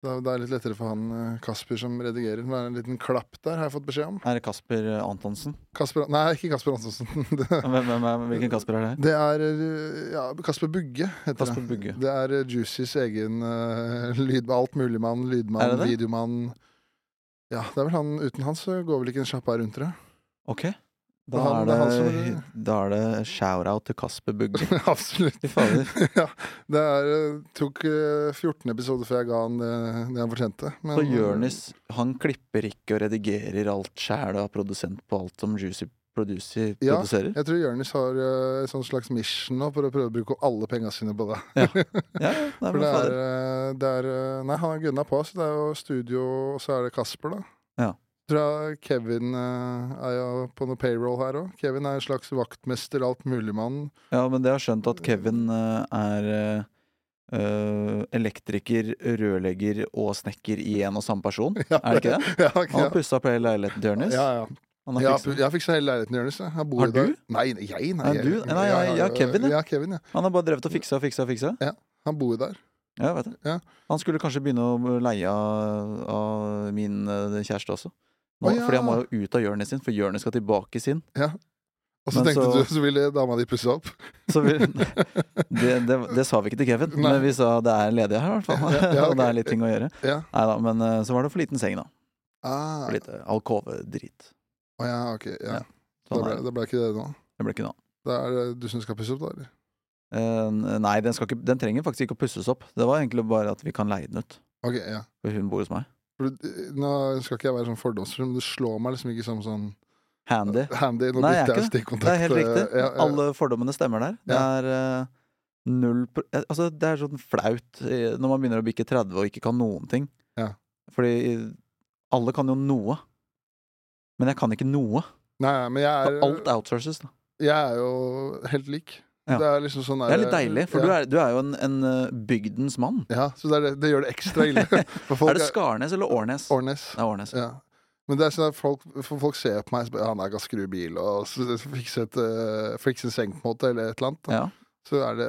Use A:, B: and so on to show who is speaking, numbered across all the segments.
A: Det er, det er litt lettere for han eh, Kasper som redigerer. Det er en liten klapp der, har jeg fått beskjed om.
B: Er det Kasper Antonsen?
A: Kasper, nei, ikke Kasper Antonsen. Det,
B: Hvem, hvem, er- hvilken Kasper er det? her?
A: det er eh, ja, Kasper Bugge, heter
B: Kasper
A: det.
B: Bugge.
A: Det er eh, Juicys egen uh, lyd, altmuligmann, lydmann,
B: Er det det?
A: videomann. Ja, det er vel han Uten han så går vel ikke en sjappa rundt, tror jeg.
B: Ok. Da
A: han-
B: er
A: det er han
B: det,
A: som-
B: da er det shout-out til Kasper Bugge.
A: Absolutt.
B: Fy fader.
A: ja, det er, eh, tok eh, 14 episoder før jeg ga han det, det han fortjente. Men,
B: Så Jonis, han klipper ikke og redigerer alt sjæl og er produsent på alt som Juicy Producer
A: Ja.
B: produserer?
A: Jeg tror Jonis har eh, et sånn slags mission nå for å prøve å bruke alle penga sine på det.
B: Ja, ja, nei,
A: For
B: men
A: det er,
B: fader.
A: eh, det er eh, Nei, han har gunna på, så det er jo studio, og så er det Kasper, da.
B: Ja.
A: Tror jeg Kevin eh, er jo på noe payroll her òg. Kevin er en slags vaktmester, altmuligmann.
B: ja, men det har skjønt at Kevin eh, er eh, eh, elektriker, rørlegger og snekker i en og samme person.
A: Ja,
B: Er det ikke det?
A: ja,
B: Han har
A: ja.
B: pussa opp hele leiligheten til Jonis.
A: Ja, ja.
B: Han har
A: Jeg,
B: fikset-
A: har- jeg fiksa hele leiligheten til Jonis. jeg. Jeg bor
B: Har
A: i dag.
B: du?
A: Nei, jeg, nei.
B: Nei,
A: jeg-
B: du? Nei, nei,
A: jeg
B: jeg-
A: har-
B: jeg har Kevin, jeg.
A: ja. Kevin, ja.
B: Han har bare drevet og fiksa og fiksa og fiksa.
A: Han bor jo der.
B: Ja, jeg vet det.
A: Ja.
B: Han skulle kanskje begynne å leie av, av min eh, kjæreste også. Nå,
A: Å, ja.
B: Fordi han må jo ut av Jonis sin, for Jonis skal tilbake i sin.
A: Og så
B: Men
A: tenkte
B: så-
A: du, så ville dama di pusse opp.
B: Så vi, det, det, det sa vi ikke til Kevin,
A: Nei.
B: men vi sa det er ledige her, i hvert fall.
A: Ja, ja,
B: Og det
A: ok.
B: er litt ting å gjøre.
A: Ja.
B: Neida, men eh, så var det for liten seng, da.
A: Ah,
B: For eh, lite alkovedrit.
A: å ja, ok. Ja.
B: Ja,
A: Da,
B: Sånn
A: ble,
B: er det.
A: da ble ikke det nå.
B: Det ble ikke noe av.
A: Det er det du som skal pusse opp, da? eller?
B: Eh, Nei, den, skal ikke, den trenger faktisk ikke å pusses opp. Det var egentlig bare at vi kan leie den ut.
A: Ok, ja.
B: For hun bor hos meg.
A: For, du- eh, nå skal ikke jeg være sånn fordomsfull, men du slår meg liksom ikke som sånn
B: Handy.
A: handy. Nå
B: Eh, Nei, jeg er
A: bytter jeg
B: ikke
A: stikkontakt.
B: Det er helt
A: eh,
B: riktig.
A: Ja, ja.
B: Alle fordommene stemmer der. Det
A: Ja.
B: er eh, null pro eh, Altså, det er sånn flaut eh, når man begynner å bikke 30 og ikke kan noen ting.
A: Ja.
B: Fordi eh, alle kan jo noe. Men jeg kan ikke noe.
A: Nei, nei, men jeg
B: Så
A: er,
B: alt outsources, da.
A: jeg er jo helt lik.
B: Ja.
A: Det er liksom sånn
B: Det er
A: der-
B: litt deilig, for
A: ja.
B: du, er, du er jo en, en eh, bygdens mann.
A: Ja, så det, er det, det gjør det ekstra ille. For folk
B: er det Skarnes eller Årnes?
A: Årnes.
B: Det er Årnes.
A: Ja. Men det er sånn at folk, for folk ser på meg og han er ganske skru bil og så- så fikse, et, eh, fikse en seng på en måte, eller et eller annet. Da.
B: Ja.
A: Så er det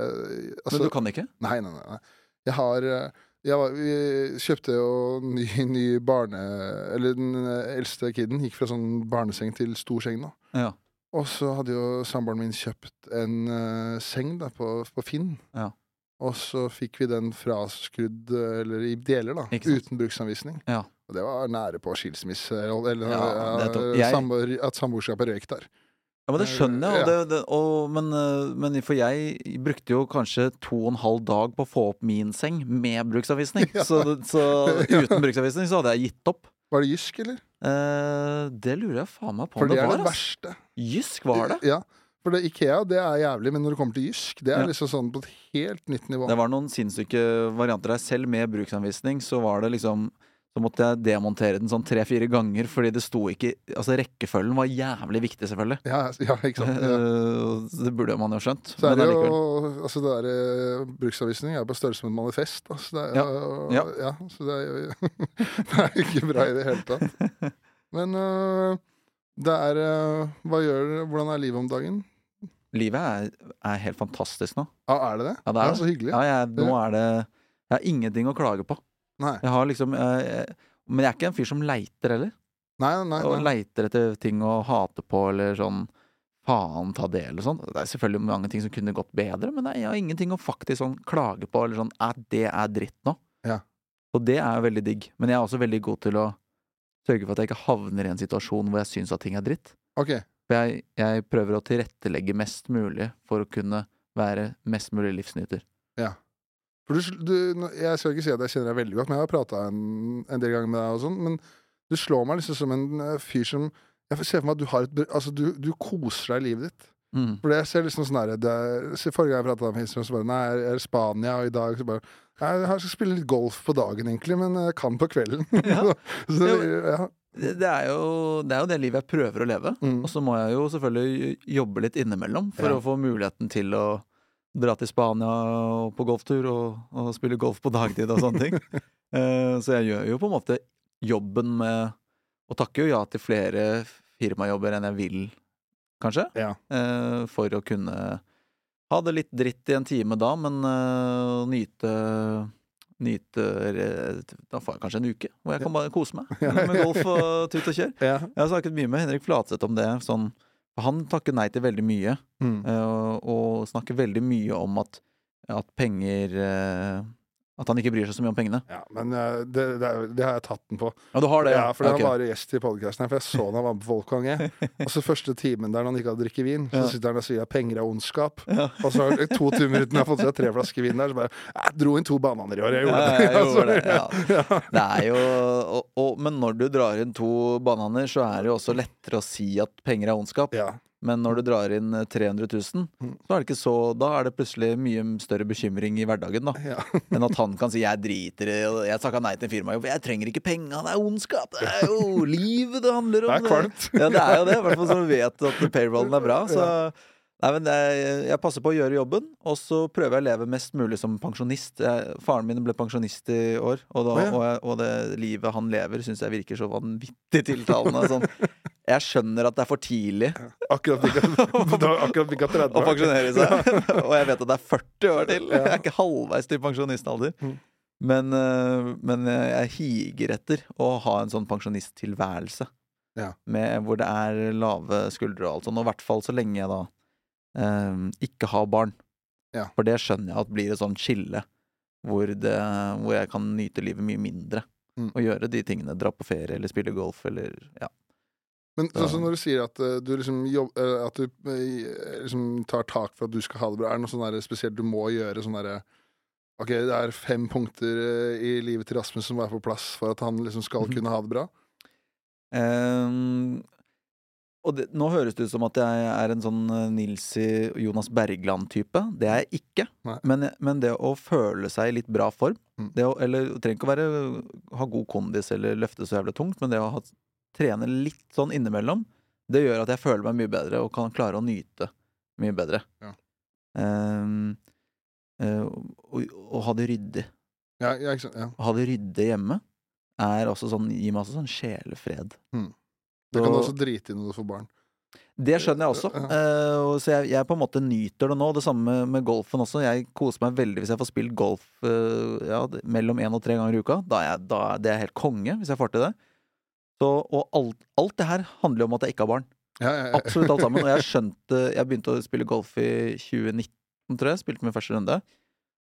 A: altså,
B: Men du kan ikke?
A: Nei, nei, nei. nei. Jeg har eh, jeg var, Vi kjøpte jo ny, ny barne... Eller den eh, eldste kiden gikk fra sånn barneseng til stor seng nå.
B: Ja.
A: Og så hadde jo samboeren min kjøpt en eh, seng da, på, på Finn.
B: Ja.
A: Og så fikk vi den fraskrudd, eh, eller i deler, da.
B: Ikke sant.
A: Uten bruksanvisning.
B: Ja.
A: Og det var nære på skilsmisse, eller, eller
B: Ja, det er to-
A: eh,
B: jeg-
A: samboer, at samboerskapet røyk der.
B: Ja, men Det skjønner jeg, og
A: Eh, Ja.
B: det, det, og, men, eh, men for jeg brukte jo kanskje to og en halv dag på å få opp min seng med bruksanvisning.
A: Ja.
B: Så, så
A: Ja.
B: uten bruksanvisning så hadde jeg gitt opp.
A: Var det Jysk, eller?
B: Eh, det lurer jeg faen meg på
A: For
B: om
A: det
B: det
A: er
B: var.
A: det
B: ass.
A: verste.
B: Jysk var det.
A: Ja, for det, Ikea det er jævlig, men når det kommer til Jysk, det er
B: Ja.
A: liksom sånn på et helt nytt nivå.
B: Det var noen sinnssyke varianter der. Selv med bruksanvisning så var det liksom så måtte jeg demontere den sånn tre-fire ganger, fordi det sto ikke Altså, rekkefølgen var jævlig viktig, selvfølgelig.
A: Ja, ja, ikke sant. Ja.
B: Eh, så Det burde man jo ha skjønt.
A: Så er
B: men
A: det
B: allikevel.
A: jo altså det der, eh, Bruksanvisning er på størrelse med et manifest. Da, så det er, ja.
B: Ja.
A: så det er, jo- det er jo ikke bra i det hele tatt. Men eh, det er eh, Hva gjør Hvordan er livet om dagen?
B: Livet er, er helt fantastisk nå.
A: Ah, er det det?
B: Ja, det er det.
A: så hyggelig.
B: Ja, jeg, nå er det Jeg har ingenting å klage på.
A: Nei.
B: Jeg har liksom jeg, jeg, Men jeg er ikke en fyr som leiter heller.
A: Nei, nei,
B: Og
A: nei.
B: leiter etter ting å hate på eller sånn faen ta det eller sånn. Det er selvfølgelig mange ting som kunne gått bedre, men nei, jeg har ingenting å faktisk sånn klage på eller sånn at det er dritt nå.
A: Ja.
B: Og det er jo veldig digg. Men jeg er også veldig god til å sørge for at jeg ikke havner i en situasjon hvor jeg syns at ting er dritt.
A: Ok.
B: For jeg, jeg prøver å tilrettelegge mest mulig for å kunne være mest mulig livsnyter.
A: For du, sl- du, nå- jeg skal ikke si at jeg kjenner deg veldig godt, men jeg har prata en, en del ganger med deg. og sånn, Men du slår meg liksom som en eh, fyr som Jeg ser for meg at du har et br- Altså, du, du koser deg i livet ditt.
B: Mm.
A: For jeg ser liksom sånn der, det er, se, Forrige gang jeg prata med Hilsen, så bare Nei, jeg er i Spania, og i dag så bare Nei, jeg skal spille litt golf på dagen, egentlig, men jeg kan på kvelden.
B: Ja.
A: så,
B: Ja,
A: ja.
B: Det, det, er jo, det er jo det livet jeg prøver å leve.
A: Mm.
B: Og så må jeg jo selvfølgelig jobbe litt innimellom for
A: Ja.
B: å få muligheten til å dra til Spania og på golftur og, og spille golf på dagtid og sånne ting. Eh, så jeg gjør jo på en måte jobben med Og takker jo ja til flere firmajobber enn jeg vil, kanskje.
A: Ja.
B: Eh, for å kunne ha det litt dritt i en time da, men eh, nyte nyte eh, Da får jeg kanskje en uke hvor jeg kan bare kose meg med golf og tut og kjør.
A: Ja.
B: Jeg har snakket mye med Henrik Flatseth om det. Sånn, han takker nei til veldig mye,
A: Mm.
B: eh, og snakker veldig mye om at, at penger eh, At han ikke bryr seg så mye om pengene.
A: ja men eh, det, det, er- det har jeg tatt den på.
B: Ja, du har det?
A: Ja, for
B: Ja, ok.
A: Han var gjest i podkasten, for jeg så han var med på Volkang. jeg. Og så første timen der når han ikke hadde drukket vin, så
B: Ja.
A: sitter han og sier at penger er ondskap.
B: Ja.
A: Og så er det to timer uten jeg har fått seg tre flasker vin der, så bare Jeg dro inn to bananer i år, jeg gjorde
B: Ja,
A: det.
B: jeg gjorde det.
A: Altså,
B: Ja. Det er jo og, og, Men når du drar inn to bananer, så er det jo også lettere å si at penger er ondskap.
A: ja.
B: Men når du drar inn eh, 300 000,
A: Mm.
B: så er det ikke så Da er det plutselig mye større bekymring i hverdagen, da.
A: Ja.
B: Enn at han kan si 'jeg driter i det', jeg takka nei til firmaet, for jeg trenger ikke penga, det er ondskap, det er jo livet det handler om.
A: Det er kvalmt.
B: Ja, det er jo det, i hvert fall så du vet at payrollen er bra. Så Nei, men det er, jeg passer på å gjøre jobben, og så prøver jeg å leve mest mulig som pensjonist. Jeg, faren min ble pensjonist i år, og, da,
A: Å, ja.
B: og, jeg, og det livet han lever, syns jeg virker så vanvittig tiltalende. Sånn. Jeg skjønner at det er for tidlig
A: Akkurat bikka det var akkurat bikka 30
B: å
A: år.
B: pensjonere seg. og jeg vet at det er 40 år til. Jeg er ikke halvveis til pensjonistalder.
A: Mm.
B: Men, eh, men jeg higer etter å ha en sånn pensjonisttilværelse.
A: Ja.
B: Med, hvor det er lave skuldre og alt sånn. Og i hvert fall så lenge jeg da eh, ikke har barn.
A: Ja.
B: For det skjønner jeg at blir et sånt skille hvor, det, hvor jeg kan nyte livet mye mindre.
A: Mm.
B: Og gjøre de tingene. Dra på ferie eller spille golf eller ja.
A: Men
B: Ja.
A: sånn som når du sier at eh, du liksom, jobb, eh, at du eh, liksom tar tak for at du skal ha det bra, er det noe sånn der spesielt du må gjøre sånn derre Ok, det er fem punkter eh, i livet til Rasmus som må være på plass for at han liksom skal
B: Mhm.
A: kunne ha det bra.
B: Ehm, og det, nå høres det ut som at jeg er en sånn eh, Nilsi Jonas Bergland-type. Det er jeg ikke.
A: Mm. Nei.
B: Men, men det å føle seg i litt bra form
A: Mm.
B: det å, Eller det trenger ikke å være øh, ha god kondis eller løfte så jævlig tungt, men det å ha, trene litt sånn innimellom, det gjør at jeg føler meg mye bedre og kan klare å nyte mye bedre.
A: Ja.
B: Ehm, eh, og, og ha det ryddig.
A: Ja, ja, ikke sant? Ja.
B: Å ha det ryddig hjemme er også sånn, gir meg også sånn sjelefred.
A: Mm. Det kan du
B: Så-
A: også drite i når du får barn.
B: det skjønner jeg også.
A: Ja.
B: Eh, og så jeg, jeg på en måte nyter det nå. Det samme med, med golfen også. Jeg koser meg veldig hvis jeg får spilt golf eh, ja, det- mellom én og tre ganger i uka. Da er, jeg, da er det er helt konge, hvis jeg får til det. Så, og alt, alt det her handler jo om at jeg ikke har barn.
A: Ja, ja, ja.
B: Absolutt alt sammen. Og jeg skjønte Jeg begynte å spille golf i 2019, tror jeg. Spilte min første runde.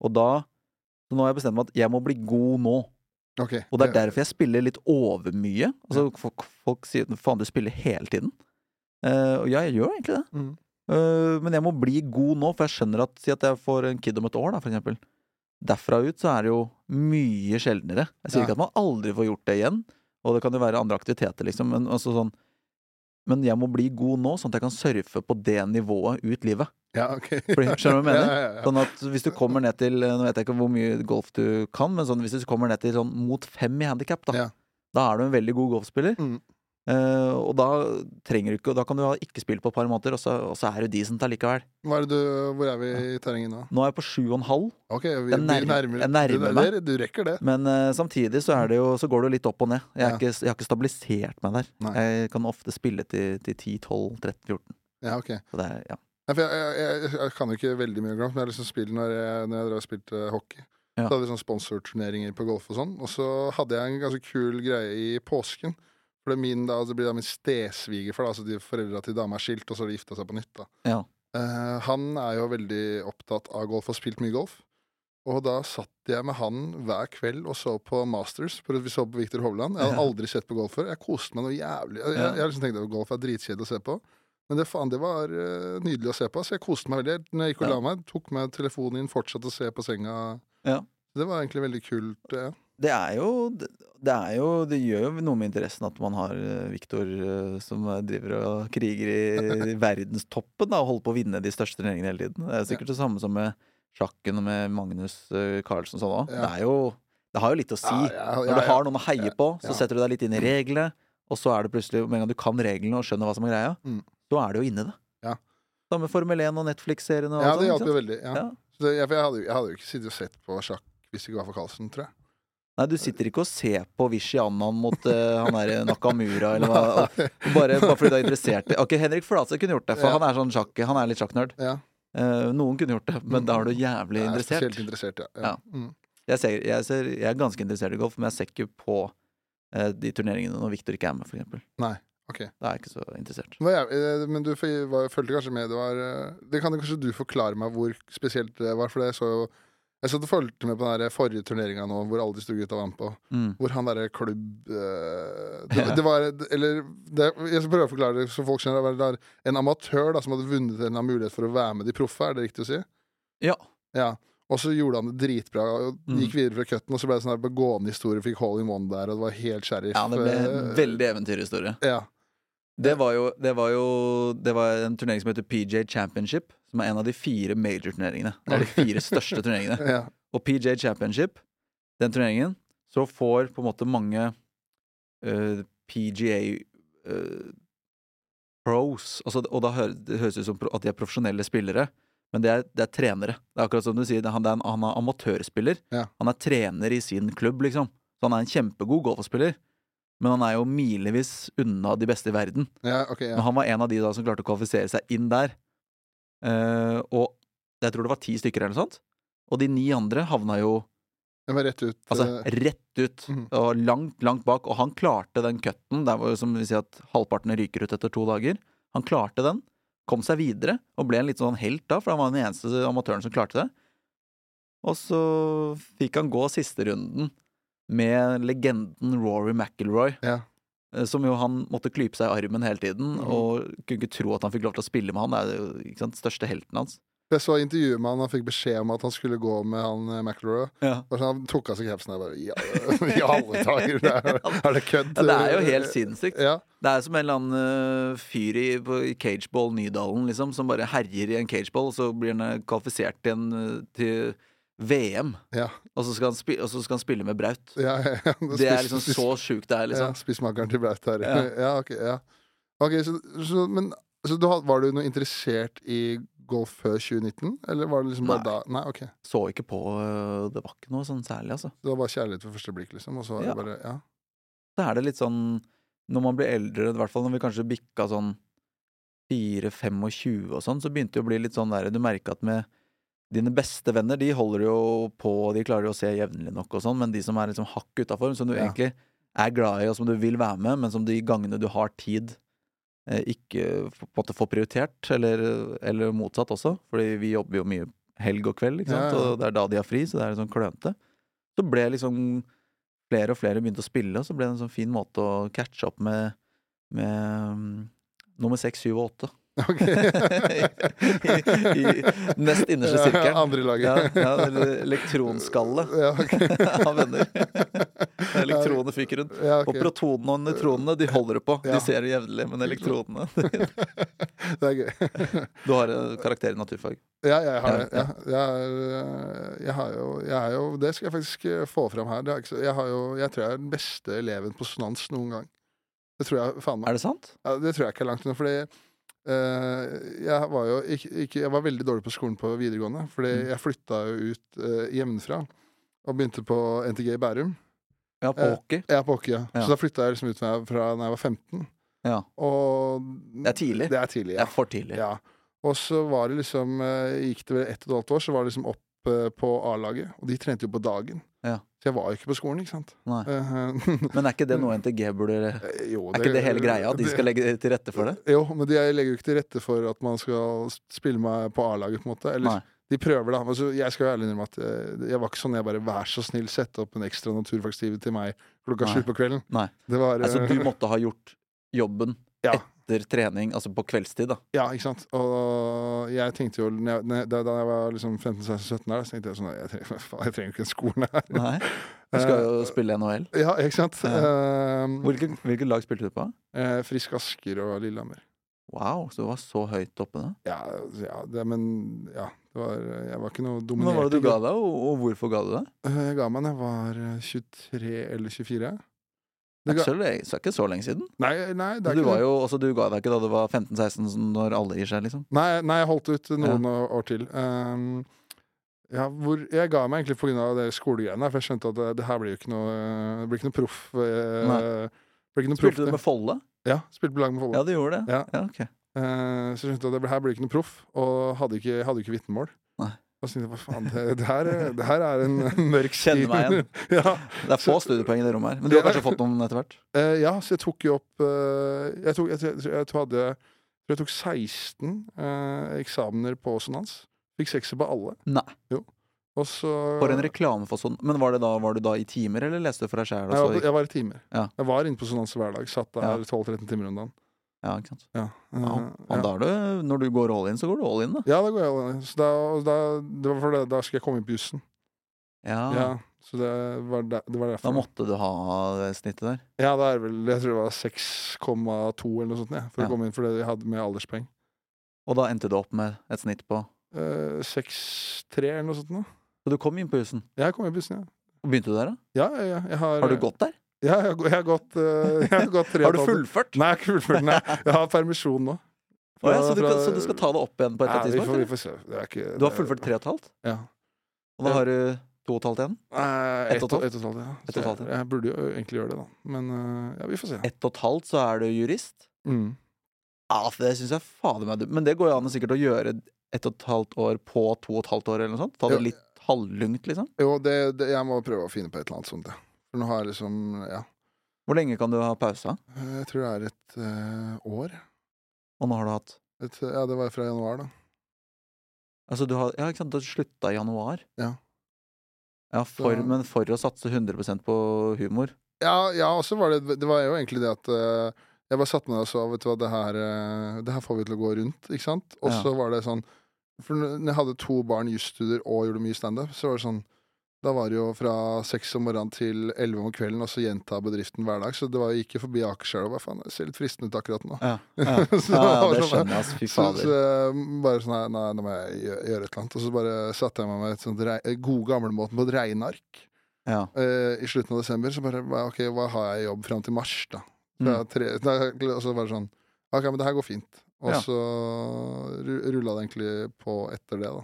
B: Og da Så nå har jeg bestemt meg at jeg må bli god nå.
A: Ok.
B: Og det er derfor jeg spiller litt overmye. Altså, folk, folk sier 'faen, du spiller hele tiden'. Eh, og ja, jeg gjør egentlig det.
A: Mm.
B: Eh, men jeg må bli god nå, for jeg skjønner at Si at jeg får en kid om et år, da, for eksempel. Derfra ut så er det jo mye sjeldnere. Jeg sier
A: Ja.
B: ikke at man aldri får gjort det igjen, og det kan jo være andre aktiviteter, liksom, men altså sånn Men jeg må bli god nå, sånn at jeg kan surfe på det nivået ut livet.
A: Ja, ok.
B: Fordi- skjønner du hva jeg mener?
A: Ja, ja, ja.
B: Sånn at hvis du kommer ned til Nå vet jeg ikke hvor mye golf du kan, men sånn, hvis du kommer ned til sånn mot fem i handikap, da,
A: Ja.
B: da er du en veldig god golfspiller.
A: Mm.
B: Eh, og da trenger du ikke Og da kan du ha ikke spilt på et par måneder, og så, og så er du decent allikevel.
A: Hva er det du, hvor er vi i terrenget nå?
B: Nå er jeg på sju og en halv,
A: Ok, vi,
B: Jeg nærmer-
A: vi nærmer
B: jeg nærmer
A: du,
B: meg.
A: der- Du rekker det.
B: men eh, samtidig så, er det jo, så går det jo litt opp og ned. Jeg, er
A: Ja.
B: ikke, jeg har ikke stabilisert meg der.
A: Nei.
B: Jeg kan ofte spille til, til 10-12-13-14.
A: Ja, ok.
B: Så det er ja.
A: Ja, for jeg, jeg, jeg, jeg kan jo ikke veldig mye om golf, men jeg har liksom spilt når jeg, når jeg drev og spilte hockey. Så
B: Ja.
A: hadde vi sånne sponsorturneringer på golf og sånn. Og så hadde jeg en ganske kul greie i påsken. For det, er min, da, det blir da min stesvigerfar, da, altså de foreldra til dama er skilt, og så har de gifta seg på nytt. da.
B: Ja.
A: Eh, han er jo veldig opptatt av golf og har spilt mye golf. Og da satt jeg med han hver kveld og så på Masters. For vi så på Viktor Hovland. Jeg hadde
B: Ja.
A: aldri sett på golf før. Jeg koste meg noe jævlig. Jeg,
B: Ja.
A: jeg, jeg liksom tenkte at golf er dritkjedelig å se på. Men det, faen, det var eh, nydelig å se på. Så jeg koste meg veldig. Når jeg gikk og
B: Ja.
A: la meg, tok meg telefonen inn, fortsatte å se på senga.
B: Ja.
A: Det var egentlig veldig kult. eh.
B: Det er jo det, det er jo det gjør jo noe med interessen at man har eh, Victor eh, som eh, driver og kriger i, i verdenstoppen da, og holder på å vinne de største turneringene hele tiden. Det er sikkert det samme som med sjakken og med Magnus eh, Carlsen og sånn òg.
A: Ja.
B: Det er jo Det har jo litt å si.
A: Ja, ja, ja,
B: Når du
A: ja.
B: har noen å heie på, så
A: Ja.
B: setter du deg litt inn i reglene, og så er det plutselig Med en gang du kan reglene og skjønner hva som er greia,
A: Mm.
B: så er du jo inne i det.
A: Ja.
B: Samme Formel 1 og Netflix-seriene og
A: Ja,
B: alt
A: det
B: sånt,
A: hjalp
B: sånn, ikke
A: jo veldig.
B: sant?
A: Ja.
B: Ja.
A: Så det, jeg, for jeg, hadde, jo- jeg hadde jo ikke sittet og sett på sjakk hvis det ikke var for Carlsen, tror jeg.
B: Nei, du sitter ikke og ser på Vishy Annan mot eh, han der Nakamura eller hva. Bare, bare fordi du er interessert i Ok, Henrik Flatseth kunne gjort det, for
A: Ja.
B: han er sånn sjakk, han er litt sjakknerd.
A: Ja. Mm.
B: Eh, noen kunne gjort det, men da er du jævlig
A: Jeg er
B: interessert.
A: Spesielt interessert, ja. ja.
B: Ja.
A: Mm.
B: Jeg, ser, jeg, ser, jeg er ganske interessert i golf, men jeg ser ikke på eh, de turneringene når Victor ikke er med, for eksempel.
A: Nei, ok.
B: Da er jeg ikke så interessert.
A: Hva er- eh, Men du f- var- fulgte kanskje med, det var eh, Det kan kanskje du forklare meg hvor spesielt det var, for jeg så jo Jeg satt og fulgte med på den der forrige turneringa nå, hvor alle de store gutta var med på.
B: Mm.
A: Hvor han derre klubb eh, det,
B: Ja.
A: det var Eller det, Jeg skal prøve å forklare det så folk skjønner. Det var det der en amatør da, som hadde vunnet en eller annen mulighet for å være med de proffe, er det riktig å si?
B: Ja. Mm.
A: Ja. Og så gjorde han det dritbra, og gikk videre fra cutten, og så ble det sånn der gående historie, fikk hole in one der, og det var helt sheriff.
B: ja, det ble en
A: eh,
B: veldig eventyrhistorie.
A: ja.
B: Det var jo Det var jo Det var en turnering som heter PJ Championship, som er en av de fire major-turneringene. Det er de fire største turneringene.
A: ja.
B: Og PJ Championship, den turneringen, så får på en måte mange eh, PGA eh, pros altså, Og da hø det høres ut som pro- at de er profesjonelle spillere, men det er, det er trenere. Det er akkurat som du sier, det er han, det er en, han er amatørspiller.
A: Ja.
B: Han er trener i sin klubb, liksom. Så han er en kjempegod golfspiller. Men han er jo milevis unna de beste i verden.
A: ja, ok, ja.
B: Men han var en av de da som klarte å kvalifisere seg inn der. Eh, og jeg tror det var ti stykker eller noe sånt. Og de ni andre havna jo
A: Den var rett ut.
B: altså,
A: eh,
B: rett ut
A: mhm.
B: og langt, langt bak. Og han klarte den cutten. Det var jo som vi sier at halvparten ryker ut etter to dager. Han klarte den, kom seg videre og ble en litt sånn helt da, for han var den eneste amatøren som klarte det. Og så fikk han gå siste runden med legenden Rory McIlroy.
A: ja.
B: Eh, Som jo han måtte klype seg i armen hele tiden,
A: Mhm.
B: og kunne ikke tro at han fikk lov til å spille med han. Det er jo ikke sant, største helten hans.
A: Jeg så intervjuet med han, han fikk beskjed om at han skulle gå med han eh, McElroy. Og så han tok av seg capsen og jeg bare ja, I alle dager! Det er, er det kødd?
B: Ja, det er jo helt sinnssykt.
A: Ja.
B: Det er som en eller annen eh, fyr i, på, i cageball Nydalen, liksom, som bare herjer i en cageball, og så blir han eh, kvalifisert til, en, eh, til VM,
A: Ja,
B: og så skal han, spi og så skal han spille med Braut.
A: ja, ja, ja.
B: Det er liksom
A: Spis-
B: så sjukt det er, liksom.
A: Ja, spissmakeren til Braut her. Ja,
B: Ja.
A: ok, ja. Ok, så, så, men, så du, had- var du noe interessert i golf før 2019? Eller var det liksom bare
B: Nei.
A: da Nei, ok.
B: Så ikke på eh, Det var ikke noe sånn særlig, altså.
A: Det var bare kjærlighet ved første blikk, liksom? Og så var
B: Ja.
A: det bare Ja.
B: så er det litt sånn Når man blir eldre, i hvert fall når vi kanskje bikka sånn 4-25 og sånn, så begynte det å bli litt sånn der Du merka at med dine beste venner, de holder jo på, de klarer jo å se jevnlig nok og sånn, men de som er liksom hakk utafor, som du
A: Ja.
B: egentlig er glad i, og som du vil være med, men som de gangene du har tid, eh, ikke på en måte får prioritert, eller, eller motsatt også, fordi vi jobber jo mye helg og kveld, ikke
A: Ja,
B: sant,
A: ja.
B: og det er da de har fri, så det er litt sånn klønete. Så ble liksom flere og flere begynte å spille, og så ble det en sånn fin måte å catche opp med, med mm, nummer seks, syv og åtte.
A: Ok.
B: I- i nest innerste sirkelen.
A: Ja, andre
B: Ja,
A: laget.
B: ja, eller elektronskallet
A: Ja, ok.
B: av venner. Elektronene fyker rundt.
A: Ja, ok.
B: Og protonene og nøytronene, de holder det på.
A: Ja.
B: De ser det jevnlig, men elektronene
A: Det er gøy.
B: Du har en karakter i naturfag.
A: Ja, jeg har
B: Ja,
A: det. Ja. Jeg, er, jeg har jo, jeg er jo Det skal jeg faktisk eh, få fram her. Det er ikke så, jeg, har jo, jeg tror jeg er den beste eleven på snans noen gang. Det tror jeg faen meg.
B: Er det sant?
A: Ja, det tror jeg ikke er langt unna, fordi eh, jeg var jo ikke, ikke Jeg var veldig dårlig på skolen på videregående, fordi
B: Mm.
A: jeg flytta jo ut eh, hjemmefra og begynte på NTG i Bærum.
B: Ja, på
A: Eh,
B: hockey.
A: Jeg er på hockey, ja.
B: Ja.
A: Så da flytta jeg liksom ut fra, fra da jeg var 15.
B: Ja.
A: Og
B: Det er tidlig.
A: Det er tidlig,
B: Det
A: ja.
B: er for tidlig.
A: Ja. Og så var det liksom eh, Gikk det vel ett og et halvt år, så var det liksom opp eh, på A-laget. Og de trente jo på dagen.
B: Ja.
A: Så jeg var jo ikke på skolen, ikke sant.
B: Nei.
A: Eh,
B: Men er ikke det noe NTG burde
A: eh, jo,
B: Er ikke det hele greia? at De skal legge til rette for det?
A: Jo, men de legger jo ikke til rette for at man skal spille meg på A-laget, på en måte. Eller
B: Nei.
A: de prøver, da. Altså, jeg skal jo ærlig innrømme at eh, jeg var ikke sånn jeg bare vær så snill, sette opp en ekstra naturfagstime til meg klokka
B: Nei.
A: sju på kvelden.
B: Nei.
A: Det var
B: Altså,
A: eh,
B: du måtte ha gjort jobben
A: Ja.
B: etter trening, altså på kveldstid, da.
A: Ja, ikke sant. Og jeg tenkte jo når jeg- når jeg- Da da jeg var liksom 15-16-17 der, så tenkte jeg sånn Jeg trenger, faen, jeg trenger ikke den skolen her.
B: Nei. Du skal
A: Eh,
B: jo spille NHL.
A: Ja, ikke sant? Ehm,
B: Hvilket, hvilket lag spilte du på?
A: eh, Frisk Asker og Lillehammer.
B: Wow, så du var så høyt oppe da.
A: Ja, ja det, men ja, det var, jeg var ikke noe
B: Men Hva
A: dominert.
B: var det du ga deg, og, og hvorfor ga du deg?
A: Eh, Jeg ga meg da jeg var eh, 23 eller 24. Det
B: Det er
A: ga,
B: ikke så, le- så er ikke så lenge siden.
A: nei, nei, det er
B: Du,
A: ikke
B: var
A: det.
B: jo, altså, du ga deg ikke da du var 15-16, som når alle gir seg, liksom.
A: Nei, nei, jeg holdt ut noen år til. Ehm, ja, hvor, jeg ga meg egentlig pga. det skolegreiene, for jeg skjønte at det, det her blir jo ikke noe Det blir ikke noe proff. eh,
B: Nei.
A: det blir ikke noe proff,
B: Spilte du
A: det.
B: med Folle?
A: Ja, spilte på lag med Follo.
B: Ja, du gjorde det.
A: Ja.
B: Ja, ok.
A: Eh, så skjønte jeg at det her blir ikke noe proff, og hadde ikke, hadde ikke vitnemål.
B: Nei.
A: Og så tenkte jeg, hva faen, det, det, her, det her er en mørk sti.
B: Kjenner meg igjen.
A: ja.
B: Det er få studiepoeng i det rommet her. Men du har kanskje fått noen etter hvert?
A: Eh, ja, så jeg tok jo opp eh, jeg, tok, jeg, tror- jeg, tror jeg, tror jeg hadde, jeg tror jeg tok 16 eh, eksamener på sonans. Fikk sekser på alle.
B: Nei.
A: Og så
B: For en reklame for sånn. Men var, det da, var du da i timer, eller leste du for deg sjæl?
A: jeg, var- jeg var i timer.
B: Ja.
A: Jeg var inne på sonans hver dag. Satt der
B: Ja.
A: 12-13 timer om dagen.
B: Ja, ikke sant?
A: Ja. eh,
B: Ja.
A: ja.
B: Og da er du, når du går all in, så går du all in, da.
A: Ja, da går jeg all in. Så da, og da, det var for det, da skulle jeg komme inn på jussen.
B: Ja.
A: Ja, så det var, der, det var derfor.
B: Ah. Da måtte du ha det snittet der.
A: Ja, det er vel, jeg tror det var 6,2 eller noe sånt ja, for
B: Ja.
A: å komme inn, for det jeg hadde med alderspoeng.
B: Og da endte du opp med et snitt på
A: Eh, 6,3 eller noe sånt nå.
B: Så du kom inn på husen.
A: Jeg kom inn på jussen, ja.
B: Og begynte du der, da?
A: Ja, ja, ja. Jeg har,
B: Har du gått der?
A: Ja, jeg har, gå- jeg har gått, eh, jeg har gått tre
B: Har du
A: og et halvt-
B: fullført?
A: Nei, jeg har ikke fullført. Nei. Jeg har permisjon nå.
B: Å ja, så, du, kan- så du skal ta det opp igjen på et eller
A: Nei,
B: annet
A: vi får, vi
B: tidspunkt?
A: får se. Det er ikke,
B: eller? Du har fullført tre og et halvt,
A: Ja.
B: og da har du to og et halvt igjen?
A: Eh,
B: Ett
A: ett
B: og
A: og
B: et
A: ett og
B: halvt?
A: et halvt, ja.
B: Ett og et halvt,
A: Så jeg, jeg burde jo egentlig gjøre det, da. Men eh, ja, vi får se.
B: Ett og et halvt, så er du jurist?
A: Mm.
B: Ja, for det syns jeg fader meg dumt. Men det går jo an å sikkert å gjøre ett og et halvt år på to og et halvt år, eller noe sånt. Ta det
A: Ja.
B: litt halvlungt, liksom.
A: Jo, det, det, jeg må prøve å finne på et eller annet sånt. Ja. For nå har jeg liksom Ja.
B: Hvor lenge kan du ha pause?
A: Eh, Jeg tror det er et eh, år.
B: Og nå har du hatt
A: Et, ja, det var fra januar, da.
B: Altså, du har Ja, ikke sant, du slutta i januar.
A: Ja.
B: Ja, for,
A: Så-
B: men for å satse 100 på humor.
A: Ja, ja og så var det Det var jo egentlig det at eh, jeg bare satte meg ned og sa Vet du hva, det her, eh, det her får vi til å gå rundt, ikke sant? Og
B: Ja.
A: så var det sånn For når når jeg hadde to barn jusstudier og gjorde mye standup, så var det sånn da var det jo fra seks om morgenen til elleve om kvelden, og så gjenta bedriften hver dag. Så det var, jeg gikk jo forbi Akerselva. Hva faen, det ser litt fristende ut akkurat nå.
B: Ja, ja.
A: Så
B: ja, ja
A: var
B: det
A: sånn,
B: skjønner jeg, altså. Fy
A: Så, så
B: fader.
A: jeg bare sånn her, Nei, nå må jeg gjø- gjøre et eller annet. Og så bare satte jeg meg med et sånt rei, eh, god gamlemåten på et regneark
B: Ja.
A: eh, i slutten av desember. Så bare hva- Ok, hva har jeg i jobb fram til mars, da? Så
B: Mm.
A: jeg har tre, nei, og så bare sånn Ok, men det her går fint. Og
B: Ja.
A: så rulla det egentlig på etter det, da.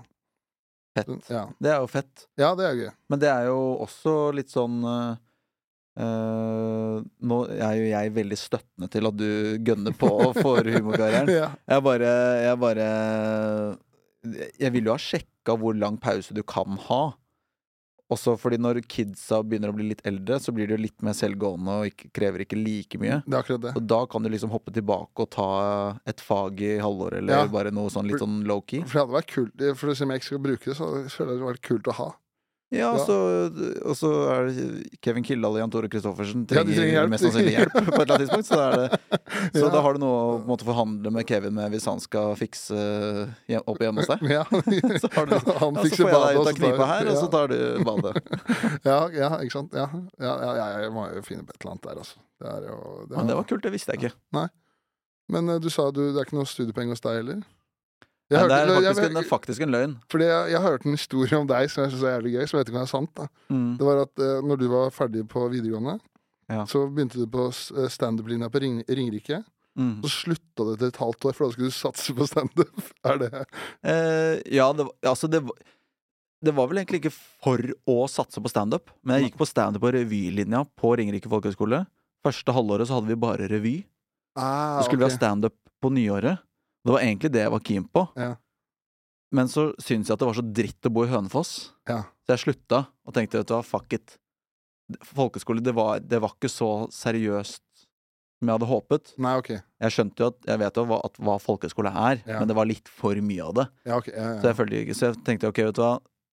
B: Fett.
A: Ja,
B: Det er jo fett.
A: ja det er gøy.
B: Men det er jo også litt sånn eh, eh, Nå er jo jeg veldig støttende til at du gønner på for humorkarrieren.
A: Ja.
B: Jeg bare Jeg bare Jeg ville jo ha sjekka hvor lang pause du kan ha. Også fordi når kidsa begynner å bli litt eldre, så blir du litt mer selvgående og ikke, krever ikke like mye.
A: Det er akkurat det.
B: Og da kan du liksom hoppe tilbake og ta et fag i halvåret, eller
A: Ja.
B: bare noe sånn litt sånn low-key.
A: For det hadde vært kult eh, For å si om jeg ikke skal bruke det, så føler jeg det hadde vært kult å ha.
B: Ja,
A: Ja.
B: Så, og så er det Kevin Kildahl og Jan Tore Christoffersen
A: Ja,
B: trenger,
A: de trenger hjelp.
B: mest sannsynlig hjelp på et eller annet tidspunkt. Så, da er det, så
A: Ja.
B: da har du noe å på en måte, forhandle med Kevin med hvis han skal fikse hjem- opp hjemme hos deg.
A: Ja.
B: Så har du,
A: Han
B: ja, så
A: fikser
B: får jeg deg
A: badet, og
B: ut
A: så
B: av
A: tar-
B: knipa her, og
A: ja.
B: så tar du badet.
A: Ja, ja, ikke sant. Ja, ja, ja, ja, jeg må jo finne på et eller annet der, altså. Det er jo, det er-
B: Men det var kult, det visste jeg ikke.
A: Men eh, du sa du, det er ikke noe studiepenger hos deg heller?
B: Nei,
A: Jeg
B: det
A: hørte,
B: er
A: jeg,
B: faktisk en,
A: jeg,
B: faktisk en løgn.
A: fordi jeg, jeg hørte en historie om deg som jeg synes er jævlig gøy, som jeg vet ikke om det er sant. da
B: Mm.
A: Det var at eh, når du var ferdig på videregående,
B: Ja.
A: så begynte du på s- eh, standup-linja på Ring, Ringerike.
B: Mm.
A: Så slutta du etter et halvt år, for da skulle du satse på standup. Er det
B: Eh, ja, det, var- altså det, var- det var vel egentlig ikke for å satse på standup, men jeg gikk på standup og revylinja på Ringerike folkehøgskole. Første halvåret så hadde vi bare revy.
A: ah,
B: Så skulle vi ha standup på nyåret. Det var egentlig det jeg var keen på.
A: Ja. vi
B: Men så syntes jeg at det var så dritt å bo i Hønefoss,
A: Ja.
B: så jeg slutta og tenkte vet du hva, fuck it. Folkeskole, det var, det var ikke så seriøst som jeg hadde håpet.
A: Nei, ok.
B: Jeg skjønte jo at, jeg vet jo hva, at, hva folkeskole er,
A: Ja.
B: men det var litt for mye av det.
A: Ja, ok, ja,
B: Så
A: ja.
B: jeg følte ikke, så jeg tenkte ok, vet du hva,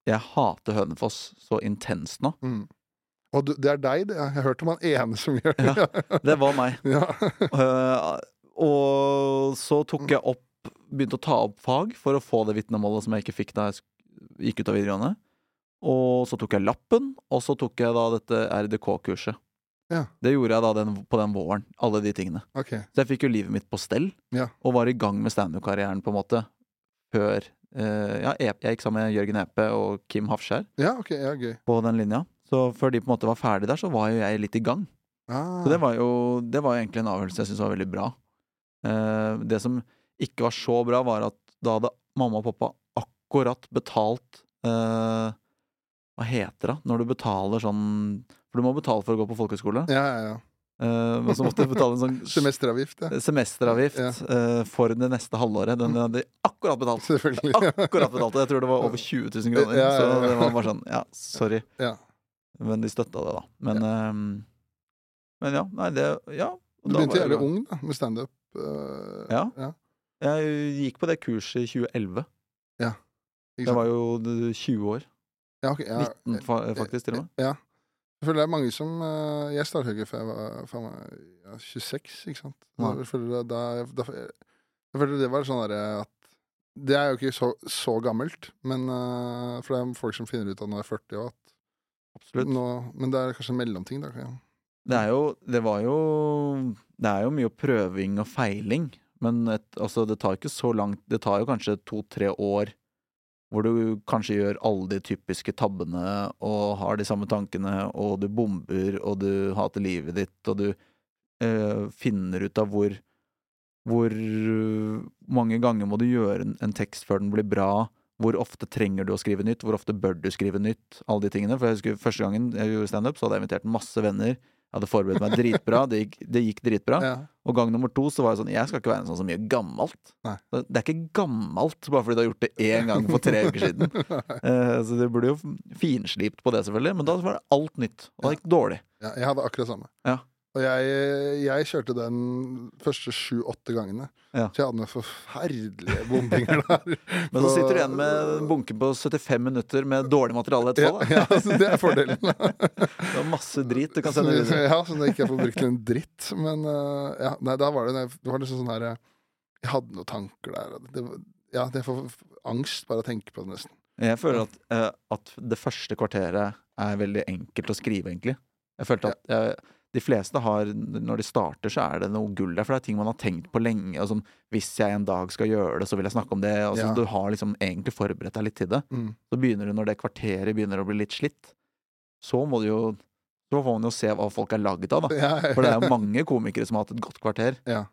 B: jeg hater Hønefoss så intenst nå.
A: Mm. Og du, det er deg, det. Jeg har hørt om han ene som gjør det.
B: Ja. Det var meg.
A: Ja.
B: Eh, og så tok jeg opp Begynte å ta opp fag for å få det vitnemålet som jeg ikke fikk da jeg sk- gikk ut av videregående. Og så tok jeg lappen, og så tok jeg da dette RDK-kurset.
A: Ja.
B: Det gjorde jeg da den, på den våren. Alle de tingene.
A: Ok.
B: Så jeg fikk jo livet mitt på stell,
A: Ja.
B: og var i gang med standup-karrieren på en måte før eh, Ja, jeg, jeg gikk sammen med Jørgen Epe og Kim Hafskjær
A: Ja, ok, ja, gøy.
B: på den linja. Så før de på en måte var ferdig der, så var jo jeg litt i gang.
A: Ah.
B: Så det var jo, det var jo egentlig en avgjørelse jeg syntes var veldig bra. Eh, det som ikke var så bra, var at da hadde mamma og pappa akkurat betalt eh, Hva heter det når du betaler sånn For du må betale for å gå på folkehøyskole.
A: Ja, ja, ja.
B: Eh, Men så måtte jeg betale en sånn
A: Semesteravgift, ja.
B: semesteravgift eh, for det neste halvåret. Den hadde jeg akkurat betalt.
A: Selvfølgelig.
B: Akkurat betalt. Jeg tror det var over 20 000 kroner.
A: Ja, ja, ja.
B: Så det var bare sånn Ja, sorry.
A: Ja.
B: Men de støtta det, da. Men ja. men ja. Nei, det Ja. og
A: Du
B: da
A: begynte
B: var
A: jævlig
B: det bra.
A: ung da, med standup. eh,
B: Ja.
A: ja.
B: Jeg gikk på det kurset i 2011.
A: Ja. Ikke
B: Jeg var jo eh, 20 år.
A: Ja, ok, ja, eh,
B: 19 fa faktisk, til og med.
A: Ja. Jeg føler det er mange som eh, Jeg starta ikke før jeg var faen meg, ja, 26, ikke sant?
B: Nei.
A: Jeg føler, det- da, da, jeg føler det var sånn derre at Det er jo ikke så, så gammelt, men eh, for det er folk som finner ut at nå er jeg 40 og at
B: Absolutt.
A: eh, nå, Men det er kanskje en mellomting, da. Ja.
B: Det er jo Det var jo Det er jo mye prøving og feiling, men et, altså, det tar ikke så langt Det tar jo kanskje to-tre år hvor du kanskje gjør alle de typiske tabbene og har de samme tankene, og du bomber, og du hater livet ditt, og du eh, finner ut av hvor hvor eh, mange ganger må du gjøre en, en tekst før den blir bra? Hvor ofte trenger du å skrive nytt? Hvor ofte bør du skrive nytt? Alle de tingene. For jeg husker første gangen jeg gjorde standup, så hadde jeg invitert masse venner. Jeg hadde forberedt meg dritbra. Det gikk, det gikk dritbra.
A: Ja.
B: Og gang nummer to så var jeg sånn Jeg skal ikke være en sånn som gjør gammelt.
A: Nei.
B: Det det er ikke gammelt bare fordi du har gjort det én gang for tre uker siden. Eh, så det ble jo finslipt på det, selvfølgelig. Men da var det alt nytt. Og det gikk dårlig.
A: Ja, jeg hadde akkurat samme.
B: Ja.
A: Og jeg, jeg kjørte den første sju-åtte gangene.
B: Ja.
A: Så jeg hadde noen forferdelige bombinger der.
B: Men så sitter du igjen med bunken på 75 minutter med dårlig
A: ja,
B: materiale etterpå. Da.
A: ja, så Det er fordelen.
B: Det var masse drit du kan
A: Så
B: sende
A: det-
B: videre.
A: Ja, så det ikke jeg får brukt til en dritt. Men eh, ja, nei, da var det, det var liksom sånn her eh, Jeg hadde noen tanker der. og Det, var- ja, jeg får angst bare av å tenke på det, nesten.
B: Jeg føler at, eh, at det første kvarteret er veldig enkelt å skrive, egentlig. Jeg følte at eh, de fleste har, når de starter, så er det noe gull der, for det er ting man har tenkt på lenge. Og sånn, hvis jeg en dag skal gjøre det, så vil jeg snakke om det. Og
A: Ja.
B: så Du har liksom egentlig forberedt deg litt til det.
A: Mm.
B: Så begynner du, når det kvarteret begynner å bli litt slitt, så må du jo Så får man jo se hva folk er laget av, da.
A: Ja, ja,
B: For det er jo mange komikere som har hatt et godt kvarter.
A: Ja.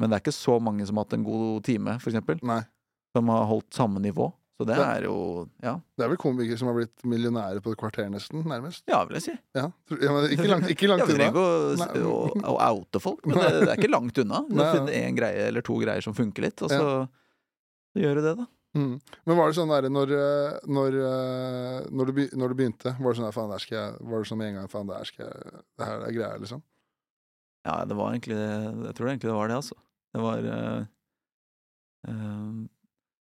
B: Men det er ikke så mange som har hatt en god time, for eksempel.
A: Nei.
B: Som har holdt samme nivå. Så det
A: Ja.
B: er jo Ja,
A: Det er vel komikere som har blitt millionærer på et kvarter, nesten. Nærmest.
B: ja vil jeg si.
A: Ja, tror- ja, men ikke langt, ikke
B: Ja,
A: langt
B: vi trenger
A: unna.
B: ikke å, s-
A: Nei.
B: å, å oute folk, men det, det er ikke langt unna. Du
A: Nei,
B: finner én greie eller to greier som funker litt, og så så gjør du det, da.
A: Mm. Men var det sånn der når, eh, når, eh, når, du, be- når du begynte? Var det sånn der, faen, der skal jeg Var det sånn med en gang, faen, der skal jeg Det her er greia, liksom?
B: Ja, det var egentlig Jeg tror egentlig det var det, altså. Det var eh, eh,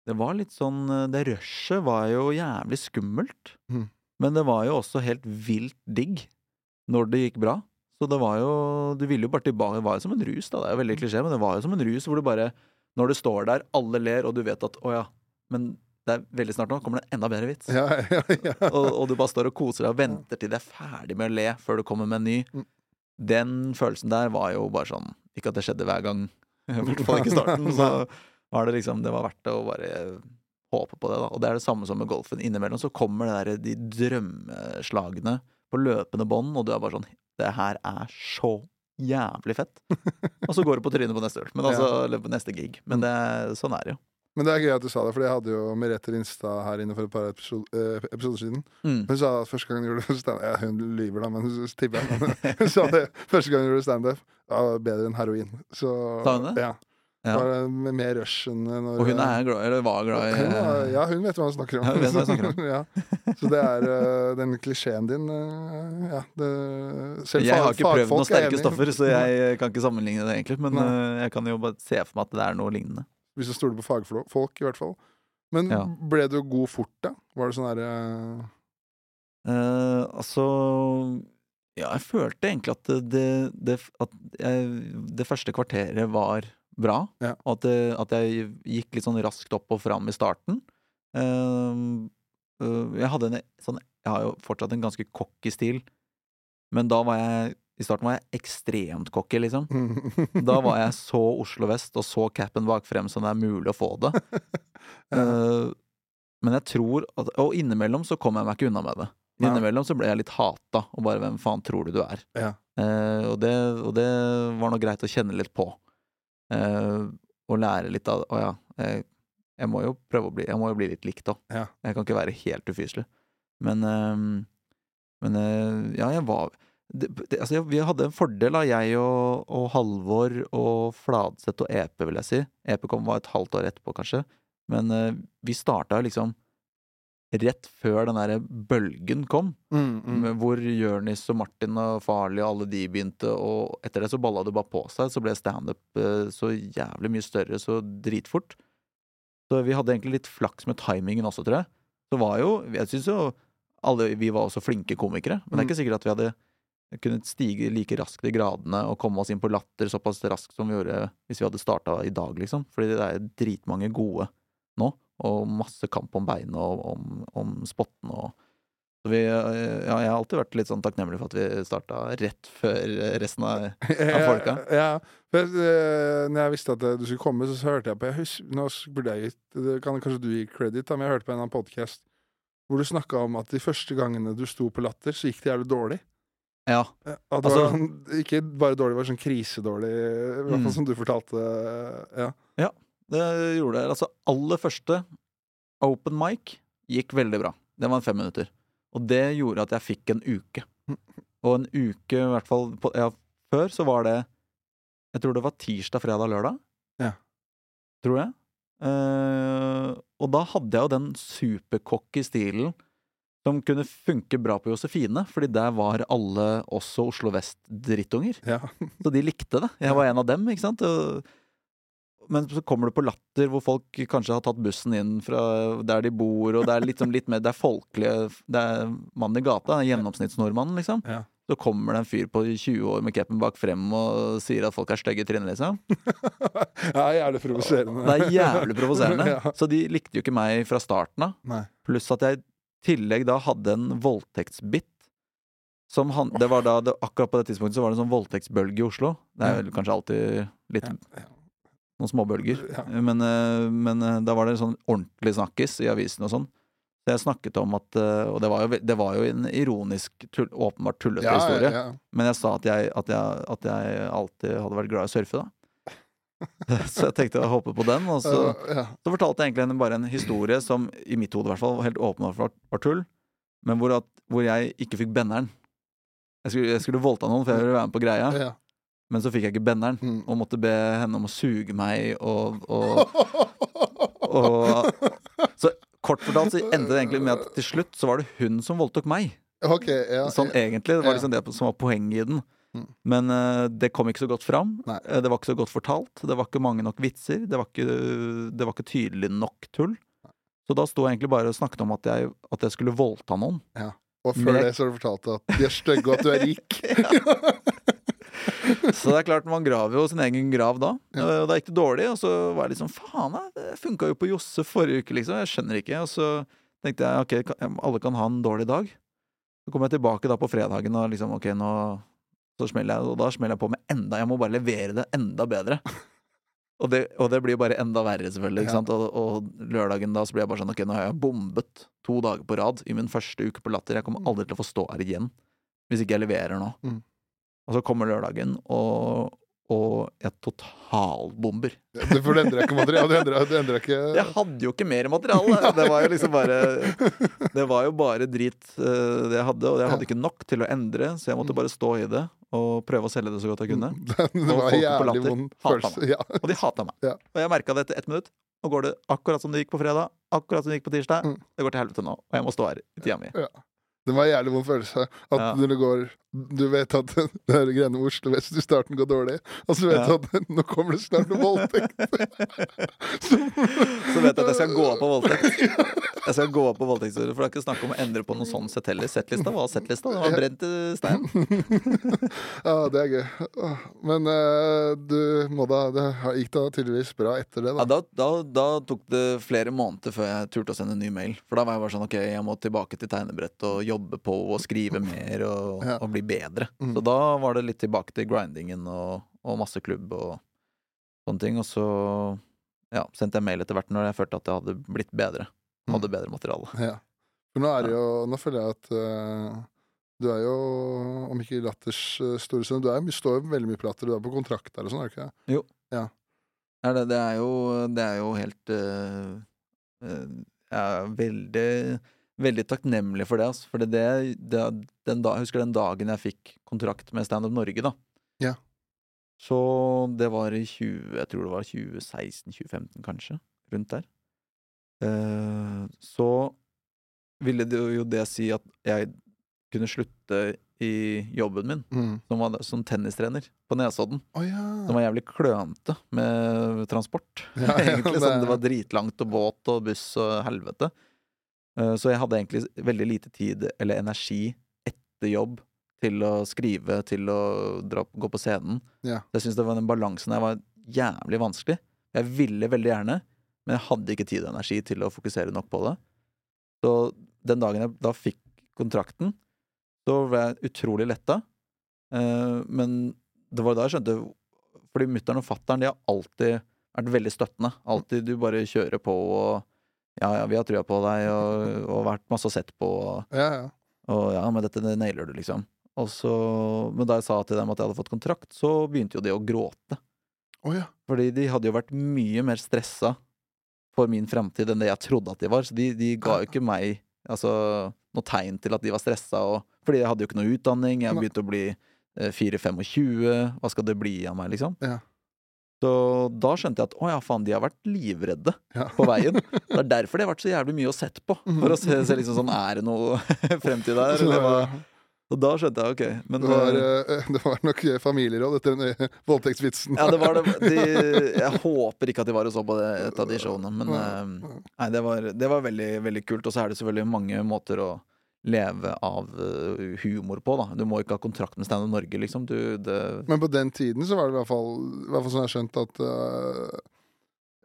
B: Det var litt sånn eh, Det rushet var jo jævlig skummelt.
A: Mhm.
B: Men det var jo også helt vilt digg når det gikk bra. Så det var jo Du ville jo bare tilbake. Det var jo som en rus, da. Det er jo veldig klisjé, men det var jo som en rus hvor du bare Når du står der, alle ler, og du vet at å ja, men det er veldig snart nå kommer det en enda bedre vits.
A: Ja, ja, ja.
B: og, og du bare står og koser deg og venter til de er ferdig med å le før du kommer med en ny.
A: Mm.
B: Den følelsen der var jo bare sånn Ikke at det skjedde hver gang, i hvert fall ikke i starten. Så var det liksom Det var verdt det å bare håpe på det, da. Og det er det samme som med golfen. Innimellom så kommer det der, de drømmeslagene på løpende bånd, og du er bare sånn Det her er så jævlig fett. Og så går du på trynet på neste øl. Men altså, eller på neste gig.
A: Mm.
B: Men det, er- sånn er det jo.
A: Men det er gøy at du sa det, for jeg hadde jo Merete Rinstad her inne for et par episod- eh, episoder siden.
B: Mm.
A: Hun sa at første gang hun gjorde standup ja, Hun lyver, da, men hun tipper jeg. Hun sa det første gang hun gjorde standup. Ja, det var bedre enn heroin. Så,
B: Sa hun det?
A: Ja.
B: Ja.
A: Var det med mer rush enn når
B: Og hun er glad, eller var glad i
A: Hun var- Ja, hun vet hva hun snakker om.
B: Ja, hun vet hva hun snakker om.
A: ja. Så det er eh, den klisjeen din eh, Ja, det Selv
B: Jeg
A: fag-
B: har ikke prøvd
A: fagfolk
B: noen
A: er
B: sterke
A: enig.
B: stoffer, så jeg eh, kan ikke sammenligne det, egentlig. Men
A: Nei.
B: eh, jeg kan jo bare se for meg at det er noe lignende.
A: Hvis du stoler på fagfolk, i hvert fall. Men
B: Ja.
A: ble du god fort, da? Var det sånn herre
B: Eh, altså Ja, jeg følte egentlig at det, det, det, at jeg, det første kvarteret var bra.
A: Ja.
B: Og at, det, at jeg gikk litt sånn raskt opp og fram i starten. Eh, eh, jeg hadde en sånn Jeg har jo fortsatt en ganske cocky stil, men da var jeg I starten var jeg ekstremt cocky, liksom.
A: Mm.
B: Da var jeg så Oslo Vest og så capen bak frem som det er mulig å få det. Eh, men jeg tror at, Og innimellom så kom jeg meg ikke unna med det.
A: Nei.
B: Innimellom så ble jeg litt hata, og bare 'hvem faen tror du du er'?
A: Ja.
B: Eh, og, det, og det var nå greit å kjenne litt på. Eh, og lære litt av Å ja, jeg, jeg må jo prøve å bli Jeg må jo bli litt likt, da.
A: Ja.
B: Jeg kan ikke være helt ufyselig. Men eh, Men eh, ja, jeg var det, det, altså, jeg- vi hadde en fordel, da, jeg og, og Halvor og Fladseth og EP, vil jeg si. EP kom var et halvt år etterpå, kanskje. Men eh, vi starta liksom rett før den derre bølgen kom,
A: Mm,
B: med, hvor Jørnis og Martin og Farley og alle de begynte, og etter det så balla det bare på seg, så ble standup eh, så jævlig mye større så dritfort. Så vi hadde egentlig litt flaks med timingen også, tror jeg. Det var jo Jeg syns jo alle vi var også flinke komikere, men det er ikke sikkert at vi hadde kunnet stige like raskt i gradene og komme oss inn på latter såpass raskt som vi gjorde hvis vi hadde starta i dag, liksom. Fordi det er dritmange gode nå, og masse kamp om beinet og om, om spottene og så vi, eh, ja, jeg har alltid vært litt sånn takknemlig for at vi starta rett før eh, resten av
A: Ja,
B: folka.
A: Ja. For, eh, når jeg visste at eh, du skulle komme, så, så hørte jeg på jeg husker, Nå s- burde jeg gitt det kan Kanskje du gi credit, da, men jeg hørte på en annen podkast hvor du snakka om at de første gangene du sto på Latter, så gikk det jævlig dårlig.
B: Ja.
A: Eh, At det
B: Altså-
A: var sånn, ikke bare dårlig, det var sånn krisedårlig, i hvert
B: Mm.
A: fall som du fortalte. eh, Ja.
B: Det gjorde det. Altså, aller første open mic gikk veldig bra. Det var en fem minutter. Og det gjorde at jeg fikk en uke. Og en uke, i hvert fall på, ja, før, så var det Jeg tror det var tirsdag, fredag, lørdag.
A: Ja.
B: Tror jeg. Eh, og da hadde jeg jo den supercocky stilen som kunne funke bra på Josefine, fordi der var alle også Oslo Vest-drittunger.
A: ja.
B: Så de likte det. Jeg var en av dem, ikke sant. Og- Men så kommer du på latter hvor folk kanskje har tatt bussen inn fra der de bor, og det er liksom litt mer Det er folkelige Det er mannen i gata, det er gjennomsnittsnordmannen, liksom.
A: Ja.
B: Så kommer det en fyr på 20 år med capen bak frem og sier at folk er stygge i trynet, liksom.
A: ja, jævlig provoserende.
B: Det er jævlig provoserende.
A: Ja.
B: Så de likte jo ikke meg fra starten av.
A: Nei.
B: Pluss at jeg i tillegg da hadde en voldtektsbit. Som han, det var da, det, akkurat på det tidspunktet så var det en sånn voldtektsbølge i Oslo. Det er vel kanskje alltid litt
A: Ja.
B: noen småbølger.
A: Ja.
B: Men, eh, men eh, da var det en sånn ordentlig snakkis i avisen og sånn. Så jeg snakket om at eh, Og det var jo, ve- det var jo en ironisk, tull, åpenbart tullete
A: Ja,
B: historie.
A: ja, ja.
B: Men jeg sa at jeg, at, jeg, at jeg alltid hadde vært glad i å surfe, da. så jeg tenkte å hoppe på den, og så
A: ja.
B: så fortalte jeg egentlig henne bare en historie som i mitt hode i hvert fall var helt åpenbart var- var tull, men hvor, at, hvor jeg ikke fikk benneren. Jeg skulle, jeg skulle voldta noen, for jeg ville være med på greia,
A: ja.
B: men så fikk jeg ikke benneren.
A: Mm.
B: Og måtte be henne om å suge meg og, og, og Så kort fortalt så endte det egentlig med at til slutt så var det hun som voldtok meg.
A: Ok, ja.
B: Sånn egentlig. Det
A: Ja.
B: var liksom det som var poenget i den.
A: Mm.
B: Men eh, det kom ikke så godt fram.
A: Nei.
B: Eh, det var ikke så godt fortalt. Det var ikke mange nok vitser. Det var ikke, det var ikke tydelig nok tull. Så da sto jeg egentlig bare og snakket om at jeg, at jeg skulle voldta noen.
A: Og før
B: Med-
A: det så har du fortalt at de er stygge, og at du er rik.
B: Så det er klart, man graver jo sin egen grav da. Eh, Og da gikk det dårlig, og så var jeg liksom faen, da, det funka jo på Josse forrige uke, liksom. Jeg skjønner ikke. Og så tenkte jeg ok, kan- alle kan ha en dårlig dag. Så kom jeg tilbake da på fredagen og liksom ok, nå så smeller jeg, og da smeller jeg på med enda Jeg må bare levere det enda bedre. Og det, og det blir jo bare enda verre,
A: Ja.
B: selvfølgelig. Ikke sant? Og, og lørdagen da så blir jeg bare sånn Ok, nå har jeg bombet to dager på rad i min første uke på Latter. Jeg kommer aldri til å få stå her igjen hvis ikke jeg leverer nå.
A: Mm.
B: Og så kommer lørdagen, og, og jeg totalbomber.
A: Det- For det endrer ikke materiale. Det endrer, det endrer ikke
B: Jeg hadde jo ikke mer materiale! Det var jo liksom bare Det var jo bare drit eh, det jeg hadde, og jeg hadde ikke nok til å endre, så jeg måtte
A: Mm.
B: bare stå i det og prøve å selge det så godt jeg kunne.
A: Det, det
B: Og
A: var
B: folket på
A: jævlig
B: latter
A: vond
B: hater
A: følelse.
B: meg.
A: Ja.
B: Og de hata meg.
A: Ja.
B: Og jeg merka det etter ett minutt. Nå går det akkurat som det gikk på fredag, akkurat som det gikk på tirsdag.
A: Mm.
B: Det går til helvete nå, og jeg må stå her i tida mi.
A: Det var en jævlig vond følelse. At
B: Ja.
A: når du går Du vet at det her greiene med Oslo vest i starten går dårlig, og så vet du
B: Ja.
A: at nå kommer det snart en voldtekt.
B: Så vet jeg at jeg skal gå av på voldtekt. Jeg skal gå av på voldtektsordre, for det er ikke snakk om å endre på noe sånn sett heller. Settlista var settlista, den var brent i stein.
A: Ja, Ah, det er gøy. Åh, Men eh, du må da Det gikk da tydeligvis bra etter det,
B: Ja,
A: da.
B: da, da, da tok det flere måneder før jeg turte å sende en ny mail. For da var jeg bare sånn ok, jeg må tilbake til tegnebrett og jobbe på og skrive mer og,
A: Ja.
B: og bli bedre.
A: Mm.
B: Så da var det litt tilbake til grindingen og, og masse klubb og sånne ting. Og så ja, sendte jeg mail etter hvert når jeg følte at jeg hadde blitt bedre.
A: Mm.
B: Hadde bedre materiale.
A: Ja. For nå er det jo Nå føler jeg at eh, du er jo, om ikke Latters eh, store sønn, du er, mye- står jo veldig mye på Latter, du er på kontrakt der og sånn, er du ikke det?
B: Nei, det, eh, det, er jo, det er jo helt øh, øh, Jeg er veldig veldig takknemlig for det. Altså. For det, det, den da, jeg husker den dagen jeg fikk kontrakt med Standup Norge, da.
A: Ja.
B: Så det var i 20, jeg tror det var 2016-2015, kanskje. Rundt der. Eh, så ville det jo det si at jeg kunne slutte i jobben min
A: Mm.
B: som, var, som tennistrener på Nesodden.
A: Å ja.
B: Som var jævlig klønete med transport.
A: Ja, eh, ja,
B: egentlig
A: det-
B: sånn Det var dritlangt og båt og buss og helvete. Eh, Så jeg hadde egentlig veldig lite tid eller energi etter jobb til å skrive, til å dra, gå på scenen.
A: Ja.
B: Så Jeg syns den balansen der var jævlig vanskelig. Jeg ville veldig gjerne, men jeg hadde ikke tid og energi til å fokusere nok på det. Så den dagen jeg da fikk kontrakten, så ble jeg utrolig letta. Eh, Men det var da jeg skjønte Fordi mutter'n og fatter'n har alltid vært veldig støttende. Alltid du bare kjører på og Ja, ja, vi har trua på deg, og, og vært masse og sett på, og
A: ja, ja.
B: og ja, men dette det nailer du, liksom. Og så, men da jeg sa til dem at jeg hadde fått kontrakt, så begynte jo de å gråte.
A: Å ja.
B: Fordi de hadde jo vært mye mer stressa for min framtid enn det jeg trodde at de var. Så de, de ga jo ikke meg altså, noe tegn til at de var stressa. Og, fordi jeg hadde jo ikke noe utdanning,
A: Nei.
B: jeg begynte å bli eh, 4-25, hva skal det bli av meg, liksom?
A: Ja.
B: Så da skjønte jeg at å ja, faen, de har vært livredde
A: Ja.
B: på veien. Det er derfor de har vært så jævlig mye å sett på. For å se, se liksom sånn, er det noe fremtid der?
A: Så det
B: Eller hva?
A: var,
B: Og da skjønte jeg, ok. Men
A: det var, eh, det var nok eh, familieråd etter den eh, voldtektsvitsen.
B: ja, det var det. De, jeg håper ikke at de var og så på det, et av de showene, men eh, nei, det var, det var veldig, veldig kult. Og så er det selvfølgelig mange måter å leve av eh, humor på, da. Du må ikke ha kontrakt med Standup Norge, liksom. Du, det,
A: Men på den tiden så var det i hvert fall, i hvert fall sånn jeg har skjønt at eh,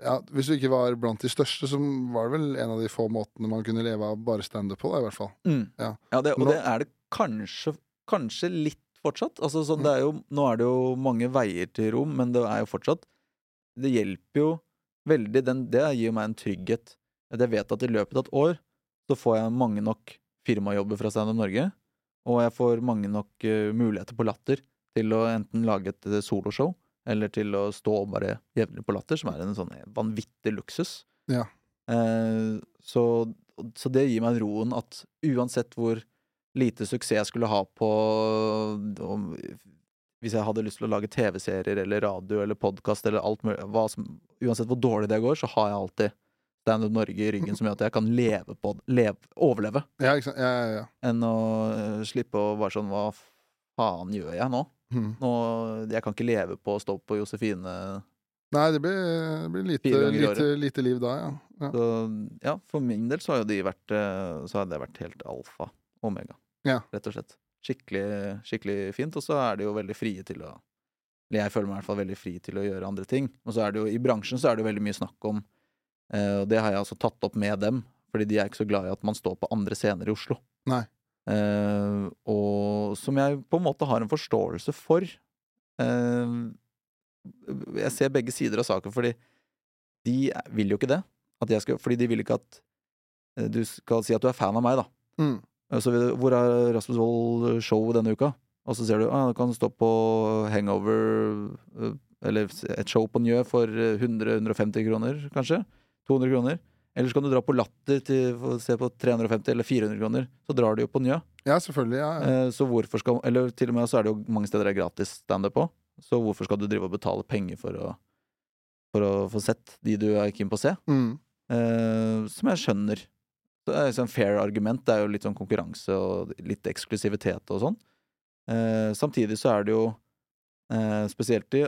A: ja, Hvis du ikke var blant de største, så var det vel en av de få måtene man kunne leve av bare standup på, da, i hvert fall.
B: mm.
A: Ja.
B: det,
A: Nå-
B: og det er det kanskje, kanskje litt fortsatt. Altså,
A: Mm.
B: sånn, det er jo, nå er det jo mange veier til rom, men det er jo fortsatt Det hjelper jo veldig. Den, det gir meg en trygghet. At jeg vet at i løpet av et år så får jeg mange nok firmajobber fra Standup Norge, og jeg får mange nok eh, muligheter på Latter til å enten lage et eh, soloshow, eller til å stå bare jevnlig på Latter, som er en sånn vanvittig luksus.
A: Ja.
B: Eh, så, så det gir meg roen at uansett hvor lite suksess jeg skulle ha på om, Hvis jeg hadde lyst til å lage TV-serier eller radio eller podkast eller alt mulig hva som, Uansett hvor dårlig det går, så har jeg alltid Standup Norge i ryggen som gjør at jeg kan leve på, leve, overleve
A: Ja, ikke sant? Ja, ja, ja.
B: enn å eh, slippe å være sånn Hva faen gjør jeg nå?
A: Mhm.
B: nå jeg kan ikke leve på å stå på Josefine.
A: Nei, det blir, det blir lite,
B: Fire ganger i
A: lite, lite liv da, ja. ja.
B: Så ja, for min del så har jo de vært eh, Så har det vært helt alfa omega,
A: Ja.
B: rett og slett. Skikkelig, skikkelig fint. Og så er de jo veldig frie til å eller Jeg føler meg i hvert fall veldig fri til å gjøre andre ting. Og så er det jo i bransjen så er det jo veldig mye snakk om eh, Og det har jeg altså tatt opp med dem, fordi de er ikke så glad i at man står på andre scener i Oslo.
A: Nei.
B: Eh, og som jeg på en måte har en forståelse for. Eh, jeg ser begge sider av saken, fordi de vil jo ikke det. At jeg skal, fordi de vil ikke at eh, du skal si at du er fan av meg, da.
A: Mm.
B: Eh, Så vil du- hvor er Rasmus Wold show denne uka? Og så ser du ah, du kan stå på Hangover eh, Eller et show på Njø for eh, 100-150 kroner, kanskje. 200 kroner. Eller så kan du dra på Latter til, for å se på 350 eller 400 kroner. Så drar du jo på Njø.
A: ja, selvfølgelig. Ja, ja.
B: Eh, Så hvorfor skal Eller til og med så er det jo mange steder det er gratis standup på. Så hvorfor skal du drive og betale penger for å, for å få sett de du er keen på å se?
A: Mm.
B: Eh, som jeg skjønner. Det er liksom fair argument. Det er jo litt sånn konkurranse og litt eksklusivitet og sånn. Eh, samtidig så er det jo eh, Spesielt i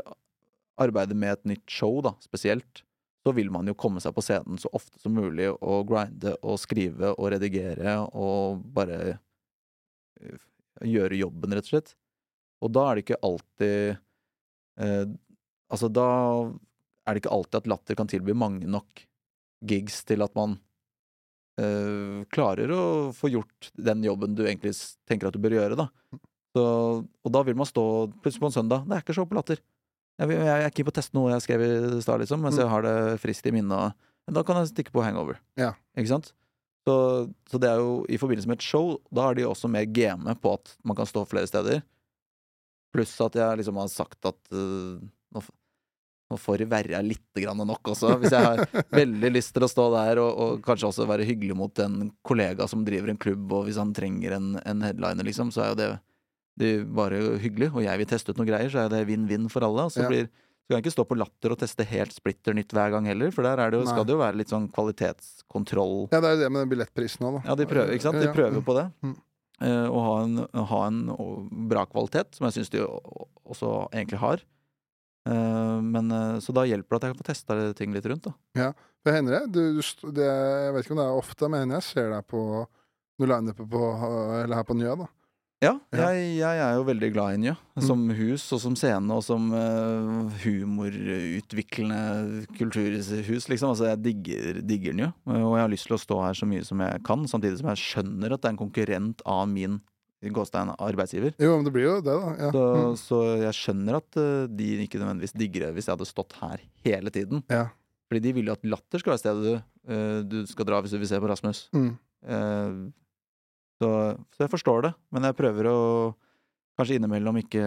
B: arbeidet med et nytt show, da, spesielt, så vil man jo komme seg på scenen så ofte som mulig og grinde og skrive og redigere og bare eh, gjøre jobben, rett og slett. Og da er det ikke alltid eh, Altså, da er det ikke alltid at latter kan tilby mange nok gigs til at man eh, klarer å få gjort den jobben du egentlig s- tenker at du bør gjøre, da. Så, og da vil man stå plutselig på en søndag. Det er ikke show på latter. Jeg, vil- jeg, jeg er keen på å teste noe jeg skrev i stad, liksom, mens
A: Mm.
B: jeg har det friskt i minnet. og- Men Da kan jeg stikke på hangover.
A: Ja.
B: Ikke sant? Så, så det er jo i forbindelse med et show, da er de også mer game på at man kan stå flere steder. Pluss at jeg liksom har sagt at eh, nå, f- nå får det være litt grann nok også. Hvis jeg har veldig lyst til å stå der og, og kanskje også være hyggelig mot en kollega som driver en klubb, og hvis han trenger en, en headliner, liksom, så er jo det, det er bare hyggelig. Og jeg vil teste ut noen greier, så er det vinn-vinn for alle. Og så
A: Ja.
B: blir, så kan jeg ikke stå på latter og teste helt splitter nytt hver gang heller, for der er det jo,
A: Nei.
B: skal det jo være litt sånn kvalitetskontroll.
A: Ja, det er jo det med den billettprisen òg, da.
B: Ja, de prøver, ikke sant? De
A: Ja,
B: prøver
A: mm.
B: på det.
A: Mm.
B: Eh, og ha en, ha en og bra kvalitet, som jeg syns de o- også egentlig har. Eh, men, eh, så da hjelper det at jeg får testa ting litt rundt, da.
A: Det hender det. Du, du, st- det. Jeg vet ikke om det er ofte, men hender jeg ser deg på noe lineup på, eller her på Njø, da.
B: Ja,
A: Ja. Mm.
B: jeg, jeg er jo veldig glad i Njø. Som hus og som scene og som eh, humorutviklende kulturhus, liksom. Altså, jeg digger, digger Njø. eh, Og jeg har lyst til å stå her så mye som jeg kan, samtidig som jeg skjønner at det er en konkurrent av min i gåstegn arbeidsgiver.
A: Jo, men det blir jo det, da. Ja.
B: Så,
A: Mm.
B: så jeg skjønner at eh, de ikke nødvendigvis digger det hvis jeg hadde stått her hele tiden.
A: Ja.
B: Fordi de vil jo at latter skal være stedet du, eh, du skal dra hvis du vil se på Rasmus.
A: Mm.
B: Eh, Så, så jeg forstår det, men jeg prøver å kanskje innimellom ikke,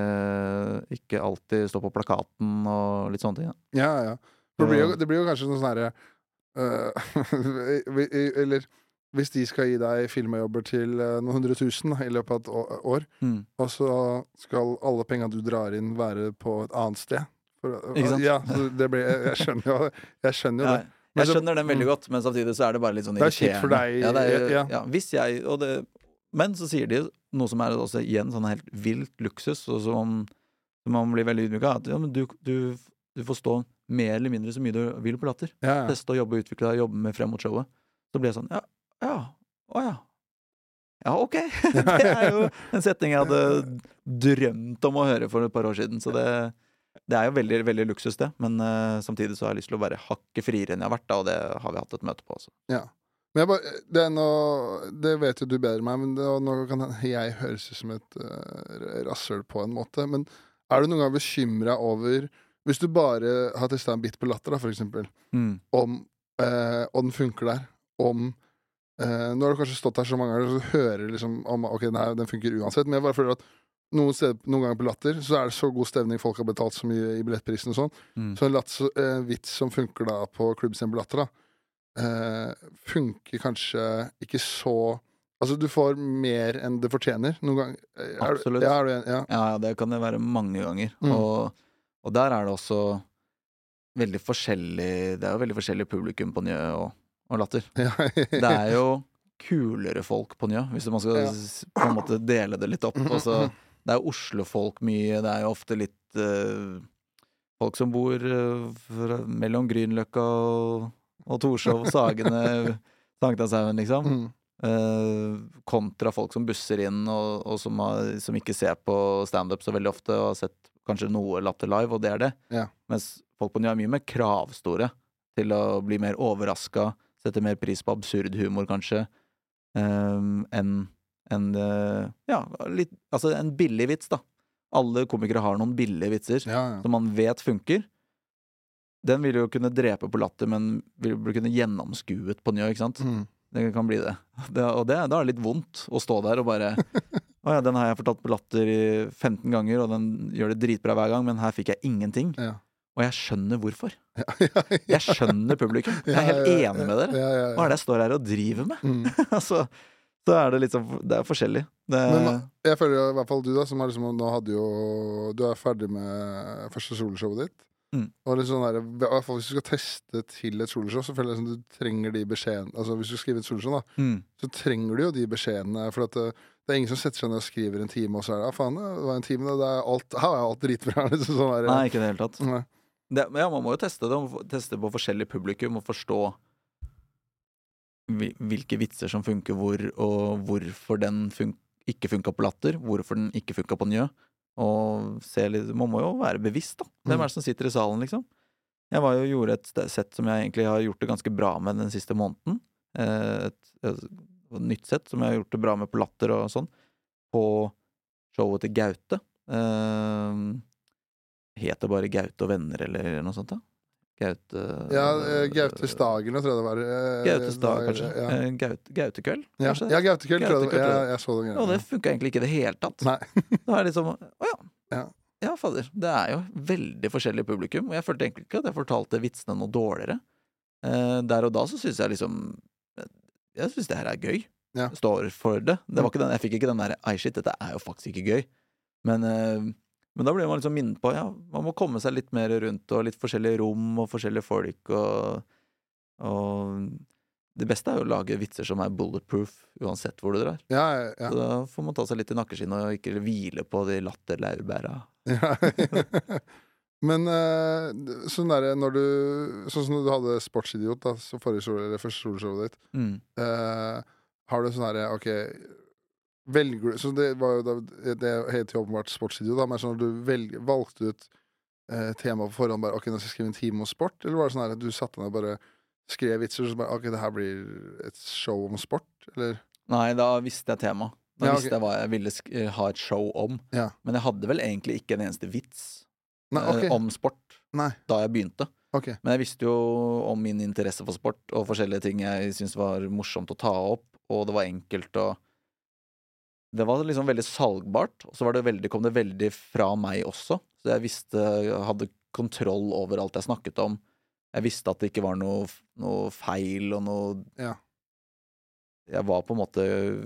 B: ikke alltid stå på plakaten og litt sånne ting. da.
A: ja, ja. For Det blir, jo, det blir jo kanskje noe sånn herre øh, vi- i- Eller hvis de skal gi deg filmjobber til øh, noen hundre tusen da, i løpet av et å- år,
B: Mm.
A: og så skal alle penga du drar inn, være på et annet sted. For,
B: Ikke sant?
A: Ja, så det blir, jeg, jeg skjønner jo, jeg skjønner jo
B: Jeg,
A: det. Men
B: jeg
A: så-
B: skjønner den
A: mm.
B: veldig godt, men samtidig så er det bare litt sånn
A: Det er kjipt for deg, eh,
B: Ja, det er,
A: ja.
B: ja, hvis jeg, og det, men så sier de noe som er også igjen sånn helt vilt luksus, og som man, som man blir veldig ydmyk av. At ja, men du, du, du får stå mer eller mindre så mye du vil på latter.
A: Ja, ja.
B: teste og jobbe og utvikle deg, jobbe med frem mot showet. Så blir jeg sånn, ja, ja, å ja. Ja, ok. Det er jo en setning jeg hadde drømt om å høre for et par år siden. Så det, det er jo veldig veldig luksus, det. Men eh, samtidig så har jeg lyst til å være hakket friere enn jeg har vært, da, og det har vi hatt et møte på. også.
A: Men jeg bare, det, er noe, det vet jo du bedre enn meg, men det, og nå kan jeg høres ut som et uh, rasshøl på en måte. Men er du noen gang bekymra over Hvis du bare har testa en bit på latter, da, for eksempel, om, eh, og den funker der, om eh, Nå har du kanskje stått her så mange ganger og så hører du liksom om Ok, nei, den funker uansett, men jeg bare føler at noen, steder, noen ganger på Latter så er det så god stemning, folk har betalt så mye i billettprisen og sånn.
B: Mm.
A: Så en lats, eh, vits som funker da på klubbscenen på Latter, da, eh, funker kanskje ikke så Altså, du får mer enn det fortjener noen ganger. Eh, er du-
B: Absolutt.
A: Ja, er du enig? Ja.
B: Ja, ja, det kan det være mange ganger.
A: Mm.
B: Og, og der er det også veldig forskjellig Det er jo veldig forskjellig publikum på Njø og, og Latter.
A: ja.
B: Det er jo kulere folk på Njø, hvis man skal
A: Ja.
B: s- på en måte dele det litt opp.
A: Mhm,
B: Altså,
A: mhm.
B: det er jo Oslo-folk mye, det er jo ofte litt eh, folk som bor eh, fra, mellom Grünerløkka og, og Torshov, Sagene, Sankthanshaugen, liksom.
A: Mm.
B: Eh, kontra folk som busser inn, og, og som, har, som ikke ser på standup så veldig ofte, og har sett kanskje noe Latter Live, og det er det.
A: Ja.
B: Mens folk på Njø er mye mer kravstore til å bli mer overraska, sette mer pris på absurd humor, kanskje, eh, enn enn, eh, ja, litt, altså en billig vits, da. Alle komikere har noen billige vitser
A: ja, ja.
B: som man vet funker. Den vil jo kunne drepe på latter, men vil bli kunne gjennomskuet på Njø, ikke sant?
A: Mm.
B: Det kan bli det. det og det, da er det litt vondt å stå der og bare Å ja, den har jeg fortalt på latter i 15 ganger, og den gjør det dritbra hver gang, men her fikk jeg ingenting.
A: Ja.
B: Og jeg skjønner hvorfor.
A: ja,
B: Jeg skjønner publikum. Jeg er helt
A: ja,
B: enig med dere.
A: Ja, ja, ja.
B: Hva er det jeg står her og driver med?
A: Mm.
B: altså, så er det liksom Det er forskjellig. Det,
A: Men Jeg føler jo, i hvert fall du, da, som er liksom Nå hadde jo Du er ferdig med første soloshowet ditt.
B: Mm.
A: Og litt sånn der, I hvert fall hvis du skal teste til et soloshow, så føler jeg liksom du trenger de beskjedene Altså Hvis du skriver et soloshow, da,
B: mm,
A: så trenger du jo de beskjedene. For at det, det er ingen som setter seg ned og skriver en time, og så er det ja, faen, det var en time, da, det er alt, her er alt dritbra. Liksom sånn der,
B: nei, ikke i det hele tatt.
A: Nei.
B: det, men ja, man må jo teste det, man må teste på forskjellig publikum og forstå hvil- hvilke vitser som funker hvor, og hvorfor den fun ikke funka på latter, hvorfor den ikke funka på njø. Og se litt, man må jo være bevisst, da.
A: Mm.
B: Hvem er det som sitter i salen, liksom? Jeg var jo og gjorde et ste- sett som jeg egentlig har gjort det ganske bra med den siste måneden. Eh, Et, et, nytt sett som jeg har gjort det bra med på latter og sånn. På showet til Gaute. Eh, Het det bare Gaute og venner, eller noe sånt? da? Gaute
A: Ja, eh, Gaute Stagel, nå tror jeg det var. eh,
B: Gaute Stag,
A: var-
B: kanskje.
A: Ja,
B: Eh, Gaute, Gautekveld,
A: ja.
B: kanskje.
A: ja Gautekveld, tror jeg det
B: Gautekveld,
A: var.
B: tror
A: Jeg,
B: jeg.
A: jeg så den greia.
B: Og det funka egentlig ikke i det hele tatt.
A: Nei.
B: Det var liksom, å ja.
A: Ja.
B: Ja, fader. Det er jo veldig forskjellig publikum, og jeg følte egentlig ikke at jeg fortalte vitsene noe dårligere. Eh, der og da så syns jeg liksom Jeg syns det her er gøy.
A: Ja.
B: Står for det. det var ikke den, jeg fikk ikke den der Ei, shit, dette er jo faktisk ikke gøy. Men, eh, men da ble man liksom minnet på ja, man må komme seg litt mer rundt, og litt forskjellige rom og forskjellige folk, og, og Det beste er jo å lage vitser som er bulletproof, uansett hvor du drar.
A: Ja, ja.
B: Så da får man ta seg litt i nakkeskinnet og ikke hvile på de latterlaurbæra.
A: ja. Men eh, sånn derre når du Sånn som når du hadde Sportsidiot, da, så forrige sol, eller første soloshowet ditt,
B: Mm.
A: eh, har du sånn derre OK Velger du Så det var jo da Det heter jo åpenbart Sportsidiot, da, men sånn at du velg, valgte ut eh, temaet på forhånd bare OK, nå skal jeg skrive en time om sport, eller var det sånn her at du satte deg ned og bare skrev vitser, og så bare OK, det her blir et show om sport, eller?
B: Nei, da visste jeg tema. Da
A: Ja, ok.
B: visste jeg hva jeg ville sk eh, ha et show om.
A: Ja.
B: Men jeg hadde vel egentlig ikke en eneste vits
A: Nei,
B: eh,
A: OK.
B: om sport
A: Nei.
B: da jeg begynte.
A: ok.
B: Men jeg visste jo om min interesse for sport og forskjellige ting jeg syntes var morsomt å ta opp, og det var enkelt og Det var liksom veldig salgbart, og så var det veldig, kom det veldig fra meg også. Så jeg visste jeg hadde kontroll over alt jeg snakket om. Jeg visste at det ikke var noe, noe feil og noe
A: Ja.
B: Jeg var på en måte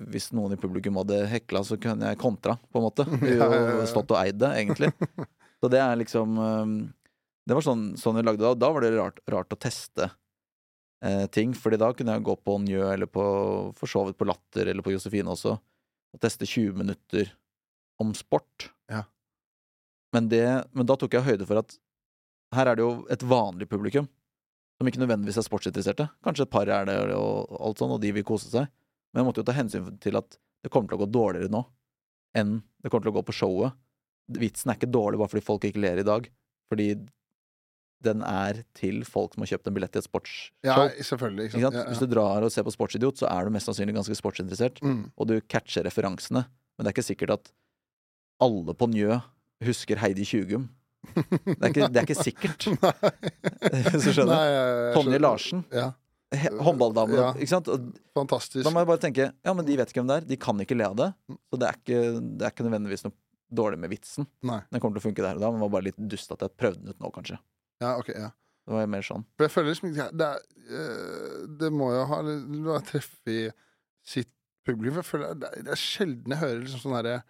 B: Hvis noen i publikum hadde hekla, så kunne jeg kontra, på en måte.
A: Ja, ja, ja.
B: Og stått og eid det, egentlig. Så det er liksom um, Det var sånn, sånn vi lagde det. og Da var det rart, rart å teste eh, ting, Fordi da kunne jeg gå på Njø, eller på, for så vidt på Latter, eller på Josefine også, og teste 20 minutter om sport.
A: Ja.
B: Men, det, men da tok jeg høyde for at her er det jo et vanlig publikum, som ikke nødvendigvis er sportsinteresserte. Kanskje et par er det, og, og alt sånn, og de vil kose seg. Men jeg måtte jo ta hensyn til at det kommer til å gå dårligere nå enn det kommer til å gå på showet. Vitsen er ikke dårlig bare fordi folk ikke ler i dag, fordi den er til folk som har kjøpt en billett til et sportsshow.
A: Ja, selvfølgelig. Ikke
B: Ikke
A: sant?
B: sant? Hvis du drar og ser på Sportsidiot, så er du mest sannsynlig ganske sportsinteressert,
A: Ja, ja. Mm.
B: og du catcher referansene, men det er ikke sikkert at alle på Njø husker Heidi Tjugum. Det er ikke, det er ikke sikkert. Hvis du skjønner.
A: Nei, jeg
B: Tonje
A: skjønner.
B: Larsen,
A: Ja.
B: he- håndballdamen,
A: Ja.
B: ikke sant? Og
A: Fantastisk.
B: Da må jeg bare tenke ja, men de vet ikke hvem det er, de kan ikke le av det. Så det er ikke, det er ikke nødvendigvis noe dårlig med vitsen.
A: Nei.
B: Den kommer til å funke der og da, men det var bare litt dust at jeg prøvde den ut nå, kanskje.
A: Ja, ok, ja.
B: Det var mer sånn.
A: For jeg føler liksom ikke Det, er, eh, det må jo ha litt- ha treff i sitt publikum. For jeg føler det, er- det er sjelden jeg hører liksom sånn herre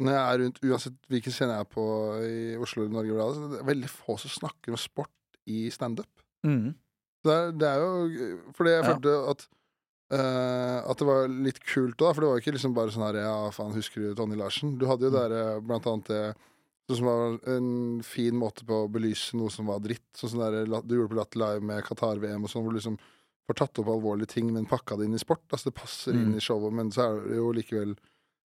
A: Når jeg er rundt, uansett hvilken scene jeg er på i Oslo eller Norge, så er det veldig få som snakker om sport i standup.
B: Mm.
A: Det er, det er jo Fordi jeg
B: Ja.
A: følte at eh, At det var litt kult òg, for det var jo ikke liksom bare sånn her Ja, faen, husker du Tonje Larsen? Du
B: Mm.
A: hadde jo der eh, blant annet det Sånn som var en fin måte på å belyse noe som var dritt. Sånn som der, la- du gjorde på Latter Live med Qatar-VM og sånn, hvor du liksom får tatt opp alvorlige ting, men pakka det inn i sport. Altså, det passer inn
B: Mm.
A: i showet, men så er det jo likevel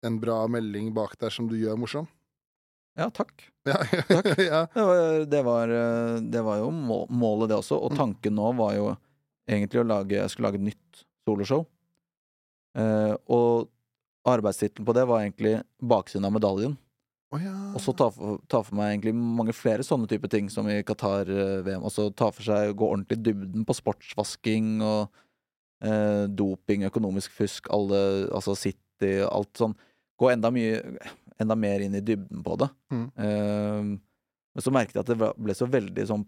A: en bra melding bak der som du gjør morsom.
B: Ja, takk.
A: Ja,
B: Takk.
A: ja.
B: Det var, det var, eh, det var jo må- målet, det også. Og
A: Mm.
B: tanken nå var jo egentlig å lage Jeg skulle lage et nytt soloshow. Eh, og arbeidstittelen på det var egentlig 'Baksiden av medaljen'.
A: Å ja.
B: Og så ta for, ta for meg egentlig mange flere sånne type ting, som i Qatar-VM. Og så ta for seg gå ordentlig i dybden på sportsvasking og eh, doping, økonomisk fusk, alle, altså City, alt sånn. Gå enda, mye, enda mer inn i dybden på det.
A: Mm.
B: Eh, men så merket jeg at det ble- ble så veldig sånn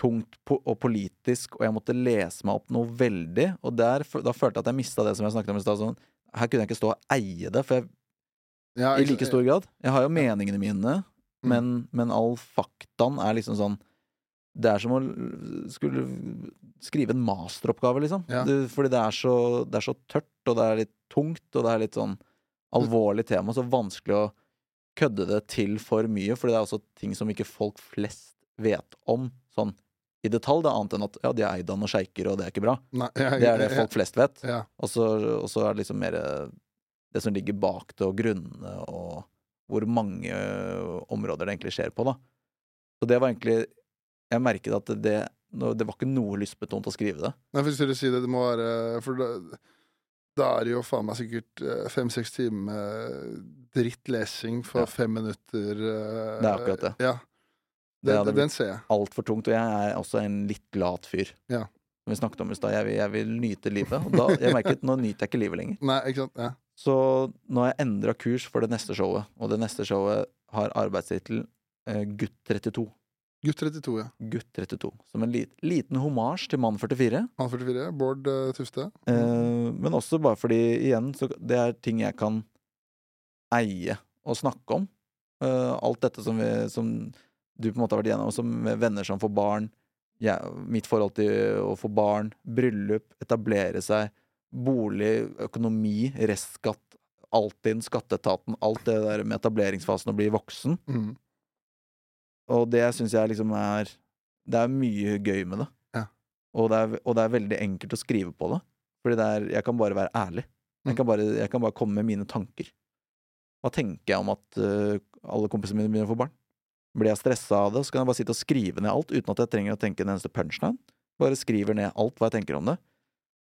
B: tungt po og politisk, og jeg måtte lese meg opp noe veldig. Og der, f- da følte jeg at jeg mista det som jeg snakket om i stad. Sånn, her kunne jeg ikke stå og eie det, for jeg
A: Ja,
B: i
A: ikke-
B: like stor grad. Jeg har jo meningene
A: Mm.
B: mine, men, men all faktaen er liksom sånn Det er som å l- skulle skrive en masteroppgave, liksom.
A: Ja.
B: Du, fordi det er, så, det er så tørt, og det er litt tungt, og det er litt sånn alvorlig tema. Så vanskelig å kødde det til for mye, fordi det er også ting som ikke folk flest vet om sånn i detalj. Det er annet enn at ja, de er eid av noen sjeiker, og det er ikke bra.
A: Nei, ja,
B: Det er det
A: ja,
B: folk flest vet.
A: ja.
B: Og så, og så er det liksom mer eh, det som ligger bak det, og grunnene, og hvor mange eh, områder det egentlig skjer på, da. Så det var egentlig Jeg merket at det, nå- det var ikke noe lystbetont å skrive det.
A: Nei, for jeg skulle si det, det må være For da, da er det jo faen meg sikkert eh, fem-seks timer med drittlesing for
B: Ja.
A: fem minutter. eh,
B: Det er akkurat det.
A: Ja.
B: Det
A: Den,
B: hadde
A: den ser jeg.
B: Altfor tungt. Og jeg er også en litt lat fyr.
A: Ja.
B: Som vi snakket om i stad. Jeg, vil- jeg vil nyte livet. Og da, jeg merket nå nyter jeg ikke livet lenger.
A: Nei, ikke sant? Ja.
B: Så nå har jeg endra kurs for det neste showet, og det neste showet har arbeidstittel eh, Gutt 32.
A: Gutt 32, ja.
B: Gutt 32. Som en lit, liten homasj til Mann 44.
A: Mann 44. Bård eh, Tufte.
B: Eh, men også bare fordi, igjen, så det er ting jeg kan eie og snakke om. Eh, alt dette som, vi, som du på en måte har vært igjennom, som venner som får barn, jeg- mitt forhold til å få barn, bryllup, etablere seg, bolig, økonomi, restskatt, Altinn, skatteetaten, alt det der med etableringsfasen og bli voksen.
A: Mm.
B: Og det syns jeg liksom er Det er mye gøy med det.
A: Ja.
B: Og, det er, og det er veldig enkelt å skrive på det. Fordi det er, jeg kan bare være ærlig.
A: Mm.
B: Jeg kan bare, jeg kan bare komme med mine tanker. Hva tenker jeg om at øh, alle kompisene mine begynner å få barn? Blir jeg stressa av det, så kan jeg bare sitte og skrive ned alt uten at jeg trenger å tenke en eneste punchline. Bare skriver ned alt hva jeg tenker om det.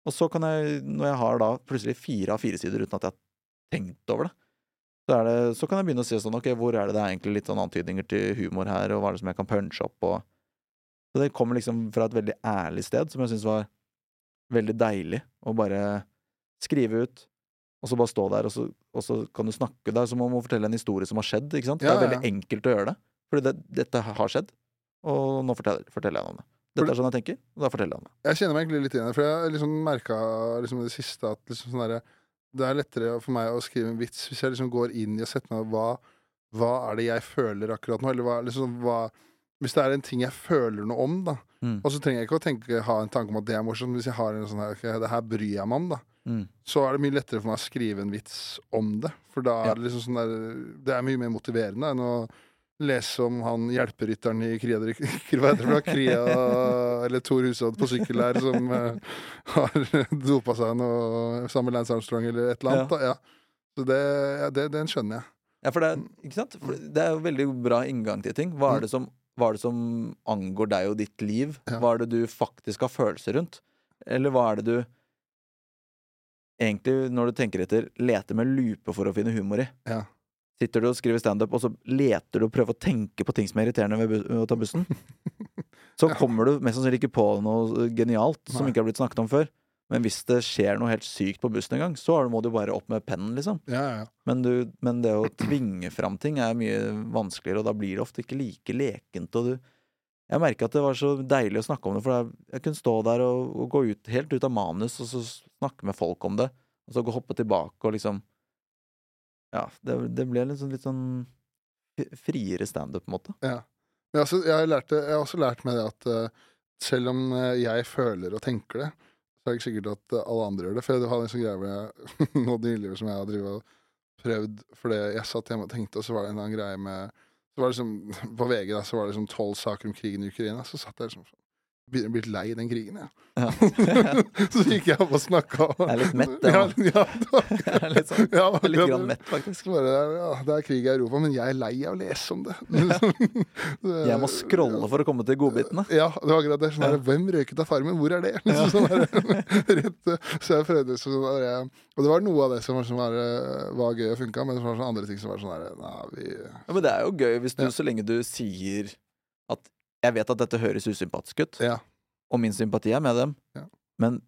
B: Og så kan jeg, når jeg har da plutselig fire av fire sider uten at jeg har tenkt over det, så, er det, så kan jeg begynne å se sånn, ok, hvor er det det er egentlig litt sånn antydninger til humor her, og hva er det som jeg kan punche opp, og Så det kommer liksom fra et veldig ærlig sted, som jeg syns var veldig deilig, å bare skrive ut, og så bare stå der, og så, og så kan du snakke der, som om å fortelle en historie som har skjedd, ikke sant?
A: Ja,
B: det er
A: ja,
B: veldig enkelt å gjøre det, fordi det, dette har skjedd, og nå forteller, forteller jeg om det. Dette er sånn jeg tenker, og da forteller jeg om det.
A: Jeg kjenner meg egentlig litt igjen i det, for jeg har liksom merka liksom, i det siste at liksom, sånn derre- det er lettere for meg å skrive en vits hvis jeg liksom går inn i og setter meg hva, hva er det jeg føler akkurat nå, eller hva, liksom, hva Hvis det er en ting jeg føler noe om, da,
B: Mm.
A: og så trenger jeg ikke å tenke, ha en tanke om at det er morsomt, hvis jeg har en sånn her ok, det her bryr jeg meg om, da,
B: Mm.
A: så er det mye lettere for meg å skrive en vits om det. For da
B: Ja.
A: er det liksom sånn der Det er mye mer motiverende enn å lese om han hjelperytteren i Kria, hva heter det, for noe? Kria eller Thor Hushovd på sykkel her som eh, har dopa seg noe sammen med Lance Armstrong eller et eller annet. Da. Ja. Så det, ja, det, den skjønner jeg.
B: Ja, for det er, ikke sant? For det er jo veldig bra inngang til ting. Hva er det som, hva er det som angår deg og ditt liv?
A: Ja.
B: Hva er det du faktisk har følelser rundt? Eller hva er det du egentlig, når du tenker etter, leter med lupe for å finne humor i?
A: Ja.
B: Sitter du og skriver standup, og så leter du og prøver å tenke på ting som er irriterende ved, bu- ved å ta bussen? Så
A: Ja.
B: kommer du mest sannsynlig ikke på noe genialt som
A: Nei.
B: ikke har blitt snakket om før. Men hvis det skjer noe helt sykt på bussen en gang, så må du bare opp med pennen, liksom.
A: Ja, ja, ja.
B: Men, du, men det å tvinge fram ting er mye vanskeligere, og da blir det ofte ikke like lekent. Og du, jeg merka at det var så deilig å snakke om det, for jeg, jeg kunne stå der og, og gå ut, helt ut av manus og så snakke med folk om det, og så gå hoppe tilbake og liksom Ja, det, det ble liksom litt sånn fri- friere standup, på en måte.
A: Men jeg, har også- jeg, har lært det, jeg har også lært meg det at eh, selv om eh, jeg føler og tenker det, så er det ikke sikkert at eh, alle andre gjør det. For jeg har en sånn greie hvor jeg nå nylig som jeg har drevet og prøvd For det jeg satt hjemme og tenkte, og så var det en eller annen greie med så var det liksom, På VG da, så var det liksom tolv saker om krigen i Ukraina. Så satt jeg liksom sånn Begynner å bli lei den krigen, jeg.
B: Ja.
A: så gikk jeg opp og snakka.
B: Jeg er litt mett,
A: ja.
B: jeg
A: ja, det var-
B: Jeg er litt, sånn,
A: ja,
B: jeg er litt
A: akkurat
B: grann
A: det.
B: mett, faktisk.
A: Så bare, ja, det er krig i Europa, men jeg er lei av å lese om det. Det-
B: Jeg må scrolle for å komme til godbitene.
A: Ja, det var akkurat det. Sånn der, Hvem røyket av farmen? Hvor er det? Liksom, sånn der, rett, eh, så jeg prøvde sånn der, eh, Og det var noe av det som var, som var, eh, var gøy og funka, men det var sånne andre ting som var sånn der Nei, vi
B: Ja, men det er jo gøy hvis du,
A: Ja.
B: så lenge du sier at Jeg vet at dette høres usympatisk ut,
A: Ja.
B: og min sympati er med dem,
A: Ja.
B: men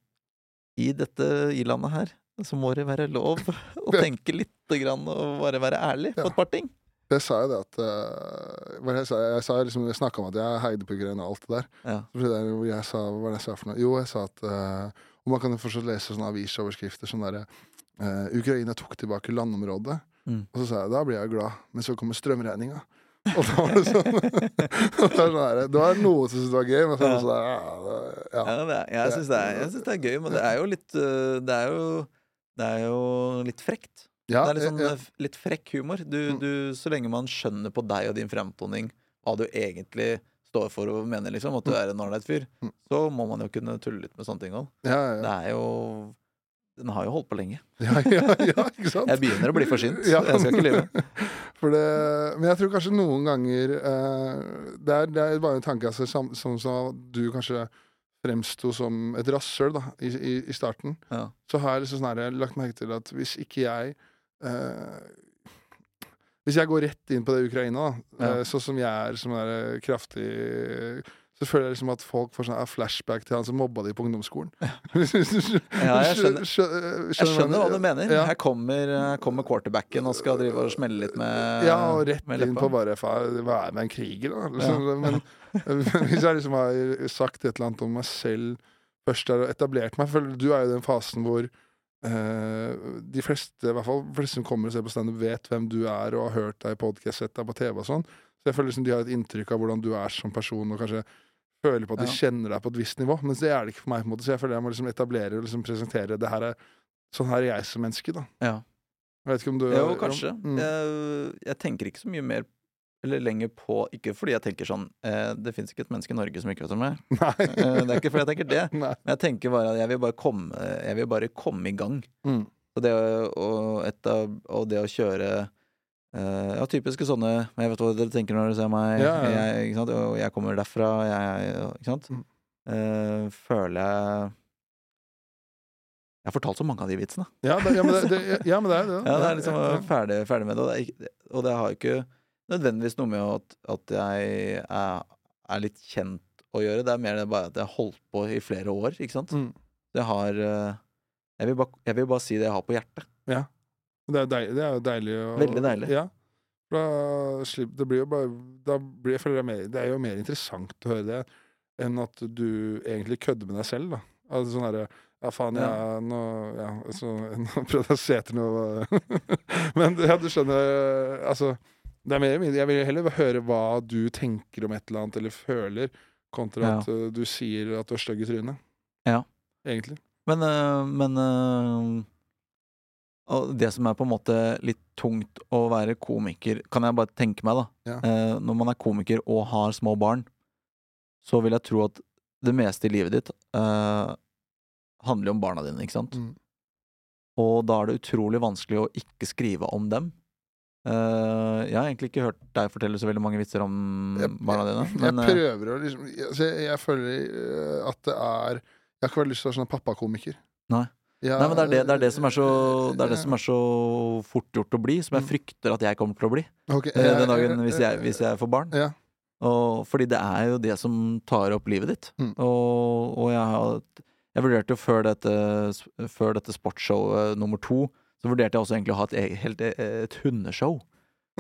B: i dette i-landet her så må det være lov å tenke lite grann og bare være ærlig på
A: Ja.
B: et par ting.
A: Jeg sa jo det at eh, hva var det Jeg, sa? jeg, sa liksom, jeg snakka om at jeg heide på Ukraina og alt det der.
B: Ja.
A: Så prøvde jeg, hvor jeg sa, hva var det jeg sa for noe? Jo, jeg sa at eh, Og man kan jo fortsatt lese sånne avisoverskrifter sånn derre eh, Ukraina tok tilbake landområdet.
B: Mm.
A: Og så sa jeg da blir jeg glad, men så kommer strømregninga. Og da var det sånn og det, var sånn der, det var noen som syntes det var gøy, men så var det sånn der, ja, det- ja.
B: Ja, det er, jeg syns det, er- jeg synes det er gøy, men det er jo litt øh, Det er jo, det er jo litt frekt.
A: Ja,
B: det er litt, sånn,
A: ja,
B: eh, f- litt frekk humor. Du,
A: Mm.
B: du, så lenge man skjønner på deg og din fremtoning hva du egentlig står for og mener, liksom, at du er en ålreit fyr,
A: Mm.
B: så må man jo kunne tulle litt med sånne ting òg.
A: ja,
B: Det
A: ja,
B: er jo Den har jo holdt på lenge.
A: ja, ja, ja, ikke sant?
B: Jeg begynner å bli for sint.
A: Sånn. Ja.
B: Jeg skal ikke lyve.
A: For det, men jeg tror kanskje noen ganger eh, det, er, det er bare en tanke altså, sam, som sa du kanskje fremsto som et rasshøl da, i, i, i starten.
B: Ja.
A: Så har jeg liksom sånn her, lagt merke til at hvis ikke jeg eh, Hvis jeg går rett inn på det Ukraina, da,
B: Ja.
A: eh, sånn som jeg er som er eh, kraftig så føler jeg liksom at folk får sånn eh, flashback til han som mobba de på ungdomsskolen. Hvis du skjø-
B: Ja, jeg skjønner.
A: skjø- eh,
B: Jeg skjønner hva du mener.
A: Ja.
B: Her kommer, her kommer quarterbacken og skal drive og smelle litt med
A: Ja, og rett
B: med
A: inn
B: leppa.
A: på bare faen, Hva er det med en kriger, da? Liksom, Men hvis jeg liksom har sagt et eller annet om meg selv først der og etablert meg For du er jo i den fasen hvor eh, de fleste i hvert fall de fleste som kommer og ser på standup, vet hvem du er og har hørt deg i podkast, sett deg på TV og sånn. Så jeg føler liksom de har et inntrykk av hvordan du er som person, og kanskje føler på at de
B: Ja.
A: kjenner deg på et visst nivå. Men det er det ikke for meg, på en måte så jeg føler jeg må liksom etablere og liksom presentere det her er Sånn her er jeg som menneske, da.
B: Ja.
A: Jeg vet ikke om du
B: Jo, kanskje.
A: Mm.
B: Jeg, jeg tenker ikke så mye mer eller lenger på Ikke fordi jeg tenker sånn eh, Det fins ikke et menneske i Norge som ikke vet om meg.
A: Nei.
B: Eh, det er ikke fordi jeg tenker det.
A: Nei.
B: Men jeg tenker bare at jeg vil bare komme, jeg vil bare komme i gang.
A: Mm.
B: Og det, å- og et av, og det å kjøre eh, ja, typiske sånne men Jeg vet hva dere tenker når dere ser meg.
A: Ja, ja, ja.
B: Jeg, ikke sant? Og jeg kommer derfra. Jeg, ikke sant?
A: Mm.
B: Eh, føler jeg Jeg har fortalt så mange av de vitsene.
A: Ja, det, ja, men det, det, ja, men det er det. da.
B: Ja, det er liksom
A: ja,
B: eh, ferdig, ferdig med det. Og det, er ikke, og det har jo ikke nødvendigvis noe med at, at jeg er, er litt kjent å gjøre. Det er mer det bare at jeg har holdt på i flere år, ikke sant.
A: Mm.
B: Det har eh, jeg vil, bare, jeg vil bare si det jeg har på hjertet.
A: Det er, deil, det er jo deilig. å-
B: Veldig deilig.
A: Ja. Da, slipp- det blir jo bare, da blir, jeg føler det, er mer, det er jo mer interessant å høre det enn at du egentlig kødder med deg selv. da. Altså sånn herre Ja, faen, jeg
B: Ja.
A: nå, ja, altså, nå prøvde jeg å se etter noe Men ja, du skjønner Altså, det er mer eller mindre Jeg vil heller høre hva du tenker om et eller annet, eller føler, kontra
B: Ja.
A: at uh, du sier at du er stygg i trynet.
B: Ja.
A: Egentlig.
B: Men, eh, men eh, og det som er på en måte litt tungt å være komiker, kan jeg bare tenke meg, da.
A: Ja.
B: Eh, når man er komiker og har små barn, så vil jeg tro at det meste i livet ditt eh, handler jo om barna dine, ikke sant?
A: Mm.
B: Og da er det utrolig vanskelig å ikke skrive om dem. Eh, jeg har egentlig ikke hørt deg fortelle så veldig mange vitser om
A: Jeg-
B: barna dine.
A: Jeg
B: Men, eh,
A: prøver å liksom altså, jeg, jeg føler eh, at det er Jeg har ikke veldig lyst til å være sånn pappakomiker.
B: Nei.
A: Jeg-
B: nei, men det er det, det, er det, som, er så, det er det som er så fort gjort å bli, som jeg
A: Mm.
B: frykter at jeg kommer til å bli
A: Ok,
B: eh,
A: jeg-
B: den dagen hvis jeg, hvis jeg får barn.
A: Ja.
B: Og, fordi det er jo det som tar opp livet ditt.
A: Mm.
B: Og, og jeg, har, jeg vurderte jo før dette, før dette sportsshowet nummer to, så vurderte jeg også egentlig å ha et, eget- helt, e- et hundeshow.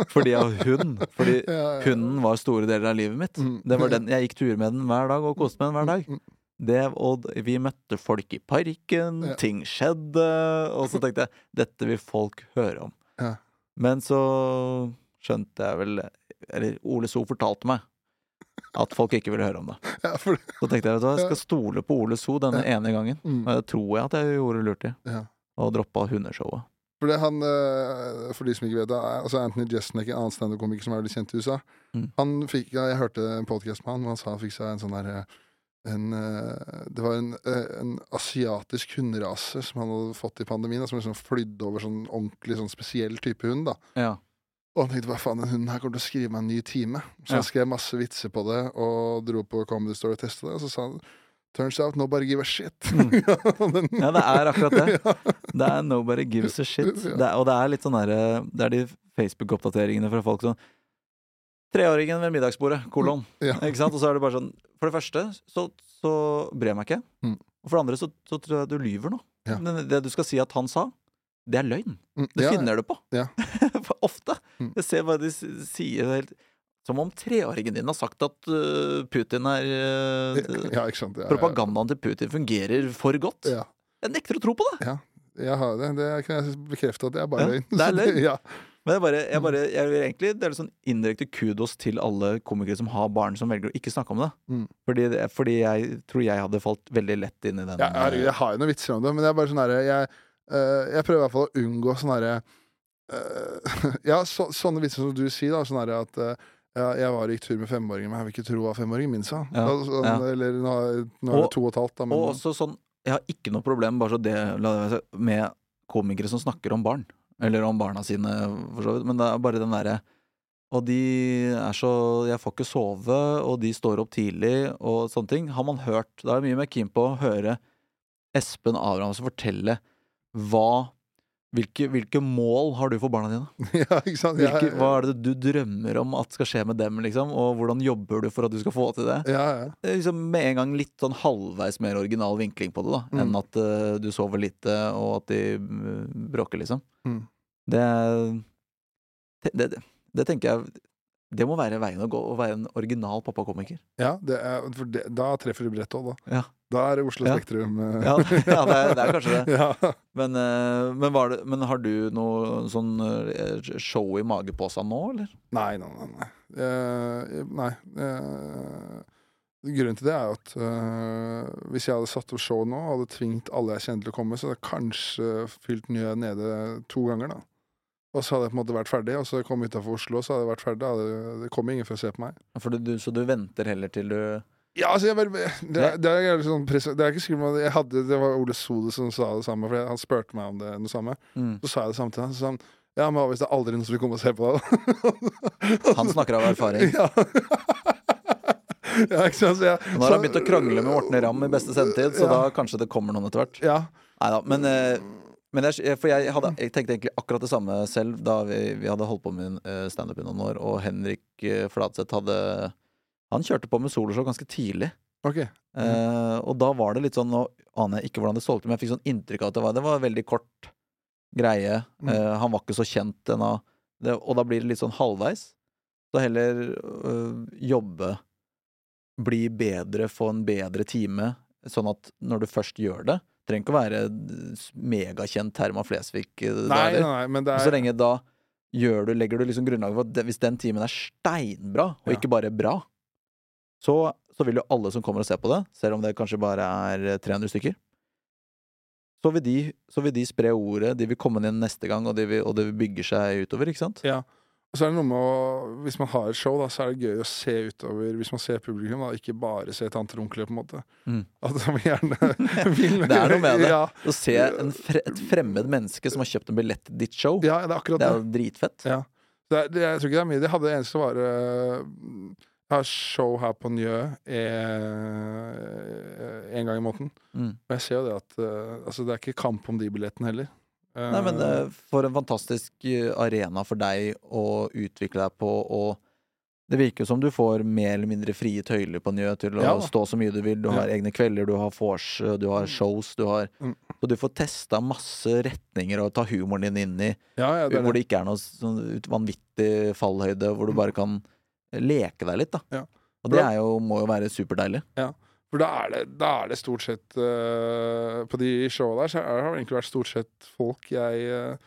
B: Fordi jeg har hund. Fordi
A: Ja, ja, ja.
B: hunden var store deler av livet mitt.
A: Mm.
B: Det var den, jeg gikk tur med den hver dag og koste meg med den hver dag.
A: Mm.
B: Det, og d- vi møtte folk i parken,
A: Ja.
B: ting skjedde, og så tenkte jeg dette vil folk høre om.
A: Ja.
B: Men så skjønte jeg vel Eller Ole So fortalte meg at folk ikke ville høre om det.
A: Ja, for,
B: Så tenkte jeg vet du hva, jeg skal stole på Ole So denne ene gangen.
A: mm,
B: Og det tror jeg at jeg gjorde lurt i.
A: ja.
B: Og droppa hundeshowet.
A: for det han eh, For de som ikke vet det, er- altså Anthony Jesnick, en annen standup-komiker som er veldig kjent i USA,
B: Mm.
A: han fikk ja, Jeg hørte en podkast med han, hvor han sa han fikk seg en sånn derre en, eh, det var en, eh, en asiatisk hunderase som han hadde fått i pandemien, da, som liksom flydde over sånn ordentlig sånn spesiell type hund. da
B: Ja.
A: Og han tenkte hva faen, den hunden her kommer til å skrive meg en ny time. Så
B: Ja.
A: han skrev masse vitser på det, og dro på Comedy Store og testa det, og så sa han Turns out nobody give a shit. Den-
B: Mm. ja, det er akkurat det.
A: Ja.
B: Det er nobody gives a shit.
A: Ja.
B: Det er, og det er litt sånn derre Det er de Facebook-oppdateringene fra folk sånn Treåringen ved middagsbordet, kolon.
A: Mm, Ja.
B: Ikke sant? Og så er det bare sånn For det første så, så bryr jeg meg ikke.
A: Mm.
B: Og for det andre så, så tror jeg du lyver nå.
A: Ja.
B: Men det du skal si at han sa, det er løgn.
A: Mm,
B: Du
A: ja,
B: finner det på.
A: Ja.
B: For Ofte.
A: Mm.
B: Jeg ser hva de s- sier det er helt Som om treåringen din har sagt at øh, Putin er øh,
A: Ja, ikke sant. Ja, ja.
B: Propagandaen til Putin fungerer for godt.
A: Ja.
B: Jeg nekter å tro på det!
A: Jeg har det. Det kan jeg bekrefte at det er bare
B: Ja,
A: løgn.
B: det er løgn.
A: ja.
B: Men jeg bare, jeg bare jeg vil egentlig, det er litt sånn indirekte kudos til alle komikere som har barn som velger å ikke snakke om det.
A: Mm.
B: Fordi, det fordi jeg tror jeg hadde falt veldig lett inn i den.
A: Ja, herregud, jeg har jo noen vitser om det, men det er bare sånn herre jeg, eh, jeg prøver i hvert fall å unngå sånn herre eh, Ja, så, sånne vitser som du sier, da. Sånn herre at eh, ja, jeg var i tur med femåringen, men jeg vil ikke tro hva femåringen min sa.
B: Ja,
A: Altså,
B: ja.
A: Eller nå, nå er det
B: Og-
A: to og et halvt, da, men
B: Og også sånn, jeg har ikke noe problem, bare så det, la det være sagt, med komikere som snakker om barn. Eller om barna sine, for så vidt. Men det er bare den derre Og de er så Jeg får ikke sove, og de står opp tidlig, og sånne ting. Har man hørt Da er jeg mye mer keen på å høre Espen Abrahamsen fortelle hva Hvilke, hvilke mål har du for barna dine?
A: ja, ikke sant? Jeg-
B: Hvilke, hva er det du drømmer om at skal skje med dem, liksom? Og hvordan jobber du for at du skal få til det?
A: Ja, ja.
B: Eh, Liksom med en gang litt sånn halvveis mer original vinkling på det, da.
A: Mm.
B: Enn at eh, du sover lite, og at de mm, bråker, liksom.
A: Mm.
B: Det, te- det, det, det tenker jeg Det må være veien å gå, å være en original pappakomiker.
A: ja det er, for det, da treffer du bredt òg, da.
B: Ja.
A: Da er det Oslo
B: Ja.
A: Spektrum. eh.
B: Ja, ja det, er, det er kanskje det.
A: Ja.
B: Men, eh, men, var det, men har du noe sånn eh, show i mageposen nå, eller?
A: Nei, nei, nei. nei. Eh, nei. eh, grunnen til det er jo at eh, hvis jeg hadde satt opp show nå og hadde tvingt alle jeg kjenner til å komme, så hadde jeg kanskje fylt nye nede to ganger, da. Og så hadde jeg på en måte vært ferdig, og så kom jeg utafor Oslo, og så hadde jeg vært ferdig. Da hadde, det kom ingen for å se på meg.
B: For du, så du venter heller til du
A: Ja, altså, jeg bare, det, er- det, er, jævlig sånn press- det er ikke sikkert man- jeg hadde Det var Ole Sode som sa det samme, for jeg- han spurte meg om det, det samme.
B: mm.
A: Så sa jeg det samme til ham. Så sa han ja, men hva hvis det er aldri noen som vil komme og se på deg?
B: Han snakker av erfaring.
A: Ja. ja, ikke sant? Så jeg,
B: Nå har han begynt å krangle med Morten Ramm i beste sendetid, så
A: ja.
B: da kanskje det kommer noen etter hvert.
A: Ja.
B: Neida, men, eh, men jeg, for jeg, hadde, jeg tenkte egentlig akkurat det samme selv da vi, vi hadde holdt på med eh, standup i noen år, og Henrik eh, Fladseth hadde Han kjørte på med soloshow ganske tidlig.
A: Ok.
B: Eh,
A: Mm.
B: og da var det litt sånn Nå aner jeg ikke hvordan det solgte, men jeg fikk sånn inntrykk av at det var, det var en veldig kort greie.
A: Mm.
B: Eh, han var ikke så kjent ennå. Det, og da blir det litt sånn halvveis. Så heller øh, jobbe, bli bedre, få en bedre time, sånn at når du først gjør det Trenger ikke å være s- megakjent Herman Flesvig. eh, da
A: Nei, nei,
B: heller.
A: nei, men det
B: Så
A: er
B: lenge da gjør du, legger du liksom grunnlaget for at det- hvis den timen er steinbra, og
A: Ja.
B: ikke bare bra, så, så vil jo alle som kommer og ser på det, selv om det kanskje bare er eh, 300 stykker, så vil de, så vil de spre ordet, de vil komme inn neste gang, og, de vil, og det vil bygge seg utover, ikke sant?
A: ja. Og så er det noe med å Hvis man har et show, da, så er det gøy å se utover Hvis man ser publikum, da, ikke bare se tanter og onkler, på en måte.
B: Mm.
A: At man gjerne vil
B: Det er noe med det.
A: Ja,
B: Å se en fre et fremmed menneske som har kjøpt en billett til ditt show,
A: ja det er akkurat
B: det
A: det.
B: er jo dritfett.
A: Ja. Det er, det, jeg tror ikke det er mye. Det hadde det eneste var eh, Jeg har show her på Njø eh, en gang i måneden.
B: Mm.
A: Og jeg ser jo det at eh, altså, det er ikke kamp om de billettene heller. Eh,
B: Nei, men eh, for en fantastisk eh, arena for deg å utvikle deg på, og det virker jo som du får mer eller mindre frie tøyler på Njø til å
A: Ja da.
B: stå så mye du vil. Du har egne kvelder, du har vors, eh, du har shows, du har
A: Mm.
B: Så du får testa masse retninger og ta humoren din inn i,
A: ja, ja, det er det. Mm.
B: hvor det ikke er noe sånn ut- vanvittig fallhøyde, hvor du bare kan leke deg litt, da.
A: Ja.
B: Og det er jo, må jo være superdeilig.
A: For da er det, da er det stort sett eh, På de showa der så er, har det egentlig vært stort sett folk jeg eh,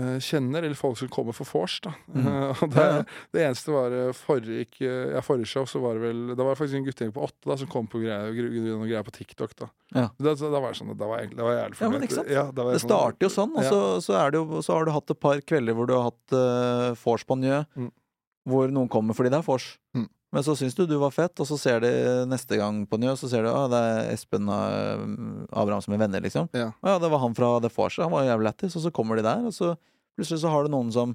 A: eh, kjenner, eller folk som kommer for vors, da.
B: Mm.
A: Eh, og det,
B: Ja, ja.
A: det eneste var eh, forrige, ikke- ja, forrige show, så var det vel Da var det faktisk en guttegjeng på åtte da som kom på greier, gr- gr- noen greier på TikTok, da.
B: Ja.
A: Da, da, da var jeg sånn Da var jeg, egentlig- da var jeg jævlig
B: Ja, men
A: fornøyd.
B: ikke sant?
A: Ja, da var jeg
B: Det starter jo sånn, og
A: Ja.
B: så, så, er det jo, så har du hatt et par kvelder hvor du har hatt uh, vors på Njø,
A: Mm.
B: hvor noen kommer fordi det er vors.
A: Mm.
B: Men så syns du du var fett, og så ser de neste gang på Njø, så ser du at det er Espen eh, Abrahamsen med venner, liksom.
A: Ja.
B: Å ja, det var han fra det vorset, han var jævlig lættis, og så kommer de der, og så plutselig så har du noen som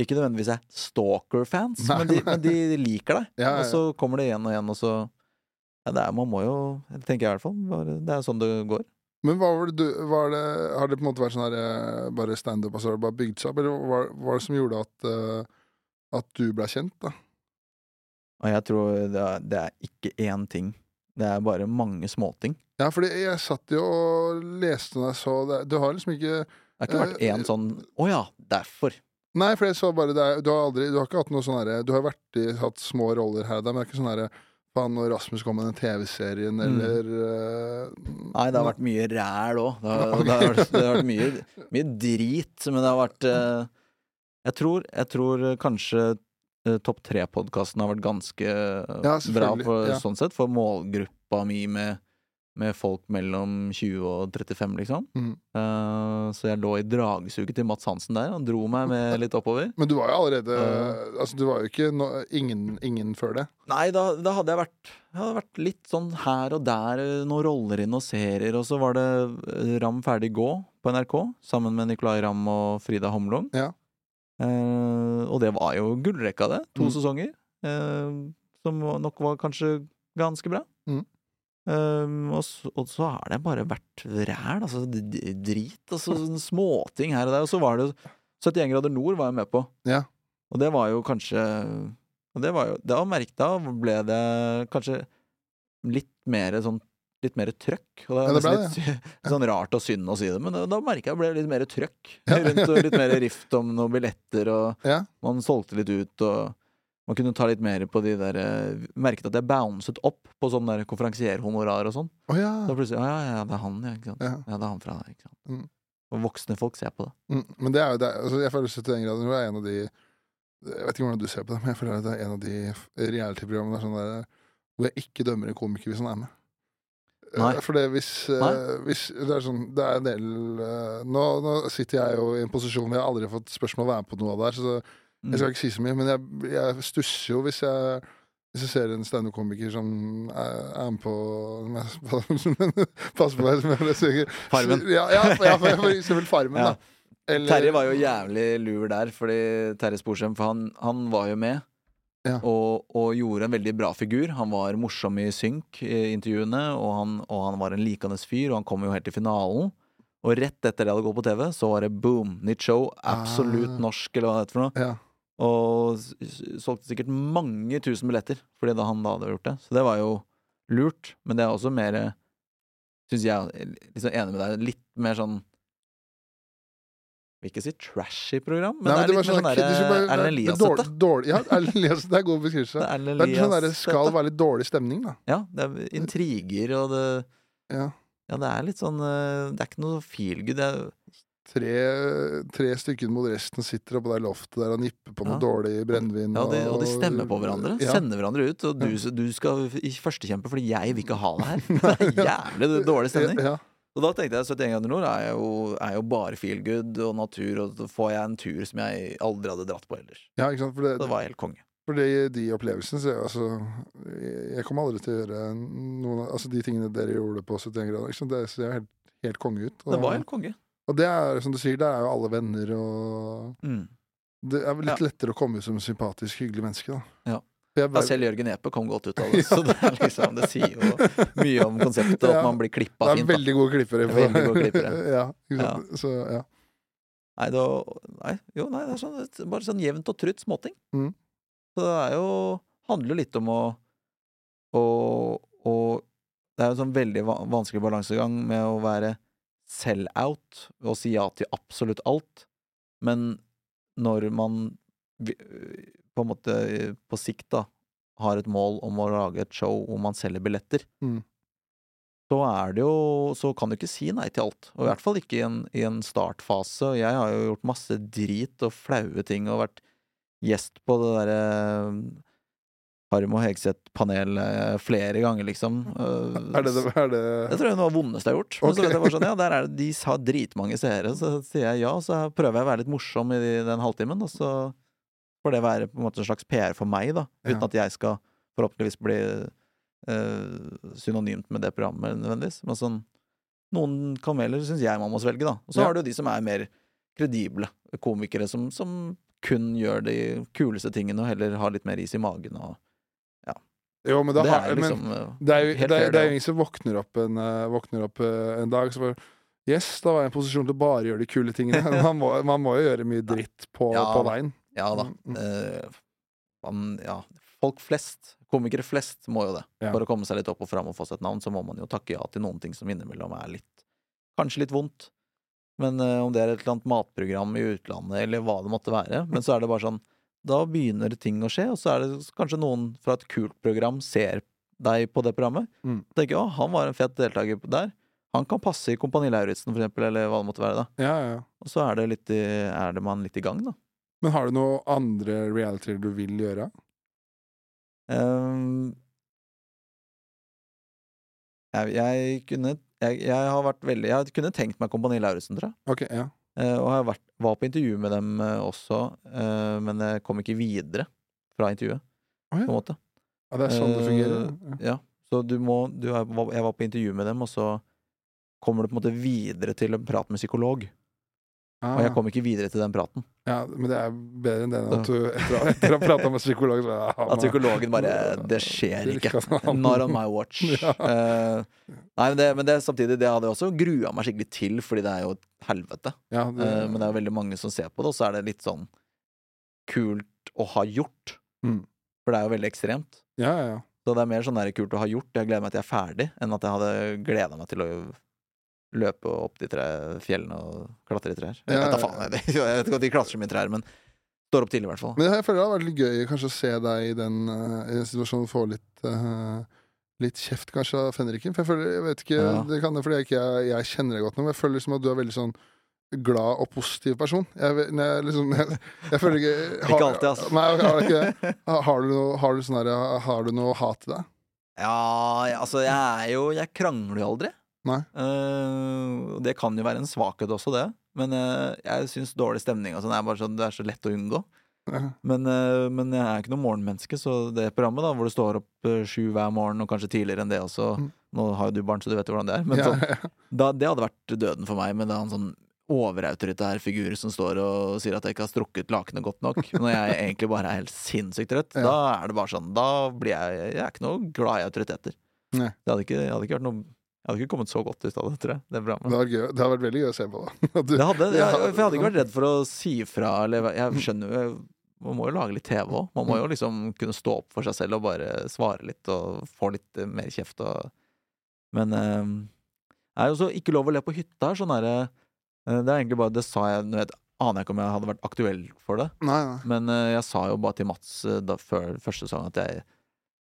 B: ikke nødvendigvis er stalker-fans,
A: Nei,
B: men, de- men de liker deg.
A: Ja, ja,
B: Og så kommer det igjen og igjen, og så ja, det er, Man må jo, tenker jeg i hvert fall, bare, det er sånn det går.
A: Men hva var det du var det, Har det på en måte vært sånn her eh, bare standup, altså har det bare bygd seg opp, eller hva hva var det som gjorde at eh, at du ble kjent, da?
B: Og jeg tror det er, det er ikke én ting. Det er bare mange småting.
A: Ja, fordi jeg satt jo og leste når jeg så det Du har liksom ikke
B: Det har ikke vært
A: Eh,
B: én sånn 'Å ja, derfor'.
A: Nei, for jeg så bare det er, du, har aldri, du har ikke hatt noe sånn herre Du har vært i, hatt små roller her og der, men det er ikke sånn herre Faen, når Rasmus kom med den TV-serien, eller eh,
B: Mm. Nei, det har vært mye ræl òg. Det, har- det, har- det har vært mye, mye drit, men det har vært eh, jeg, tror, jeg tror kanskje eh, Topp tre-podkasten har vært ganske eh,
A: Ja,
B: bra
A: selvfølgelig,
B: for,
A: ja.
B: sånn sett, for målgruppa mi med, med folk mellom 20 og 35, liksom.
A: Mhm.
B: Eh, så jeg lå i dragsuget til Mats Hansen der. Han dro meg med litt oppover.
A: Men du var jo allerede
B: Ja.
A: Altså, du var jo ikke no, ingen, ingen før det.
B: Nei, da, da hadde jeg vært Jeg hadde vært litt sånn her og der, eh, noen roller i noen serier, og så var det eh, Ram ferdig gå på NRK, sammen med Nicolay Ramm og Frida Homlung.
A: Ja.
B: Eh, og det var jo gullrekka, det. To
A: Mm.
B: sesonger. Eh, som var- nok var kanskje ganske bra.
A: Mm.
B: Ehm, og, så, og så har det bare vært ræl, altså d- d- drit, altså sånne småting her og der. Og så var det jo 71 grader nord var jeg med på.
A: Ja.
B: Og det var jo kanskje Og det var jo Da merket da ble det kanskje litt mer sånn Litt mer trøkk. Og
A: Ja,
B: det, er
A: det ble
B: nesten litt sånn rart og synd å si det, men da, da merka jeg ble det litt mer trøkk.
A: Ja.
B: Rundt og litt mer rift om noen billetter, og
A: Ja.
B: man solgte litt ut, og man kunne ta litt mer på de der eh, Merket at jeg bouncet opp på sånn der konferansierhonorar og sånn.
A: Å ja.
B: Da plutselig Ja, ja, ja, det er han, ja. Ikke sant?
A: ja.
B: Ja, det er han fra der, ikke sant.
A: Mm.
B: Og voksne folk ser på det.
A: Mm. Men det er jo det, altså, jeg føler 71 grader nord er en av de Jeg vet ikke hvordan du ser på det, men jeg føler at det er en av de f- reality-programmene der, sånn der, hvor jeg ikke dømmer en komiker hvis han er med.
B: Nei.
A: Eh, For det hvis, eh,
B: Nei.
A: hvis Det er sånn Det er en del eh, nå, nå sitter jeg jo i en posisjon hvor jeg aldri har fått spørsmål om å være med på noe av det her, så
B: Mm.
A: jeg skal ikke si så mye, men jeg, jeg stusser jo hvis jeg hvis jeg ser en standup-komiker som er, er med på Pass på deg, som jeg synger.
B: Farmen.
A: Ja, ja, for, ja, for for eksempel Farmen,
B: Ja.
A: da. Eller-
B: Terje var jo jævlig lur der, fordi Terje Sporsem, for han, han var jo med.
A: Ja.
B: Og, og gjorde en veldig bra figur. Han var morsom i synk i intervjuene, og han, og han var en likende fyr, og han kom jo helt til finalen. Og rett etter det hadde gått på TV, så var det boom! Nytt show. Absolutt
A: Ah.
B: norsk, eller hva det heter for noe.
A: Ja.
B: Og s- s- solgte sikkert mange tusen billetter, fordi da han da hadde gjort det. Så det var jo lurt. Men det er også mer eh, Syns jeg eh, liksom enig med deg. Litt mer sånn Vil ikke si trashy program, men,
A: Nei,
B: det er
A: var
B: litt mer sånn
A: der- det er
B: der,
A: bare- det
B: Erlend
A: er
B: Elias-sette.
A: dårlig- dårlig- Ja, Erlend Elias, det er god beskrivelse.
B: Det er Erlend
A: Det er litt sånn der, det skal
B: Elias-sette.
A: være litt dårlig stemning, da.
B: Ja, det er intriger, og det
A: Ja.
B: Ja, det er litt sånn eh, Det er ikke noe feelgood. Det er
A: Tre, tre stykker mot resten sitter oppå det loftet der og nipper på noe
B: Ja.
A: dårlig brennevin.
B: Ja, de, og de stemmer på hverandre.
A: Ja.
B: Sender hverandre ut. Og du, du skal i førstekjempe fordi jeg vil ikke ha deg her. Det er jævlig dårlig stemning.
A: Ja,
B: Og da tenkte jeg 71 grader nord er jo, er jo bare feel good og natur, og så får jeg en tur som jeg aldri hadde dratt på ellers.
A: ja ikke sant? For,
B: Så det
A: det,
B: var helt konge.
A: for det, de opplevelsene så, jeg- altså, jeg- Jeg kommer aldri til å gjøre noen av altså, de tingene dere gjorde på 71 grader. Ikke sant? Det ser jo helt, helt konge ut.
B: Det var
A: Og,
B: helt konge.
A: og det er som du sier, det er jo alle venner og
B: Mm.
A: Det er vel litt
B: Ja.
A: lettere å komme ut som sympatisk, hyggelig menneske, da.
B: Ja.
A: For jeg
B: Ja,
A: bare-
B: selv Jørgen Epe kom godt ut av det, så det, er liksom, det sier jo mye om konseptet at
A: Ja.
B: man blir klippa
A: Det er
B: fint. Da.
A: veldig gode klippere. på-
B: Veldig gode klippere.
A: ja, ikke sant? Så, ja.
B: Nei, det, var- nei, jo, nei, det er sånn, det er bare sånn jevnt og trutt småting.
A: Mm.
B: Så det er jo handler litt om å å, å Det er jo en sånn veldig va- vanskelig balansegang med å være sell-out og si ja til absolutt alt, men når man vi- på en måte eh, på sikt da har et mål om å lage et show hvor man selger billetter,
A: Mm.
B: så er det jo Så kan du ikke si nei til alt. Og i hvert fall ikke i en, i en startfase. Og jeg har jo gjort masse drit og flaue ting og vært gjest på det derre Harm og Hegseth-panelet flere ganger, liksom. Eh,
A: Er det det? Er
B: det
A: det
B: tror jeg er noe av det vondeste jeg har gjort. Men
A: Ok.
B: så vet jeg bare sånn, ja, der er det, De har dritmange seere, så sier jeg ja, så her prøver jeg å være litt morsom i de- den halvtimen, og så får det være på en måte en slags PR for meg, da. Uten
A: Ja.
B: at jeg skal forhåpentligvis bli eh, synonymt med det programmet nødvendigvis. Men sånn, noen kameler syns jeg man må svelge, da. Og så
A: Ja.
B: har du jo de som er mer kredible komikere, som, som kun gjør de kuleste tingene og heller har litt mer is i magen og
A: jo, men da
B: Det
A: har
B: er
A: men
B: liksom eh,
A: det er jo
B: helt
A: det er-
B: fair,
A: det er
B: det
A: jo ingen som våkner opp en, eh, våkner opp eh, en dag så bare Yes, da var jeg i en posisjon til å bare gjøre de kule tingene. Man må, man må jo gjøre mye dritt på,
B: Ja.
A: på veien.
B: Ja da.
A: Mm, mm.
B: Eh, man, ja, folk flest, komikere flest, må jo det.
A: Ja.
B: For å komme seg litt opp og fram og få seg et navn, så må man jo takke ja til noen ting som innimellom er litt Kanskje litt vondt. Men eh, om det er et eller annet matprogram i utlandet, eller hva det måtte være. Men så er det bare sånn Da begynner ting å skje, og så er det kanskje noen fra et kult program ser deg på det programmet.
A: Mm.
B: Tenker 'Å, han var en fet deltaker der'. Han kan passe i Kompani Lauritzen, for eksempel, eller hva det måtte være. da
A: Ja, ja, ja.
B: Og så er det, litt i, er det man litt i gang, da.
A: Men har du noe andre reality du vil gjøre?
B: Ehm, jeg, jeg kunne jeg, jeg har vært veldig Jeg kunne tenkt meg Kompani Lauritzen, tror jeg.
A: Ok, ja.
B: Eh, og jeg vært, var på intervju med dem eh, også, eh, men jeg kom ikke videre fra intervjuet.
A: Å ja.
B: På en måte.
A: ja. Det er sånn det
B: Eh,
A: fungerer.
B: Ja, så du må du, er- var- Jeg var på intervju med dem, og så kommer du på en måte videre til en prat med psykolog.
A: Ja. Ah.
B: Og jeg kom ikke videre til den praten.
A: Ja, men det er bedre enn det enn at du etter, å- etter å ha prata med psykolog så ah, bare, ja,
B: At psykologen bare Det
A: det
B: skjer
A: er
B: ikke.
A: ikke han.
B: Not on my watch.
A: Ja.
B: Eh, nei, men det, men det samtidig, det hadde jeg også grua meg skikkelig til, fordi det er jo et helvete.
A: ja, det,
B: Eh, men det er jo veldig mange som ser på det, og så er det litt sånn kult å ha gjort.
A: Mm.
B: For det er jo veldig ekstremt.
A: ja, ja, ja.
B: Så det er mer sånn der kult å ha gjort. Jeg gleder meg til jeg er ferdig, enn at jeg hadde gleda meg til å løpe opp de tre fjellene og klatre i trær. Jeg
A: Ja,
B: vet da
A: ja,
B: faen, jeg, jeg vet ikke at de klatrer så mye i trær, men står opp tidlig, i hvert fall.
A: Men jeg føler det hadde vært litt gøy kanskje å se deg i den, eh, i den situasjonen og få litt eh, Litt kjeft kanskje av fenriken. For jeg føler, jeg vet ikke,
B: Ja.
A: det kan det fordi jeg ikke jeg, jeg kjenner deg godt nok, men jeg føler liksom at du er veldig sånn glad og positiv person. Jeg, vet- når jeg, liksom, jeg, jeg føler ikke
B: Ikke alltid, altså. ass.
A: Nei, jeg har ikke det. Har du noe, har du sånn der, har du noe hat til deg?
B: Ja, jeg- altså jeg er jo Jeg krangler jo aldri.
A: Nei.
B: Eh, og det kan jo være en svakhet også, det. Men eh, jeg syns dårlig stemning og sånn er bare sånn Det er så lett å unngå.
A: Ja.
B: Men, eh, men jeg er ikke noe morgenmenneske, så det programmet da hvor du står opp eh, sju hver morgen, og kanskje tidligere enn det også
A: Mm.
B: Nå har jo du barn, så du vet hvordan det er. Men
A: Ja,
B: sånn, da, det hadde vært døden for meg, men det er en sånn overautoritær figur som står og sier at jeg ikke har strukket lakenet godt nok, når jeg egentlig bare er helt sinnssykt trøtt.
A: Ja.
B: Da er det bare sånn, da blir jeg Jeg er ikke noe glad i autoriteter.
A: Nei.
B: Det hadde ikke, jeg hadde ikke vært noe Jeg hadde ikke kommet så godt ut av det, tror jeg. Det,
A: Det
B: programmet.
A: hadde vært, gøy, det hadde vært veldig gøy å se på, da. At du-
B: det hadde,
A: Ja.
B: jeg, for jeg hadde ikke vært redd for å si ifra, eller Jeg skjønner jo Man må jo lage litt TV òg. Man må jo liksom kunne stå opp for seg selv og bare svare litt og få litt eh, mer kjeft og Men eh, det er jo også ikke lov å le på hytta her. Sånn er det eh, Det er egentlig bare Det sa jeg nå vet- Aner jeg ikke om jeg hadde vært aktuell for det.
A: Nei, nei.
B: Men eh, jeg sa jo bare til Mats eh, da, før første sesong at jeg,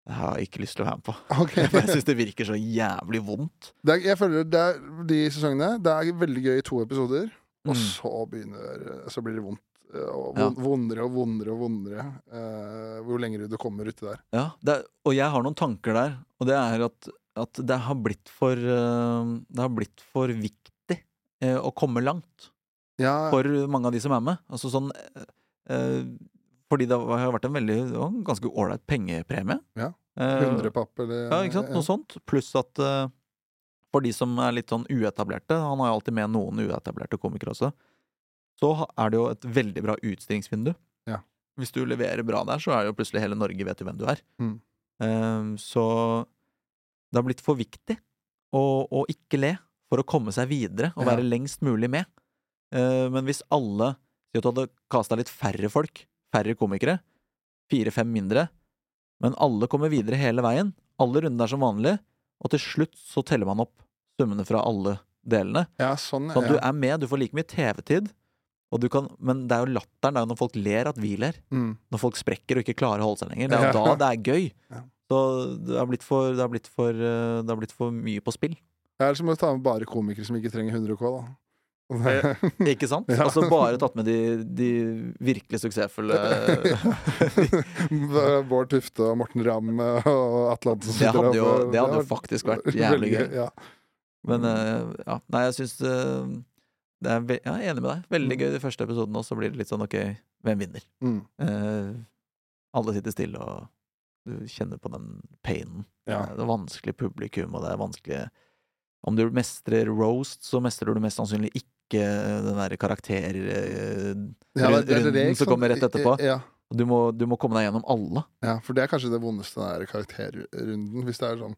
B: jeg har ikke lyst til å være med på.
A: Ok.
B: For jeg syns det virker så jævlig vondt.
A: Det er, jeg føler det er, de sesongene Det er veldig gøy i to episoder, og
B: Mm.
A: så begynner Så blir det vondt. eh, Og
B: Ja.
A: vond- vondere og vondere og vondere eh, hvor lenger du kommer uti der.
B: Ja, det er, og jeg har noen tanker der, og det er at, at det har blitt for eh, Det har blitt for viktig eh, å komme langt
A: Ja,
B: for mange av de som er med. Altså sånn eh, eh, Fordi det har vært en veldig det var en ganske ålreit pengepremie.
A: Ja,
B: Eh,
A: 100 papp eller
B: Ja, ikke sant? Noe sånt. Pluss at eh, for de som er litt sånn uetablerte, han har jo alltid med noen uetablerte komikere også, så ha- er det jo et veldig bra utstillingsvindu.
A: Ja.
B: Hvis du leverer bra der, så er jo plutselig hele Norge vet jo hvem du er.
A: Mm.
B: Eh, så det har blitt for viktig å, å ikke le for å komme seg videre og
A: Ja.
B: være lengst mulig med. Eh, men hvis alle Si at du hadde kasta litt færre folk, færre komikere, fire-fem mindre, men alle kommer videre hele veien. Alle rundene er som vanlig, og til slutt så teller man opp summene fra alle delene.
A: Ja, sånn,
B: Sånn at du
A: ja.
B: er med, du får like mye TV-tid, og du kan, men det er jo latteren, det er jo når folk ler at vi ler.
A: Mm.
B: Når folk sprekker og ikke klarer å holde seg lenger. Det er jo da det er gøy.
A: Ja.
B: Så det har blitt for, det har blitt for, eh, det har blitt for mye på spill.
A: Det er som å ta med bare komikere som ikke trenger 100 K, da.
B: Ikke sant?
A: Ja.
B: Altså bare tatt med de, de virkelig suksessfulle
A: Bård Tufte og Morten Ramm og Atle Antonsen
B: Det
A: sitter
B: hadde
A: der,
B: jo,
A: for-
B: det hadde jo
A: har
B: faktisk vært jævlig gøy.
A: Ja.
B: Men eh, ja, nei, jeg syns eh, det er ve ja, Jeg er enig med deg. Veldig gøy de første episodene, og så blir det litt sånn ok, hvem vinner?
A: Mm.
B: Eh, alle sitter stille, og du kjenner på den painen.
A: Ja.
B: Det er vanskelig publikum, og det er vanskelig Om du mestrer roast, så mestrer du mest sannsynlig ikke den derre karakter... eh,
A: Ja, det- det- det- det er
B: Runden
A: ikke
B: som kommer rett
A: sant?
B: etterpå.
A: Ja.
B: Du må, du må komme deg gjennom alle.
A: Ja, for det er kanskje det vondeste den der karakterrunden. Hvis det er sånn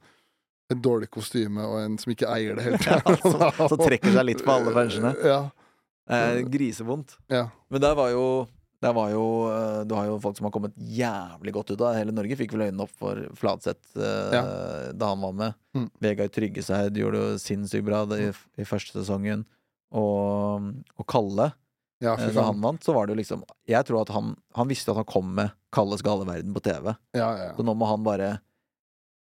A: et dårlig kostyme og en som ikke eier det helt.
B: Ja, så- så trekker seg litt på alle pensjene.
A: Ja.
B: Eh, grisevondt.
A: ja.
B: Men der var jo der var jo, eh, Du har jo folk som har kommet jævlig godt ut av det. Hele Norge fikk vel øynene opp for Fladseth eh, da han var med.
A: Mm.
B: Vegard Tryggeseid gjorde jo sinnssykt bra det, i, i første sesongen. Og, og Kalle,
A: ja,
B: eh,
A: fy
B: da han
A: faen.
B: vant, så var det jo liksom Jeg tror at han, han visste at han kom med Kalles gale verden på TV.
A: Ja, ja, ja.
B: Så nå må han bare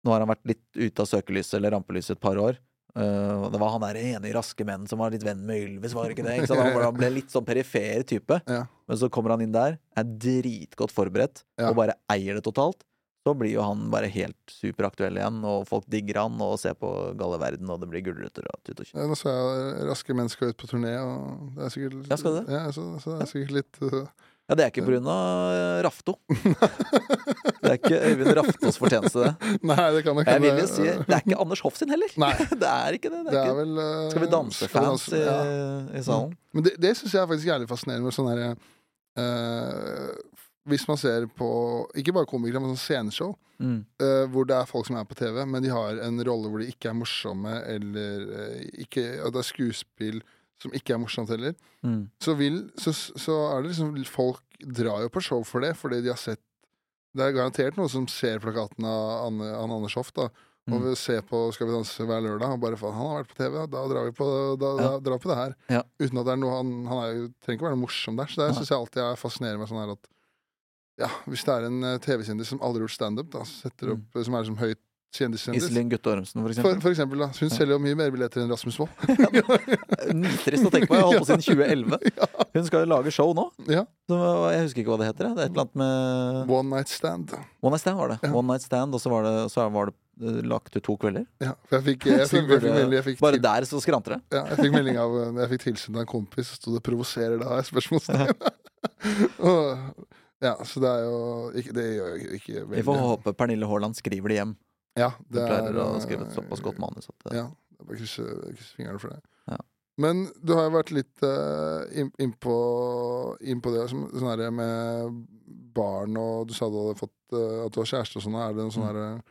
B: Nå har han vært litt ute av søkelyset eller rampelyset et par år. Eh, og det var han der ene i Raske menn som var litt venn med Ylvis, var det ikke det? Ikke sant? Han, var, han ble litt sånn perifer type.
A: Ja.
B: Men så kommer han inn der, er dritgodt forberedt,
A: Ja.
B: og bare eier det totalt. Så blir jo han bare helt superaktuell igjen, og folk digger han og ser på Galle verden, og det blir gulrøtter og tut og kjør.
A: Ja, Nå så jeg eh, Raske menn skal ut på turné, og det er sikkert
B: Ja, skal det?
A: så, så det er sikkert litt uh,
B: Ja, det er ikke på grunn av eh, Rafto. Det er ikke Øyvind Raftos fortjeneste, det.
A: Nei, det kan nok
B: Jeg
A: hende-
B: vil jo si Det er ikke Anders Hoff sin heller.
A: eh, Nei.
B: Det er ikke det. det, er
A: Det er
B: ikke.
A: vel uh,
B: Skal vi eh? danse-fans
A: Skal vi danse- ja.
B: i, i salen?
A: Men det, det syns jeg er faktisk jævlig fascinerende med sånn her eh, Hvis man ser på ikke bare komikere, men sånn sceneshow,
B: Mm.
A: eh, hvor det er folk som er på TV, men de har en rolle hvor de ikke er morsomme, eller eh, ikke, at det er skuespill som ikke er morsomt heller,
B: Mm.
A: så, vil, så, så er det liksom Folk drar jo på show for det, fordi de har sett Det er garantert noen som ser plakaten av Anne, Anne Anders Hoff, da. Og
B: Mm.
A: vil se på Skal vi danse hver lørdag, og bare faen, han har vært på TV, da drar vi på, da, da,
B: Ja.
A: drar vi på det her.
B: Ja.
A: Uten at det er noe han, han er, jo- trenger ikke være noe morsom der. Så det
B: Nei.
A: syns jeg alltid er fascinerer meg sånn her at Ja, hvis det er en eh, TV-kjendis som aldri har gjort standup, da, setter opp, eh, som er som høyt kjendiskjendis
B: Mm. Iselin Gutte Ormsen, for
A: for,
B: eksempel.
A: for eksempel, da. Hun selger jo mye mer billetter enn Rasmus Wold.
B: Nitrist å tenke på. Jeg har holdt på siden 2011. Hun skal jo lage show nå.
A: Ja.
B: Så jeg husker ikke hva det heter. jeg. Det er et eller annet med
A: One night stand.
B: One Night Stand, var det.
A: Ja.
B: One Night Stand, Og så var det, så var det eh, lagt ut to kvelder.
A: Ja, for jeg fikk, jeg fikk,
B: Så
A: jeg fikk, melding- jeg
B: burde,
A: fikk,
B: bare
A: til,
B: der så skranter det.
A: ja, jeg fikk melding av eh, Jeg fikk tilsendt av en kompis, så sto det 'provoserer da?' et spørsmålstegn. Og- ja, så det er jo ikke, Det gjør jo ikke veldig
B: Vi får håpe Pernille Haaland skriver det hjem.
A: Ja,
B: Hun
A: det er
B: pleier å
A: eh,
B: skrive et såpass godt manus. At, eh,
A: Ja. jeg Bare krysse, krysse fingrene for det.
B: Ja.
A: Men du har jo vært litt eh, inn innpå inn på det som, sånn her med barn, og du sa du hadde fått eh, at du har kjæreste og sånn. Er det en sånn
B: Mm.
A: herre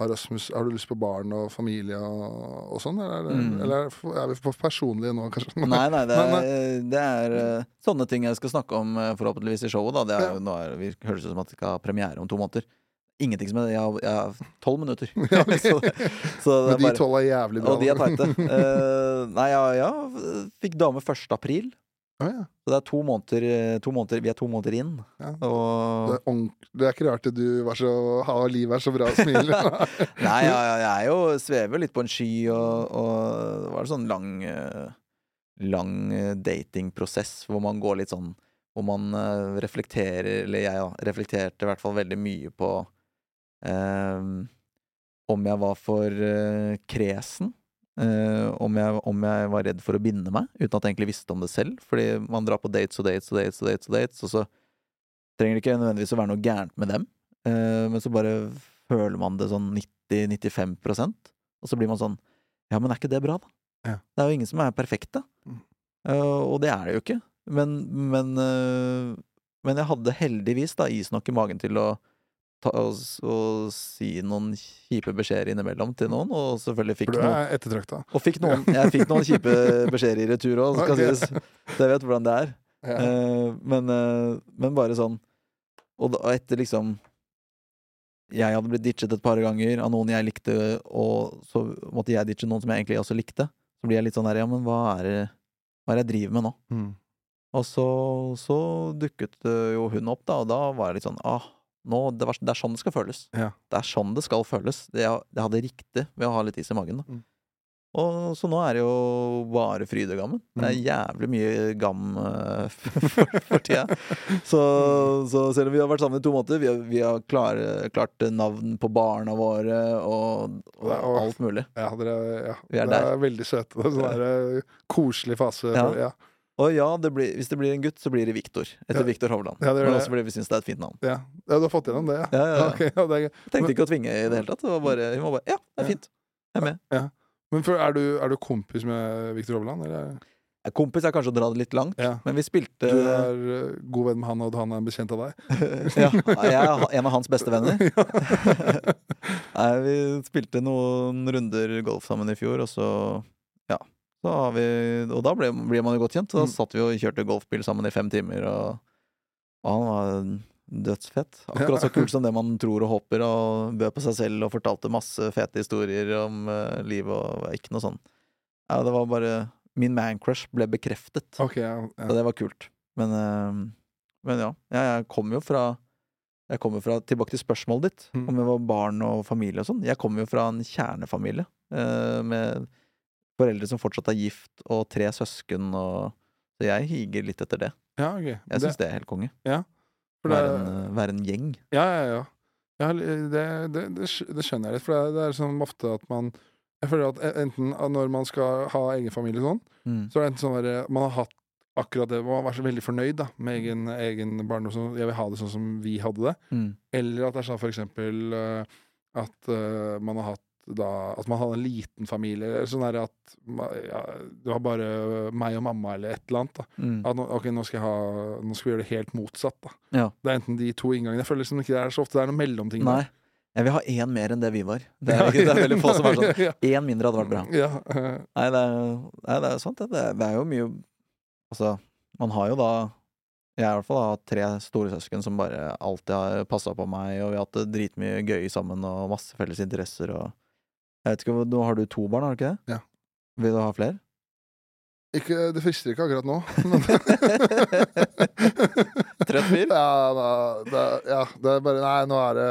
A: har, Rasmus- har du lyst på barn og familie og, og sånn, eller, er det,
B: Mm.
A: eller er, det for- er vi for personlige nå, kanskje?
B: Nei, nei, det
A: Nei,
B: er, det er eh, sånne ting jeg skal snakke om eh, forhåpentligvis i showet. Da. Det er,
A: Ja.
B: jo- nå er, vi høres ut som at vi skal ha premiere om to måneder. Ingenting som er Jeg har- jeg har tolv minutter.
A: Ja, ok.
B: så, så det
A: Men
B: er
A: de
B: bare,
A: tolv er jævlig bra.
B: og de er
A: da.
B: teite. Eh, nei, ja, ja. Fikk dame 1. april.
A: Å, ja.
B: Så det er to måneder, eh, to måneder Vi er to måneder inn.
A: Ja. det,
B: Og
A: er ordent- det er ikke rart at du var så ha, livet er så bra og smiler.
B: Nei, jeg, jeg er jo svever litt på en sky, og, og det var en sånn lang eh, Lang eh, datingprosess hvor man går litt sånn Hvor man eh, reflekterer, eller jeg da, reflekterte i hvert fall veldig mye på eh, om jeg var for eh, kresen. eh, om, jeg, om jeg var redd for å binde meg, uten at jeg egentlig visste om det selv. Fordi man drar på dates og dates og dates, og dates, og dates og så trenger det ikke nødvendigvis å være noe gærent med dem. eh, men så bare føler man det sånn 90-95 og så blir man sånn Ja, men er ikke det bra, da?
A: Ja.
B: Det er jo ingen som er perfekte.
A: Mm.
B: Eh, og det er det jo ikke. Men, men, eh, men jeg hadde heldigvis da is nok i magen til å ta, og, og si noen kjipe beskjeder innimellom til noen, og selvfølgelig fikk
A: For du
B: noen
A: er ettertrakta.
B: Og fikk noen, jeg fikk noen kjipe beskjeder i retur òg, skal
A: Ok.
B: sies. Så jeg vet hvordan det er.
A: Ja.
B: Eh, men, eh, men bare sånn Og da, etter liksom Jeg hadde blitt ditchet et par ganger av noen jeg likte, og så måtte jeg ditche noen som jeg egentlig også likte. Så blir jeg litt sånn der, ja, men hva er det, hva er det jeg driver med nå?
A: Mm.
B: Og så, så dukket eh, jo hun opp, da, og da var jeg litt sånn ah, nå, det, var, det er sånn det skal føles.
A: Ja.
B: Det er sånn det skal føles. Det, jeg, jeg hadde riktig ved å ha litt is i magen. Da.
A: Mm.
B: Og Så nå er det jo bare frydegammen. Det
A: Mm.
B: er jævlig mye gam eh, for, for tida. Så,
A: Mm.
B: så selv om vi har vært sammen i to måneder, vi har, vi har klare, klart navn på barna våre og, og
A: Det er- og-
B: alt mulig.
A: Ja, dere ja.
B: Vi er
A: dere er veldig søte. Det er sånn der, eh, koselig fase.
B: Ja.
A: for- Ja.
B: Og ja, det blir, hvis det blir en gutt, så blir det Viktor. Etter
A: Ja.
B: Viktor Hovland.
A: Ja, det gjør
B: Men
A: det.
B: også fordi vi syns det er et fint navn.
A: Ja. ja, du har fått gjennom det, ja?
B: Ja, ja, ja.
A: Ok, ja, det er, gøy.
B: Tenkte ikke å tvinge i det hele tatt. Det var bare, hun var bare Ja, det er fint. Jeg er med.
A: Men for, er, du, er du kompis med Viktor Hovland? Eller?
B: Kompis er kanskje å dra det litt langt,
A: Ja.
B: men vi
A: Du
B: spilte
A: er eh, god venn med han, og han er en bekjent av deg?
B: ja, Jeg er en av hans beste venner. Nei, vi spilte noen runder golf sammen i fjor, og så Ja. Så har vi, og da ble, blir man jo godt kjent. Så da
A: Mm.
B: satt vi og kjørte golfbil sammen i fem timer, og, og han var dødsfett. Akkurat så
A: Ja.
B: kult som det man tror og håper, og bød på seg selv og fortalte masse fete historier om eh, livet og ikke noe sånn. Ja, det var bare Min mancrush ble bekreftet.
A: Ok, ja,
B: Så
A: ja.
B: det var kult. Men, eh, men ja. Jeg, jeg kommer jo fra jeg kommer fra, Tilbake til spørsmålet ditt
A: Mm.
B: om jeg var barn og familie og sånn. Jeg kommer jo fra en kjernefamilie eh, med foreldre som fortsatt er gift, og tre søsken og Så jeg higer litt etter det.
A: ja ok.
B: Jeg
A: Det,
B: syns det er helt konge.
A: for det,
B: Være en, eh, være en gjeng.
A: ja, ja, ja. ja det, det, det, skj- det skjønner jeg litt, for det er, det er sånn ofte at man Jeg føler at e, enten at når man skal ha egen familie og sånn,
B: Mm.
A: Så er det enten sånn der, man har hatt akkurat det, man har vært så veldig fornøyd da,
B: Mm.
A: med egen, egen barndom, sånn, jeg vil ha det sånn som vi hadde det.
B: Mm.
A: Eller at det er sånn for eksempel eh, at eh, man har hatt da, at man hadde en liten familie, eller sånn der at ma- ja, det var bare meg og mamma eller et eller annet. da.
B: Mm.
A: At nå, ok, nå skal, jeg ha, nå skal vi gjøre det helt motsatt. da.
B: Ja.
A: Det er enten de to inngangene. Jeg føler liksom ikke det er så ofte det er noen mellomting.
B: Nei. Jeg vil ha én mer enn det vi var. Det er, ikke, det er veldig få som er sånn.
A: Ja,
B: Én mindre hadde vært bra.
A: ja, eh,
B: Nei, det er, nei, det er sant, det. Det er, det er jo mye Altså, man har jo da Jeg i hvert fall har hatt tre storesøsken som bare alltid har passa på meg, og vi har hatt det dritmye gøy sammen og masse felles interesser og Jeg vet ikke, hvor- Nå har du to barn, har du ikke det?
A: Ja.
B: Vil du ha flere?
A: Ikke, det frister ikke akkurat nå.
B: Trøtt fyr?
A: Ja, da, da, ja, det er bare Nei, nå er det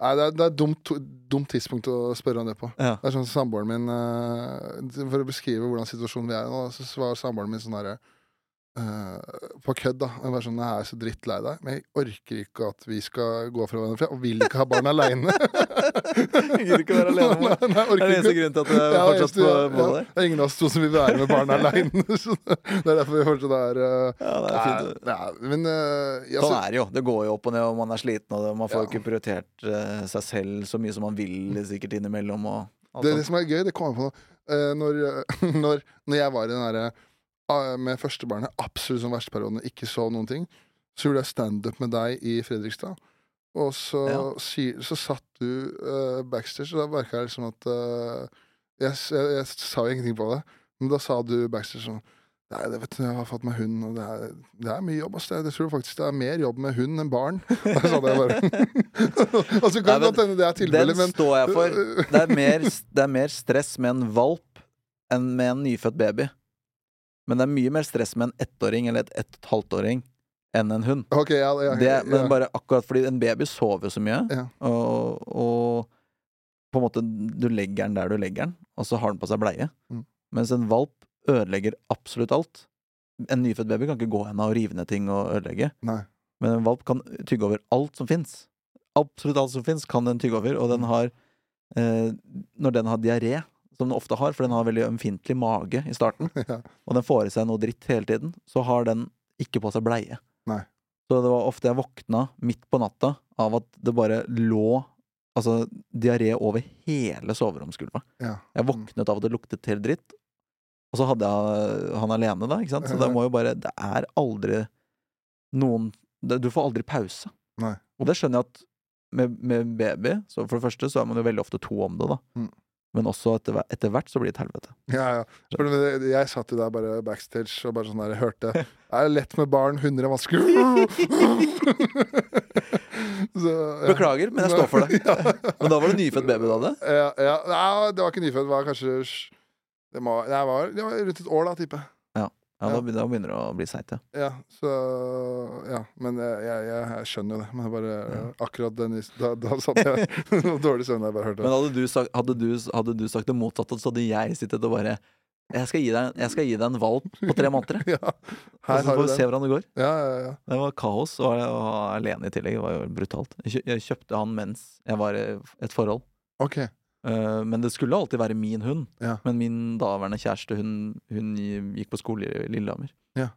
A: Nei, det er, det er et dumt, dumt tidspunkt å spørre om det på.
B: Ja.
A: Det er sånn samboeren min eh, For å beskrive hvordan situasjonen vi er i nå, så var samboeren min sånn herre eh, På kødd, da. Jeg var sånn, jeg er så drittlei deg, men jeg orker ikke at vi skal gå fra hverandre. For jeg vil ikke ha barn aleine.
B: Gidder ikke være alene,
A: Nei,
B: mor.
A: jeg
B: Det er
A: orker
B: den eneste
A: ikke.
B: grunnen til at du
A: Ja,
B: fortsatt
A: eneste-
B: på
A: ja,
B: målet.
A: Det er ingen av oss to som vil være med barna aleine. Det er derfor vi fortsatt er eh,
B: Ja, det er
A: Nei,
B: fint.
A: nei, men eh, ja,
B: Sånn
A: så-
B: er det jo. Det går jo opp og ned, og man er sliten, og det- man får
A: Ja.
B: ikke prioritert eh, seg selv så mye som man vil sikkert innimellom. Og alt
A: det, det
B: sånt.
A: som er gøy, det kommer jeg på nå. Eh, når, eh, når, når jeg var i den derre ah, med førstebarnet, absolutt som verste perioden, og ikke så noen ting, så gjorde jeg standup med deg i Fredrikstad. Og så,
B: Ja.
A: si, så satt du eh, backstage, og da merka jeg liksom at eh, jeg, s- jeg, jeg sa jo ingenting på det, men da sa du backstage sånn Nei, det vet du, jeg har fått meg hund, og det er, det er mye jobb. Ass. Jeg tror faktisk det er mer jobb med hund enn barn. Da sa det bare. og så
B: Nei,
A: kan det
B: men
A: godt hende det er tilfellet,
B: Den
A: men
B: står jeg for. Det er, mer, det er mer stress med en valp enn med en nyfødt baby. Men det er mye mer stress med en ettåring eller et ett og et halvtåring enn en hund.
A: Ok, ja, ja,
B: Det,
A: ja.
B: men bare akkurat fordi en baby sover jo så mye,
A: Ja.
B: og, og på en måte du legger den der du legger den, og så har den på seg bleie.
A: Mm.
B: Mens en valp ødelegger absolutt alt. En nyfødt baby kan ikke gå henne og rive ned ting og ødelegge,
A: Nei.
B: men en valp kan tygge over alt som fins. Absolutt alt som fins, kan den tygge over, og den har eh, Når den har diaré, som den ofte har, for den har veldig ømfintlig mage i starten,
A: Ja.
B: og den får i seg noe dritt hele tiden, så har den ikke på seg bleie.
A: Nei.
B: Så det var ofte jeg våkna midt på natta av at det bare lå altså, diaré over hele soveromsgulvet.
A: Ja.
B: Jeg våknet av at det luktet helt dritt. Og så hadde jeg han alene, da, ikke sant? så det må jo bare Det er aldri noen det, Du får aldri pause.
A: Nei.
B: Og det skjønner jeg at med, med baby, så for det første så er man jo veldig ofte to om det, da.
A: Mm.
B: Men også etter, hver- etter hvert så blir det et helvete.
A: Ja, ja. For det- jeg satt jo der bare backstage og bare sånn der, jeg hørte Det er lett med barn, hunder er vanskelig Så, ja.
B: Beklager, men jeg står for det.
A: ja.
B: Men da var det nyfødt baby du hadde?
A: Ja, ja. Nei, det var ikke nyfødt, det var kanskje det, må, det, var, det var rundt et år, da, tipper jeg.
B: Ja,
A: Ja.
B: Da, begynner- da begynner det å bli seigt, ja.
A: Ja, så Ja. Men jeg, jeg, jeg, jeg skjønner jo det. Men jeg bare akkurat den Da, da satt jeg dårlig søvn da jeg bare hørte
B: Men
A: det.
B: hadde du, sagt, hadde, du, hadde du sagt det motsatte, så hadde jeg sittet og bare jeg skal, gi deg, jeg skal gi deg en valp på tre måneder, jeg.
A: Ja.
B: og
A: Her
B: så
A: har
B: altså,
A: du
B: får vi
A: den.
B: se hvordan det går.
A: Ja, ja, ja.
B: Det var kaos, og jeg var alene i tillegg. Det var jo brutalt. Jeg kjø- Jeg kjøpte han mens jeg var i et forhold.
A: Ok.
B: Eh, Men det skulle alltid være min hund.
A: Ja.
B: Men min daværende kjæreste, hun, hun gikk på skole i Lillehammer.
A: Ja.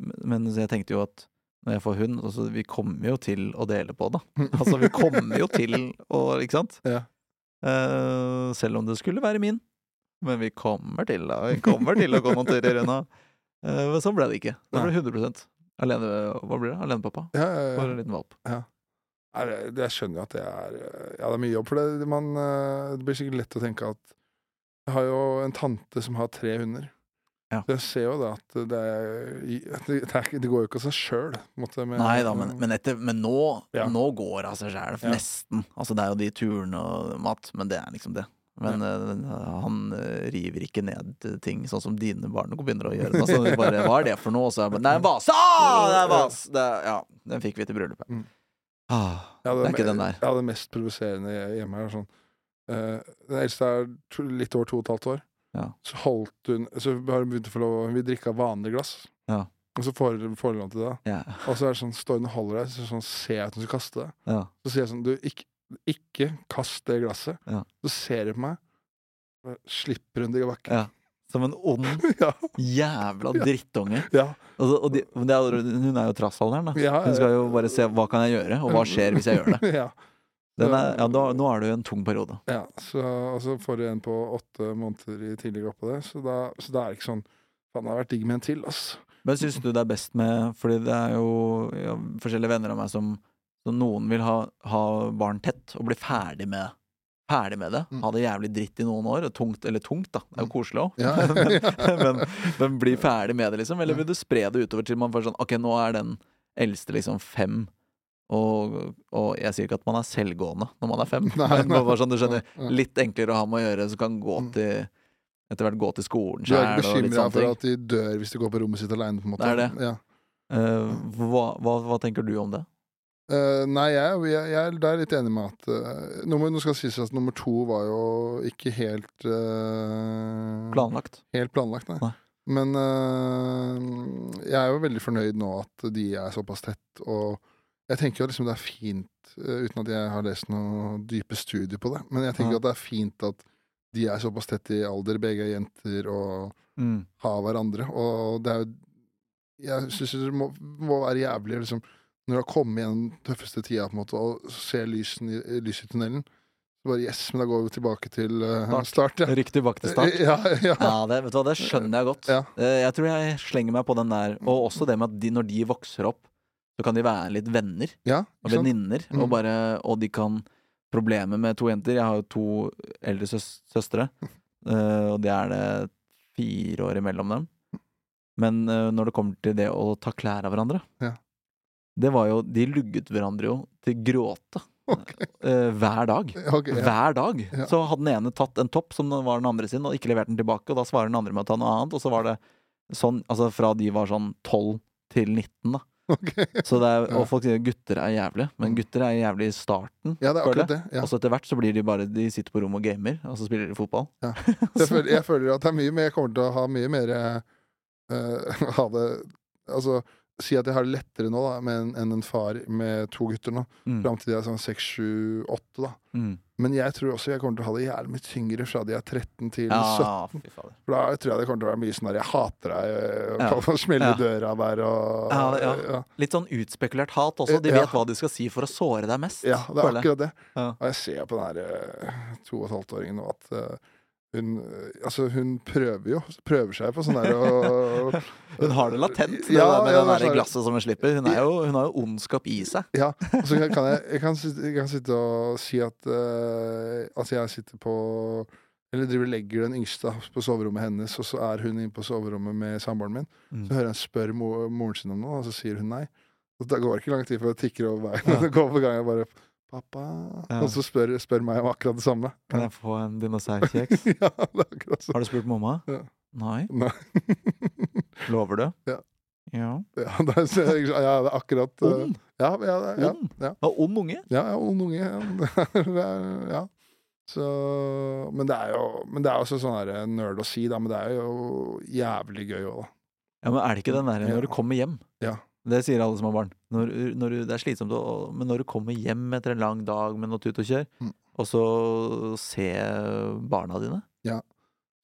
B: Men så jeg tenkte jo at når jeg får hund altså, Vi kommer jo til å dele på, da. Altså, vi kommer jo til å Ikke sant?
A: Ja.
B: Eh, selv om det skulle være min. Men vi kommer til, da. Vi kommer til å gå noen turer unna. Eh, men sånn ble det ikke. Det ble 100 Alene, Hva blir det? Alenepappa?
A: Ja, ja, ja.
B: For en liten valp.
A: Nei, det- det- jeg skjønner jo at det er eh, Ja, det er mye jobb, for det, det- man, eh, det blir sikkert lett å tenke at Jeg har jo en tante som har tre hunder.
B: Ja.
A: Så jeg ser jo da at det, er, at det, det, er, ikke- det går jo ikke av seg sjøl.
B: Nei da, men, men, etter, men nå,
A: Ja.
B: nå går det av seg sjæl.
A: Ja.
B: Nesten. Altså, det er jo de turene og mat, men det er liksom det. Men eh, han eh, river ikke ned ting, sånn som dine barn begynner å gjøre. Da. Så vi bare, Hva er det for noe? Og så er det bare Nei, en vase! Ah, det er en vase! Det er, ja, den fikk vi til bryllupet.
A: Mm.
B: Ah,
A: Ja,
B: det er ikke den der.
A: Ja, det mest provoserende hjemme er sånn eh, Den eldste er to, litt over to og et halvt år.
B: Ja.
A: Så holdt hun Så har hun begynt å få lov Hun vil drikke av vanlige glass.
B: Ja.
A: Og så får hun får hun lov til det. da.
B: Ja,
A: Og så er det sånn, står hun og holder deg, så sånn, ser jeg at hun skal kaste det.
B: ja.
A: Så sier jeg sånn, du, ikke, ikke kast det glasset.
B: Ja.
A: Så ser hun på meg, og slipper hun det i bakken.
B: Ja. Som en ond,
A: Ja,
B: jævla
A: Ja.
B: drittunge.
A: ja,
B: Og, så- og de, men det er, jo- hun er jo trassalderen, da.
A: ja.
B: Hun skal jo bare se hva kan jeg gjøre, og hva skjer hvis jeg gjør det.
A: Ja.
B: Den er, ja, da, nå er du i en tung periode.
A: Ja, så altså, får du en på åtte måneder i tidligere oppå det, så da, så da er det ikke sånn Faen, det hadde vært digg med en til, ass.
B: Men syns du det er best med Fordi det er jo ja, forskjellige venner av meg som, som noen vil ha, ha barn tett og bli ferdig med Ferdig med det.
A: Mm.
B: Ha det jævlig dritt i noen år. og Tungt, eller tungt, da. Det er jo
A: Mm.
B: koselig òg.
A: Ja.
B: men, men bli ferdig med det, liksom. Eller vil du spre det utover til man får sånn Ok, nå er den eldste liksom fem. Og, og jeg sier ikke at man er selvgående når man er fem,
A: Nei,
B: men
A: nei.
B: bare sånn, du skjønner.
A: Ja, ja.
B: Litt enklere å ha med å gjøre, som kan gå
A: Mm.
B: til Etter hvert gå til skolen
A: Du er ikke
B: sjæl og litt
A: bekymra
B: sånne ting.
A: for at de dør hvis de går på rommet sitt aleine, på en måte?
B: Det er det.
A: Ja.
B: Eh, hva, hva, hva tenker du om det?
A: Eh, nei, jeg, jeg, jeg er litt enig med at eh, nummer, Nå skal det sies at nummer to var jo ikke helt eh,
B: Planlagt?
A: Helt planlagt, nei.
B: Nei.
A: Men eh, jeg er jo veldig fornøyd nå at de er såpass tett, og jeg tenker jo liksom det er fint, eh, uten at jeg har lest noen dype studier på det, men jeg tenker
B: Ja.
A: at det er fint at de er såpass tett i alder, begge er jenter, og
B: Mm.
A: har hverandre, og det er jo Jeg syns det må, må være jævlig, liksom, når du har kommet gjennom den tøffeste tida, på en måte, og ser lysen i, lys i tunnelen, så bare yes, men da går vi tilbake til eh,
B: Start.
A: start, ja.
B: Riktig bak til start?
A: Ja, ja.
B: Ja, det, vet du hva, det skjønner jeg godt.
A: Ja.
B: Eh, Jeg tror jeg slenger meg på den der. Og også det med at de, når de vokser opp, så kan de være litt venner
A: Ja,
B: og
A: ikke sant?
B: venninner. Og,
A: Mm.
B: bare, og de kan Problemet med to jenter Jeg har jo to eldre søs søstre, eh, og det er det fire år imellom dem. Men eh, når det kommer til det å ta klær av hverandre
A: Ja.
B: Det var jo De lugget hverandre jo til gråte
A: Ok.
B: eh, hver dag.
A: Ok, ja.
B: Hver dag
A: Ja.
B: så hadde den ene tatt en topp som den var den andre sin, og ikke levert den tilbake, og da svarer den andre med å ta noe annet, og så var det sånn, altså fra de var sånn 12 til 19, da.
A: ok.
B: Så det er,
A: Ja.
B: og folk sier gutter er jævlig, men gutter er jævlig i starten.
A: ja, det er
B: Føler
A: akkurat det. Ja.
B: Og så etter hvert så blir de bare De sitter på rom og gamer, og så spiller de fotball.
A: Ja. Jeg,
B: sånn.
A: føler, jeg føler at det er mye mer Jeg kommer til å ha mye mer eh, Ha det Altså Si at jeg har det lettere nå da med en- enn en far med to gutter nå.
B: Mm,
A: Fram til de er sånn seks, sju, åtte, da.
B: mm.
A: Men jeg tror også jeg kommer til å ha det jævlig mye tyngre fra de er 13 til 17.
B: Ja, fy fader.
A: For da tror jeg det kommer til å være mye sånn der 'jeg hater deg' eh,
B: Ja.
A: og smelle
B: Ja.
A: døra der og
B: Ja, det- ja.
A: ja.
B: Litt sånn utspekulert hat også. De
A: Ja.
B: vet hva de skal si for å såre deg mest.
A: Ja, det er
B: føler jeg.
A: akkurat det.
B: Ja.
A: Og jeg ser på den her eh, to og et halvt åringen nå at eh, hun, eh, altså hun prøver jo, prøver seg på sånn der og,
B: Hun har det latent, det
A: Ja,
B: der med
A: ja, det er
B: det der
A: sånn-
B: glasset som hun slipper. Hun, er jo, hun har jo ondskap i seg.
A: Ja, og så Altså, kan jeg, jeg, kan, sitte- jeg kan sitte og si at eh, Altså, jeg sitter på Eller driver og legger den yngste på soverommet hennes, og så er hun inne på soverommet med samboeren min.
B: Mm.
A: Så hører jeg hun spør mo moren sin om noe, og så sier hun nei. Og da går det ikke lang tid før det tikker over veien.
B: Ja.
A: Det går på gang jeg bare 'Pappa'
B: Ja.
A: Og så spør, spør meg om akkurat det samme.
B: Kan jeg få en dinosaurkjeks?
A: ja, det er akkurat sånn.
B: Har du spurt mamma?
A: Ja.
B: Nei.
A: Nei.
B: Lover du?
A: Ja.
B: ja.
A: Ja, det er, så- ja, det er akkurat eh,
B: Ond.
A: Ja, ja, det er- ja,
B: Ond.
A: ja.
B: Hva, ond unge?
A: Ja, ja, ung unge. Ja. Det er- ja. Så, men det er jo Men det er jo også sånn her nerd å si, da, men det er jo jævlig gøy òg, da.
B: Ja, men er det ikke den derre
A: Ja.
B: når du kommer hjem?
A: Ja.
B: Det sier alle som har barn. Når, når du, det er slitsomt, å- men når du kommer hjem etter en lang dag med noe tut og kjør,
A: Mm.
B: og så se barna dine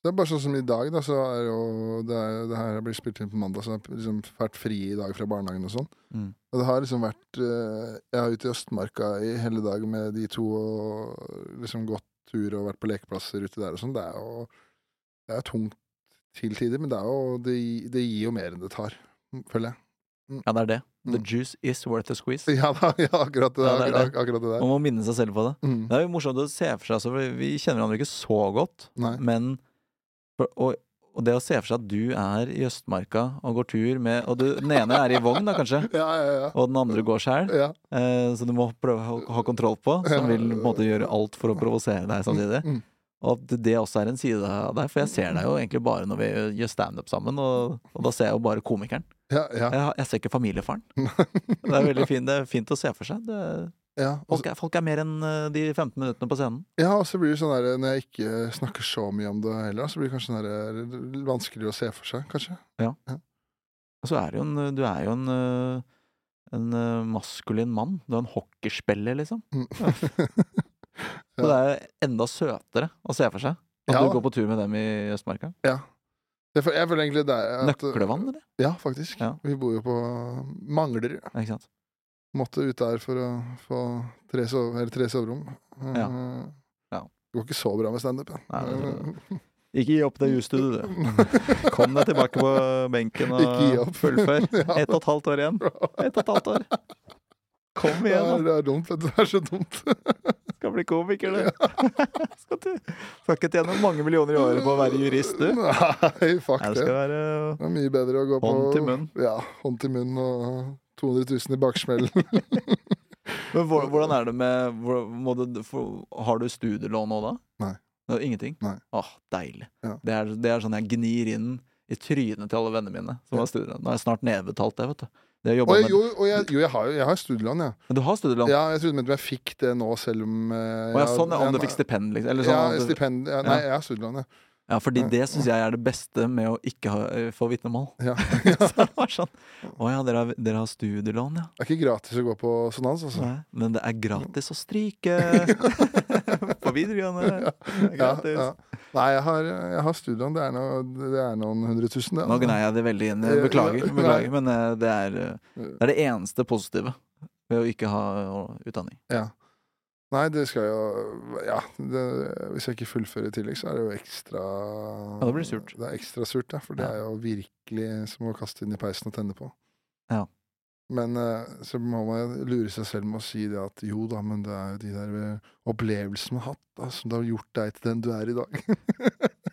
A: Det er bare sånn som i dag, da, så er jo det, er, det her blir spilt inn på mandag, så jeg har liksom vært fri i dag fra barnehagen og sånn.
B: Mm.
A: Og det har liksom vært eh, Jeg er ute i Østmarka i hele dag med de to og liksom gått tur og vært på lekeplasser ute der og sånn. Det er jo Det er jo tungt til tider, men det er jo Det, gi- det gir jo mer enn det tar, føler jeg.
B: Ja, det er det. The
A: Mm.
B: juice is worth a squeeze.
A: Ja, da, ja akkurat, det,
B: Ja, det er det.
A: akkurat, akkurat det der.
B: Man må minne seg selv på det.
A: Mm.
B: Det er jo morsomt å se for seg, altså, for vi kjenner hverandre ikke så godt,
A: Nei.
B: men for, og, og det å se for seg at du er i Østmarka og går tur med Og du, den ene er i vogn, da kanskje,
A: Ja, ja, ja.
B: og den andre går sjæl,
A: ja.
B: eh, så du må prøve å ha kontroll på, som vil på en måte gjøre alt for å provosere deg samtidig.
A: Mm.
B: Og at det også er en side av deg, for jeg ser deg jo egentlig bare når vi gjør standup sammen, og, og da ser jeg jo bare komikeren.
A: Ja, ja.
B: Jeg, jeg ser ikke familiefaren. Det er veldig fint, det er fint å se for seg. Det,
A: ja. Og,
B: folk, er, folk er mer enn eh, de 15 minuttene på scenen.
A: ja, og så blir det sånn der Når jeg ikke snakker så mye om det heller, så blir det kanskje sånn der vanskeligere å se for seg, kanskje.
B: Og så er det jo en, du er jo en, øh, en øh, maskulin mann. Du er en hockeyspiller, liksom.
A: Mm.
B: Så det er jo enda søtere å se for seg at
A: Ja,
B: du
A: da.
B: går på tur med dem i Østmarka.
A: ja. Jeg føler, jeg føler egentlig det er at-
B: Nøklevann, eller?
A: Ja, faktisk.
B: Ja.
A: Vi bor jo på Manglerud.
B: Ja, Ikke sant?
A: Måtte ut der for å få tre, sove, eller tre soverom.
B: Ja.
A: Eh,
B: Ja.
A: Det går ikke så bra med standup. da.
B: Nei, det- Ikke gi opp det jusstudiet, du. Kom deg tilbake på benken og
A: Ikke gi opp.
B: fullfør.
A: Ja.
B: Ett og et halvt år igjen. Ett og et halvt år. Kom
A: det, er,
B: igjen, da.
A: det er dumt. vet du. Det er så dumt.
B: Skal bli komiker, du. Skal, du. skal ikke tjene mange millioner i året på å være jurist, du.
A: Nei, fuck
B: Nei, det
A: det.
B: skal være
A: Det er mye bedre å gå på
B: hånd til munn.
A: Ja, hånd til munn og 200 000 i baksmellen.
B: Men hvor- hvordan er det med hvor- må du, for, Har du studielån nå, da?
A: Nei.
B: Det er ingenting?
A: Nei.
B: Åh, deilig.
A: Ja.
B: Det, er, det er sånn jeg gnir inn i trynet til alle vennene mine som
A: Ja.
B: har studielån. Nå er jeg snart nedbetalt det, vet du. Det jeg
A: Og
B: jobbet
A: jeg,
B: med.
A: jo, og jeg, jo, jeg har jo jeg har studielån, ja.
B: Men du har studielån?
A: ja. Jeg trodde men jeg fikk det nå, selv om eh,
B: Å ja,
A: jeg-
B: sånn, ja, om du fikk
A: jeg-
B: stipend, liksom. Eller sånn,
A: Ja,
B: at du-
A: stipend. Ja, nei, jeg har studielån, ja.
B: ja, fordi det syns jeg er det beste med å ikke ha, eh, få vitnemål.
A: ja.
B: Så det var sånn Å ja, dere har, dere har studielån, ja.
A: Det er ikke gratis å gå på sonans, altså.
B: Nei, men det er gratis å stryke på videregående. Det er
A: Ja,
B: gratis.
A: ja. Nei, jeg har, jeg har studielån. Det er, noe, det er noen hundre tusen, det.
B: Nå
A: altså.
B: gnei jeg det veldig inn. Jeg Beklager,
A: Ja, nei.
B: beklager men eh, det er, eh, det er det eneste positive ved å ikke ha eh, utdanning.
A: Ja. Nei, det skal jo Ja, det, hvis jeg ikke fullfører i tillegg, så er det jo ekstra
B: Ja, da blir det surt.
A: Det er ekstra surt, ja. For det
B: Ja.
A: er jo virkelig som å kaste inn i peisen og tenne på.
B: Ja.
A: Men eh, så må man lure seg selv med å si det at jo da, men det er jo de der eh, opplevelsene man har hatt, da, som det har gjort deg til den du er i dag.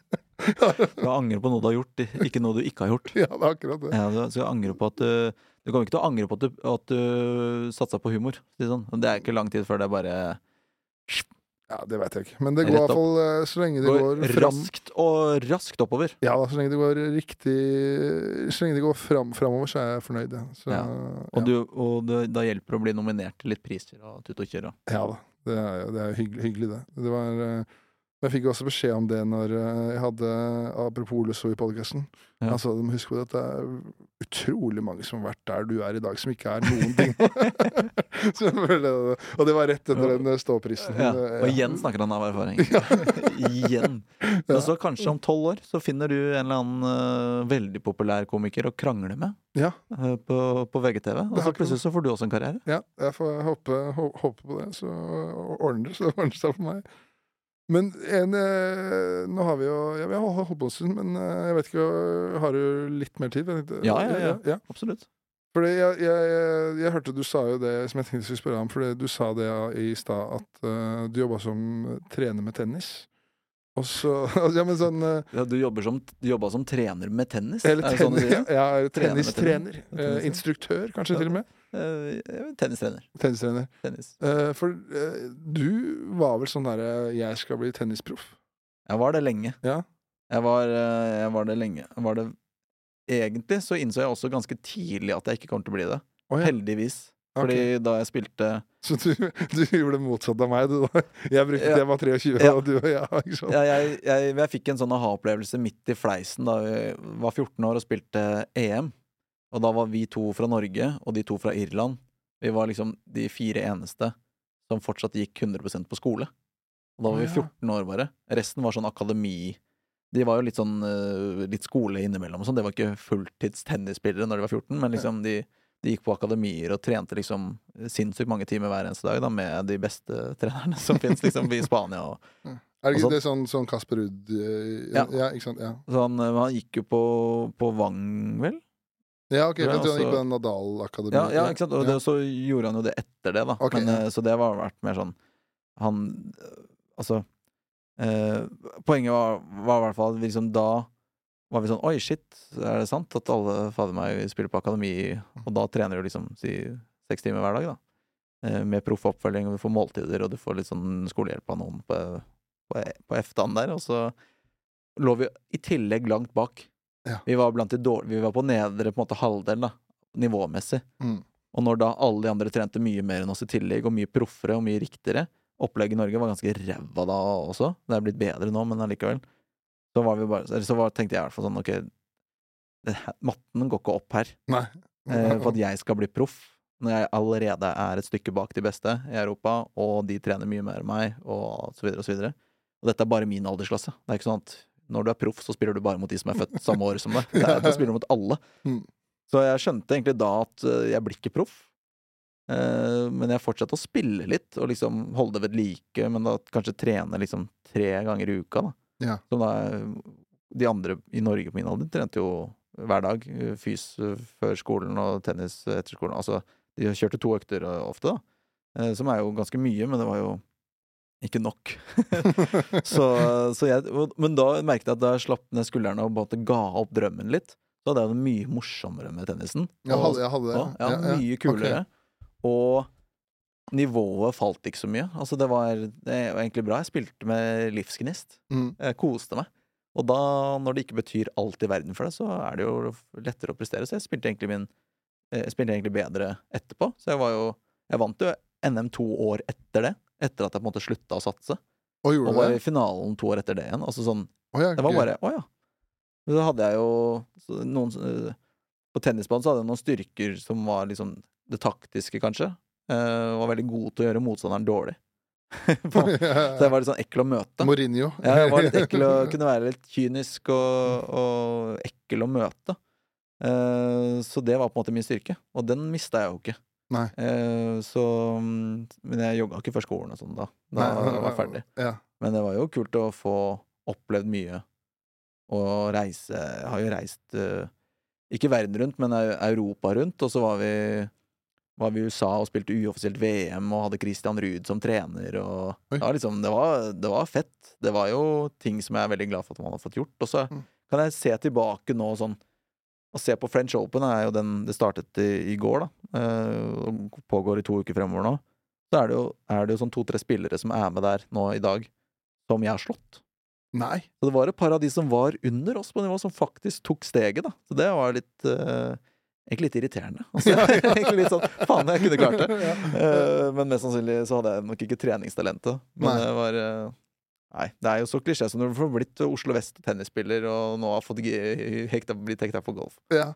B: Du angrer på noe du har gjort, ikke noe du ikke har gjort.
A: ja, det er akkurat det.
B: Ja, du skal angre på at du, du kommer ikke til å angre på at du, at du satsa på humor. si det Sånn. Det er ikke lang tid før det bare
A: Ja, det veit jeg ikke. Men det går
B: Rett
A: i
B: opp.
A: hvert fall eh, så lenge det
B: går,
A: går, fram
B: raskt og raskt oppover.
A: Ja da, så lenge det går riktig Så lenge det går fram, framover, så er jeg fornøyd. Ja. Så,
B: Ja. Og,
A: ja.
B: du, og det, da hjelper det å bli nominert til litt priser og tut og kjør. og-
A: Ja da. Det er jo det er jo hyggelig, hyggelig, det. det var, eh, men jeg fikk også beskjed om det når eh, jeg hadde Apropos Lusso i podkasten.
B: Ja.
A: Altså, du må huske på det at det er utrolig mange som har vært der du er i dag, som ikke er noen ting. Så jeg føler det- og det var rett etter den eh, ståprisen.
B: Ja.
A: Eh,
B: Og
A: ja.
B: igjen snakker han av erfaring. igjen. Og så kanskje om tolv år så finner du en eller annen eh, veldig populær komiker å krangle med
A: Ja.
B: eh, på, på VGTV. Og
A: Det har
B: så
A: ikke
B: plutselig så får du også en karriere.
A: Ja, jeg får håpe, hå- håpe på det, så ordner det så det ordner seg for meg. Men en eh, Nå har vi jo ja, Vi har hol- holdt på en stund, men eh, jeg vet ikke Har du litt mer tid? Jeg tenkte-
B: Ja, ja, ja.
A: ja.
B: Absolutt.
A: Fordi jeg, jeg, jeg, jeg hørte du sa jo det som jeg tenkte jeg skulle spørre om, fordi du sa det i stad at eh, du jobba som trener med tennis. Og så Ja, men sånn eh,
B: Ja, du jobber som, du jobba som trener med tennis?
A: Eller
B: er det sånn du
A: tennis,
B: sier?
A: ja, ja,
B: Trener med
A: tennistrener.
B: tennis.
A: eh, instruktør, kanskje
B: Ja.
A: til og med.
B: Eh, jeg er Tennistrener.
A: Tennistrener.
B: Tennis.
A: Eh, for eh, du var vel sånn derre 'jeg skal bli tennisproff'?
B: Jeg var det lenge.
A: Ja.
B: Jeg var, eh, jeg var det lenge. Jeg Var det... Egentlig så innså jeg også ganske tidlig at jeg ikke kommer til å bli det.
A: Å, ja.
B: Heldigvis. Fordi
A: Ok.
B: da jeg spilte
A: Så du, du gjorde det motsatte av meg, du da? Jeg brukte
B: Ja.
A: det jeg var 23,
B: Ja.
A: og du og jeg ikke sant?
B: jeg, jeg, jeg, jeg fikk en sånn aha-opplevelse midt i fleisen da jeg var 14 år og spilte EM. Og da var vi to fra Norge og de to fra Irland. Vi var liksom de fire eneste som fortsatt gikk 100 på skole. Og da var vi
A: Å, ja.
B: 14 år bare. Resten var sånn akademi De var jo litt sånn eh, litt skole innimellom og sånn. Det var ikke fulltids tennisspillere når de var 14, men liksom de, de gikk på akademier og trente liksom sinnssykt mange timer hver eneste dag da, med de beste trenerne som fins liksom, i Spania og
A: Er det
B: og
A: ikke det er sånn, sånn Kasper Ruud eh, ja.
B: Ja.
A: ja, ikke sant? Ja,
B: Så han, men han gikk jo på, på Vang, vel?
A: ja ok,
B: Ja,
A: jeg tror han
B: altså-
A: gikk på den Nadal-akademiet.
B: Ja, ja ikke sant? Og
A: Ja.
B: det, så gjorde han jo det etter det, da.
A: Ok,
B: Men,
A: ja.
B: eh, Så det har vært mer sånn Han eh, Altså eh, Poenget var, var i hvert fall at vi liksom da var vi sånn Oi, shit, er det sant at alle fader meg spiller på akademi, og da trener du liksom si seks timer hver dag, da? Eh, Med proff oppfølging, og du får måltider, og du får litt sånn skolehjelp av noen på, på, på F-dagen der, og så lå vi i tillegg langt bak.
A: Ja.
B: Vi var blant de dårlige, vi var på nedre på en måte halvdel, da, nivåmessig.
A: Mm.
B: Og når da alle de andre trente mye mer enn oss i tillegg, og mye proffere og mye riktigere Opplegget i Norge var ganske ræva da også. Det er blitt bedre nå, men allikevel. Så, var vi bare, eller så var, tenkte jeg i hvert fall sånn Ok, det, her- matten går ikke opp her
A: Nei.
B: eh, for at jeg skal bli proff. Når jeg allerede er et stykke bak de beste i Europa, og de trener mye mer enn meg, og så videre og så videre. Og dette er bare min aldersklasse. Det er ikke sånn at når du er proff, så spiller du bare mot de som er født samme år som deg. Det er- Du spiller mot alle.
A: Mm.
B: Så jeg skjønte egentlig da at eh, jeg blir ikke proff. Eh, men jeg fortsatte å spille litt, og liksom holde det ved like, men da kanskje trene liksom tre ganger i uka, da.
A: Ja.
B: Som da de andre i Norge på min alder trente jo hver dag. eh, Fys eh, før skolen og tennis etter skolen. Altså, de kjørte to økter eh, ofte, da. Eh, Som er jo ganske mye, men det var jo ikke nok. så, så jeg, og- men da merket jeg at da jeg slapp ned skuldrene og bare ga opp drømmen litt, så hadde jeg det mye morsommere med tennisen.
A: Jeg
B: Og-
A: hadde, jeg hadde det.
B: ja, ja, mye kulere. Og nivået falt ikke så mye. Altså, det var, det var egentlig bra. Jeg spilte med livsgnist.
A: Mm.
B: Jeg koste meg. Og da, når det ikke betyr alt i verden for deg, så er det jo lettere å prestere. Så jeg spilte egentlig, min, eh, jeg spilte egentlig bedre etterpå. Så jeg var jo Jeg vant jo NM to år etter det. Etter at jeg på en måte slutta å satse.
A: Og
B: Og
A: gjorde
B: var
A: du
B: i
A: det?
B: finalen to år etter det igjen. Altså sånn
A: Å, ja,
B: det var
A: gøy.
B: bare Å ja. Men så hadde jeg jo så noen eh, På tennisbanen så hadde jeg noen styrker som var liksom det taktiske, kanskje. Eh, var veldig god til å gjøre motstanderen dårlig. så jeg var litt sånn ekkel å møte.
A: Mourinho.
B: Ja, jeg var litt ekkel å kunne være litt kynisk og, og ekkel å møte. Eh, så det var på en måte min styrke, og den mista jeg jo ikke.
A: Nei.
B: Eh, så mm, Men jeg jogga ikke før skolen og sånn da. Da
A: Nei, nei,
B: var jeg
A: nei.
B: ferdig.
A: Ja.
B: Men det var jo kult å få opplevd mye. Og reise Jeg har jo reist eh, ikke verden rundt, men Eu- Europa rundt. Og så var vi, var vi i USA og spilte uoffisielt VM og hadde Christian Ruud som trener. Og
A: Oi.
B: det var, liksom, det, var, det var fett. Det var jo ting som jeg er veldig glad for at man har fått gjort. Og så
A: Mm.
B: kan jeg se tilbake nå sånn Å se på French Open er jo den det startet i, i går, da. eh, og pågår i to uker fremover nå. Så er det jo, er det jo sånn to-tre spillere som er med der nå i dag som jeg har slått.
A: Nei.
B: Så det var et par av de som var under oss på nivå, som faktisk tok steget, da. Så det var litt eh, Egentlig litt irriterende. Altså,
A: Ja, ja.
B: egentlig litt sånn Faen, jeg kunne klart det.
A: Ja.
B: Eh, men mest sannsynlig så hadde jeg nok ikke treningstalentet. Men
A: Nei.
B: det var eh, Nei, det er jo så klisjé som når du får blitt Oslo Vest tennisspiller og nå har fått g- hekta, blitt hekta på golf.
A: Ja.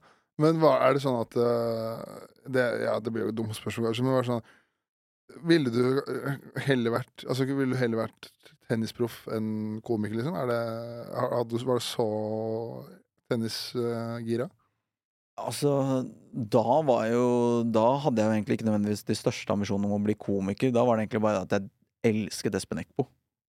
A: Men hva, er det sånn at øh, det, Ja, det blir jo et dumt spørsmål, kanskje, men var det sånn Ville du øh, heller vært Altså, ville du heller vært tennisproff enn komiker, liksom? Er det, har- hadde, du- var det så tennisgira?
B: Altså, da var jo Da hadde jeg jo egentlig ikke nødvendigvis de største ambisjonene om å bli komiker. Da var det egentlig bare at jeg elsket Espen Eckbo.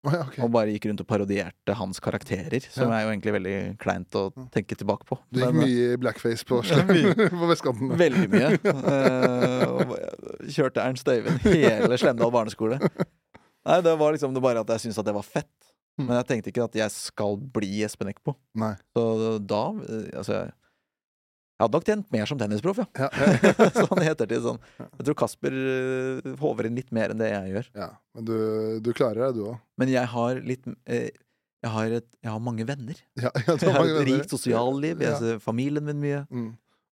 A: Å ja, ok.
B: Og bare gikk rundt og parodierte hans karakterer, som er jo egentlig veldig kleint å tenke tilbake på.
A: Mm. Du gikk
B: Men,
A: mye i blackface på,
B: Ja, mye.
A: på vestkanten?
B: eh, Veldig mye. Eh, og kjørte Ernst Øyvind hele Slemdal barneskole. Nei, det var liksom det bare at jeg syntes at det var fett.
A: Mm.
B: Men jeg tenkte ikke at jeg skal bli Espen Eckbo.
A: Nei.
B: Så da eh, Altså, jeg hadde nok tjent mer som tennisproff, ja.
A: Ja, ja,
B: sånn i ettertid. Sånn. Jeg tror Kasper eh, håver inn litt mer enn det jeg gjør.
A: ja. Men du, du klarer deg, du òg.
B: Men jeg har litt eh, jeg, har et, jeg har mange venner.
A: Ja, ja, du
B: Jeg har
A: mange
B: et
A: venner.
B: rikt sosialliv. Jeg
A: Ja.
B: ser familien min mye.
A: Mm.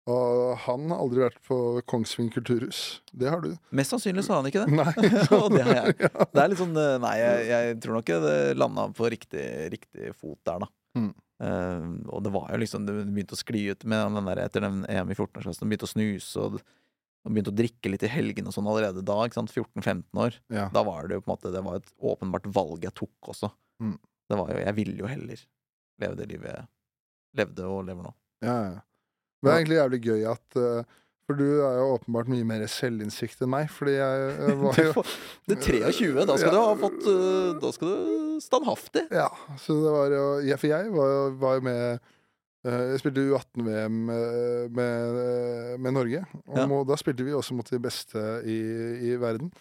A: Og han har aldri vært på Kongsvinger kulturhus. Det har du.
B: Mest sannsynlig så har han ikke det.
A: Nei.
B: Og det har jeg.
A: Ja.
B: Det er litt sånn eh, Nei, jeg, jeg tror nok det landa på riktig, riktig fot der, da.
A: Mm.
B: Eh, og det var jo liksom Det begynte å skli ut med den der etter den EM i 14-årsklassen. Begynte å snuse og, og begynte å drikke litt i helgene og sånn allerede da. ikke sant, 14-15 år.
A: Ja.
B: Da var det jo på en måte Det var et åpenbart valg jeg tok også.
A: Mm.
B: Det var jo Jeg ville jo heller leve det livet jeg levde og lever nå.
A: Ja, ja. Men det er egentlig jævlig gøy at eh, For du er jo åpenbart mye mer selvinnsikt enn meg, fordi jeg eh, var
B: Du
A: jo
B: får- Det er 23, da skal du ha fått øh, Da skal du standhaftig.
A: Ja, så det var jo ja, For jeg var jo, var jo med eh, jeg spilte U18-VM med, med, eh, med Norge, og
B: Ja.
A: må, da spilte vi også mot de beste i, i verden.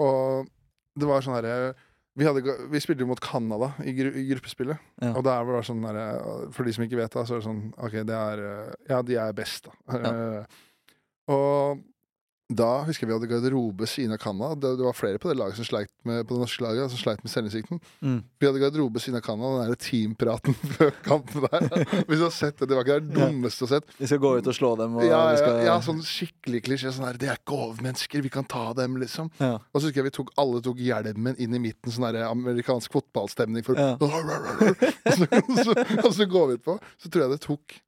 A: Og det var sånn herre vi, hadde ga- vi spilte jo mot Canada i, gru, i gruppespillet.
B: Ja.
A: Og der var det sånn derre For de som ikke vet det, så er det sånn OK, det er eh, Ja, de er best, da. Eh, Og da husker jeg vi hadde garderobe siden av Canada. Det, det var flere på det laget som sleit med, på det norske laget da, som sleit med selvinnsikten.
B: Mm.
A: Vi hadde garderobe siden av Canada, den der teampraten før kampen der. Hvis du har sett det, det var ikke det dummeste å ha sett.
B: Vi skal gå ut og slå dem, og
A: Ja,
B: vi
A: ja,
B: skal
A: ja, sånn skikkelig klisjé. Sånn her, det er ikke overmennesker, vi kan ta dem, liksom.
B: Ja.
A: Og så husker jeg vi tok, alle tok hjelmen inn i midten, sånn her amerikansk fotballstemning. For,
B: Ja.
A: og, så, så, og så går vi utpå. Så tror jeg det tok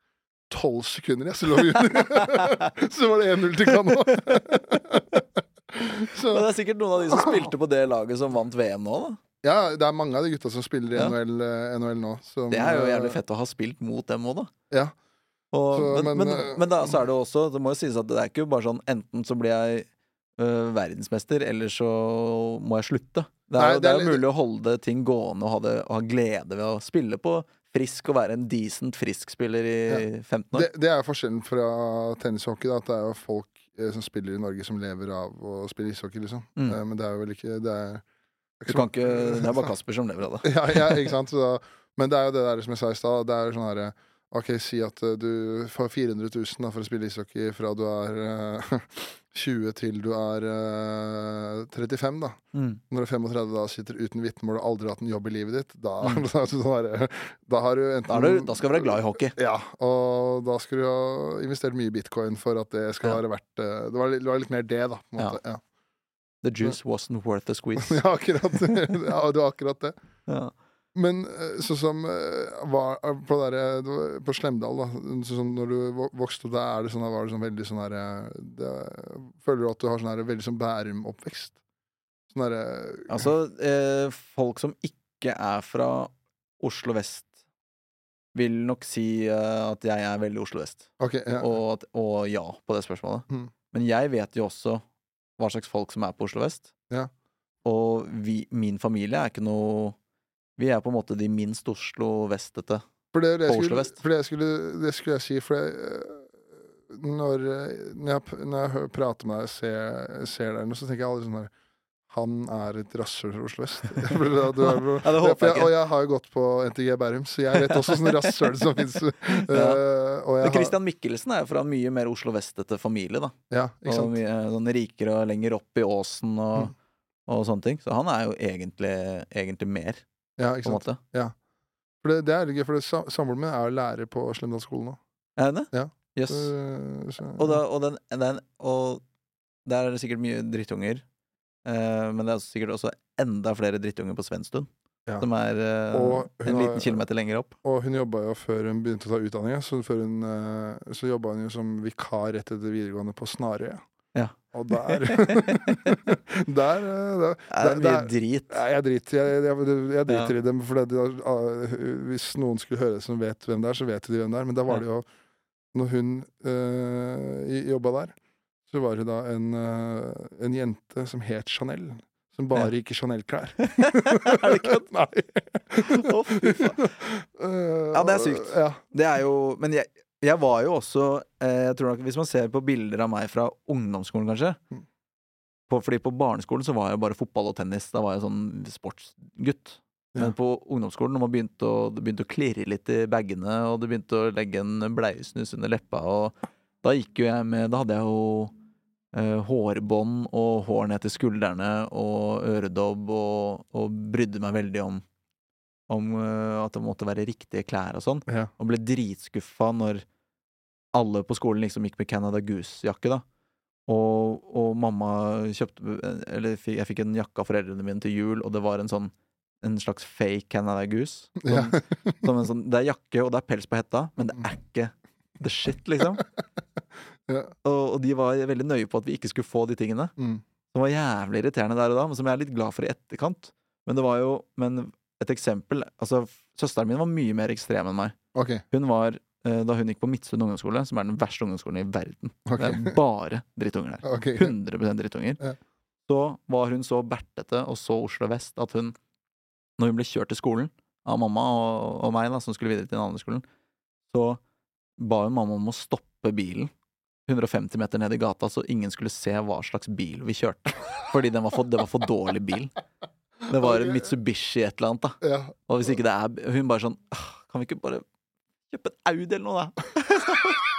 A: tolv sekunder, jeg, så lå vi under. så var det 1-0 til Canada. så
B: Men det er sikkert noen av de som spilte på det laget som vant VM nå, da.
A: ja, det er mange av de gutta som spiller i
B: Ja.
A: NHL, eh, NHL nå. som,
B: Det er jo
A: eh,
B: jævlig fett å ha spilt mot dem òg, da.
A: Ja.
B: Og,
A: Så,
B: men,
A: men,
B: men,
A: øh,
B: men da så er det jo også Det må jo sies at det er ikke jo bare sånn enten så blir jeg eh, verdensmester, eller så må jeg slutte. Det er,
A: Nei,
B: jo-
A: det
B: det
A: er
B: er jo
A: litt-
B: mulig å holde ting gående og ha, det, og ha glede ved å spille på frisk og være en decent frisk spiller i 15 år.
A: Det, det er forskjellen fra tennis og hockey. Da, at det er jo folk eh, som spiller i Norge, som lever av å spille ishockey, liksom.
B: Mm.
A: Eh, men det er jo vel ikke Det er,
B: du kan ikke, det er bare Kasper som lever av det.
A: ja, ja, ikke sant? Så da, men det er jo det der som jeg sa i stad. Det er jo sånn herre OK, si at eh, du får 400 000 da, for å spille ishockey fra du er eh, 20 til du er eh, 35, da. Når du er 35 da sitter uten vitnemål og aldri har hatt en jobb i livet ditt, da, da, er det sånn herre, da har du enten
B: Mm. Da, er du, da skal du være glad i hockey.
A: ja, og da skulle du ha investert mye i bitcoin for at det skal
B: Ja.
A: være verdt eh, det var, litt- det var litt mer det, da. På en måte. Ja.
B: The juice wasn't worth a squeeze.
A: Ja. akkurat ja, det var akkurat det.
B: Ja.
A: Men eh, sånn som eh, var, på, der, eh, det var- på Slemdal, da, sånn som når du vo- vokste opp der, er det sånn, der var det sånn veldig sånn her eh, det- Føler du at du har sånn her veldig sånn Bærum-oppvekst? Sånn derre
B: Altså, eh, folk som ikke er fra Oslo vest, vil nok si eh, at jeg er veldig Oslo vest.
A: Ok, ja.
B: Og, at, og ja på det spørsmålet.
A: Mm.
B: Men jeg vet jo også hva slags folk som er på Oslo vest.
A: Ja.
B: Og vi, min familie er ikke noe Vi er på en måte de minst Oslo vestete.
A: For det, det,
B: På
A: jeg
B: Oslo
A: skulle,
B: vest.
A: for det, jeg skulle, det skulle jeg si, for jeg, øh, når, øh, når, jeg, p- når jeg hø- prater med deg og ser, ser deg, nå, så tenker jeg aldri sånn her Han er et rasshøl fra Oslo øst. For det, du er, for
B: Ja, det
A: for
B: håper jeg
A: jeg, og
B: ikke.
A: jeg har jo gått på NTG Bærum, så jeg vet også sånne rasshøl som eh, fins.
B: Men Christian Michelsen er jo fra en mye mer Oslo vestete familie, da.
A: Ja, ikke
B: Og
A: sant? Mm.
B: mye sånn rikere og lenger opp i åsen og, og sånne ting. Så han er jo egentlig, egentlig mer,
A: Ja,
B: på
A: ikke
B: en
A: sant?
B: måte.
A: For det, det er litt gøy, for det sam- samboeren min er jo lærer på Slemdalsskolen nå.
B: Er han det?
A: Ja.
B: Jøss.
A: Øh, så-
B: Og, da, og, den, den, og der er det sikkert mye drittunger. Eh, men det er sikkert også enda flere drittunger på Svenstun,
A: Ja.
B: som er eh,
A: Og hun
B: en
A: har-
B: liten kilometer lenger opp.
A: Og hun jobba jo før hun begynte å ta utdanning, så, før hun, eh, så jobba hun jo som vikar rett etter videregående på Snarøya.
B: Ja.
A: Og der Der, eh, der
B: Det er
A: det-
B: mye
A: det
B: drit.
A: Nei, jeg driter, jeg, jeg, jeg driter i dem. For det, det- ah, hvis noen skulle høre som vet hvem det er, så vet de hvem det er. Men da var det jo Når hun øh, jobba der, så var det da en, øh, en jente som het Chanel. Som bare gikk i Chanel-klær.
B: er det kødd?
A: Nei.
B: Å, fy faen.
A: Eh,
B: Ja, det er sykt.
A: Ja.
B: Det er jo Men jeg, jeg var jo også eh, Jeg tror nok Hvis man ser på bilder av meg fra ungdomsskolen, kanskje
A: Mm.
B: på, Fordi på barneskolen så var jeg bare fotball og tennis. Da var jeg sånn sportsgutt. Men
A: Ja.
B: på ungdomsskolen, når man begynte å, det begynte å klirre litt i bagene, og du begynte å legge en bleiesnus under leppa, og da gikk jo jeg med Da hadde jeg jo eh, hårbånd og hår ned til skuldrene og øredobb og, og brydde meg veldig om, om eh, at det måtte være riktige klær og sånn
A: Ja.
B: og ble dritskuffa når alle på skolen liksom gikk med Canada Goose-jakke, da. Og, og mamma kjøpte Eller fi- jeg fikk en jakke av foreldrene mine til jul, og det var en sånn en slags fake Canada Goose.
A: Ja. Mm.
B: Sånn, som en sånn, det er jakke, og det er pels på hetta, men det er ikke the shit, liksom.
A: Ja.
B: Og, og de var veldig nøye på at vi ikke skulle få de tingene.
A: Mm.
B: Som var jævlig irriterende der og da, men som jeg er litt glad for i etterkant. Men det var jo Men et eksempel Altså, søsteren min var mye mer ekstrem enn meg.
A: Ok.
B: Hun var, eh, da hun gikk på Midtsund ungdomsskole, som er den verste ungdomsskolen i verden
A: ok.
B: Det er bare drittunger der.
A: Ok.
B: 100 drittunger.
A: Ja.
B: Så var hun så bertete og så Oslo vest at hun, når hun ble kjørt til skolen av mamma og, og meg, da, som skulle videre til den andre skolen, så ba hun mamma om å stoppe bilen 150 meter ned i gata, så ingen skulle se hva slags bil vi kjørte. Fordi den var for, det var for dårlig bil. Det var en
A: Ok.
B: Mitsubishi et eller annet, da.
A: Ja.
B: Og hvis ikke det er Hun bare sånn «Ah, Kan vi ikke bare kjøpe en Audi eller noe, da?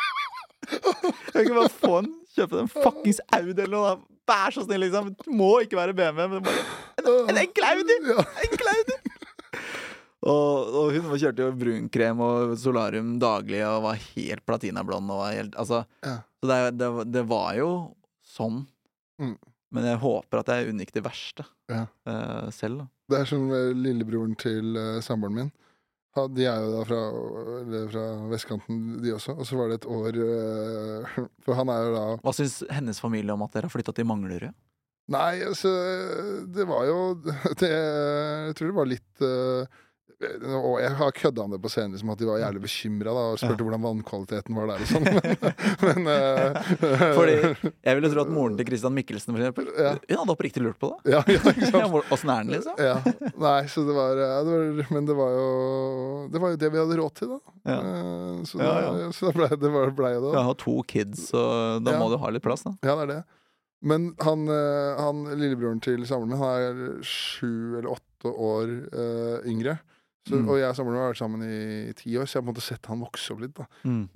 B: Kan vi ikke bare få en Kjøpe en fuckings Audi eller noe, da? Vær så snill, liksom. Det må ikke være BMW, men bare en enkel Audi!
A: Ja.
B: en Audi! Og, og hun var- kjørte jo brunkrem og solarium daglig og var helt platinablond og var helt Altså.
A: Ja.
B: Så det, er- det, var- det var jo sånn.
A: Mm.
B: Men jeg håper at jeg unngikk det verste
A: Ja.
B: eh, selv, da.
A: Det er som eh, lillebroren til eh, samboeren min. Ha- De er jo da fra, eller fra vestkanten, de også. Og så var det et år eh, For han er jo da
B: Hva syns hennes familie om at dere har flytta til Manglerud?
A: Nei, altså Det var jo det, Jeg tror det var litt eh, Og jeg har kødda om det på scenen, liksom, at de var jævlig bekymra og spurte hvordan vannkvaliteten var der og sånn. Men, men eh,
B: Fordi jeg ville tro at moren til Christian Mikkelsen for eksempel,
A: Ja.
B: hun hadde oppriktig lurt på det.
A: ja, ja, ikke
B: Ja,
A: sant?
B: hvor- Åssen er den, liksom?
A: Ja. Nei, så det var, ja, det var Men det var jo Det var jo det vi hadde råd til, da.
B: Ja.
A: Eh, Så,
B: Ja,
A: da- så da ble, det var- ble jo det.
B: Jeg
A: da.
B: har to kids, så da
A: Ja.
B: må du ha litt plass, da.
A: Ja, det er det. Men han, eh, han lillebroren til samboeren min, han er sju eller åtte år eh, yngre. Så,
B: Mm.
A: Og jeg og samboeren min har vært sammen i ti år, så jeg har på en måte sett han vokse opp litt. da.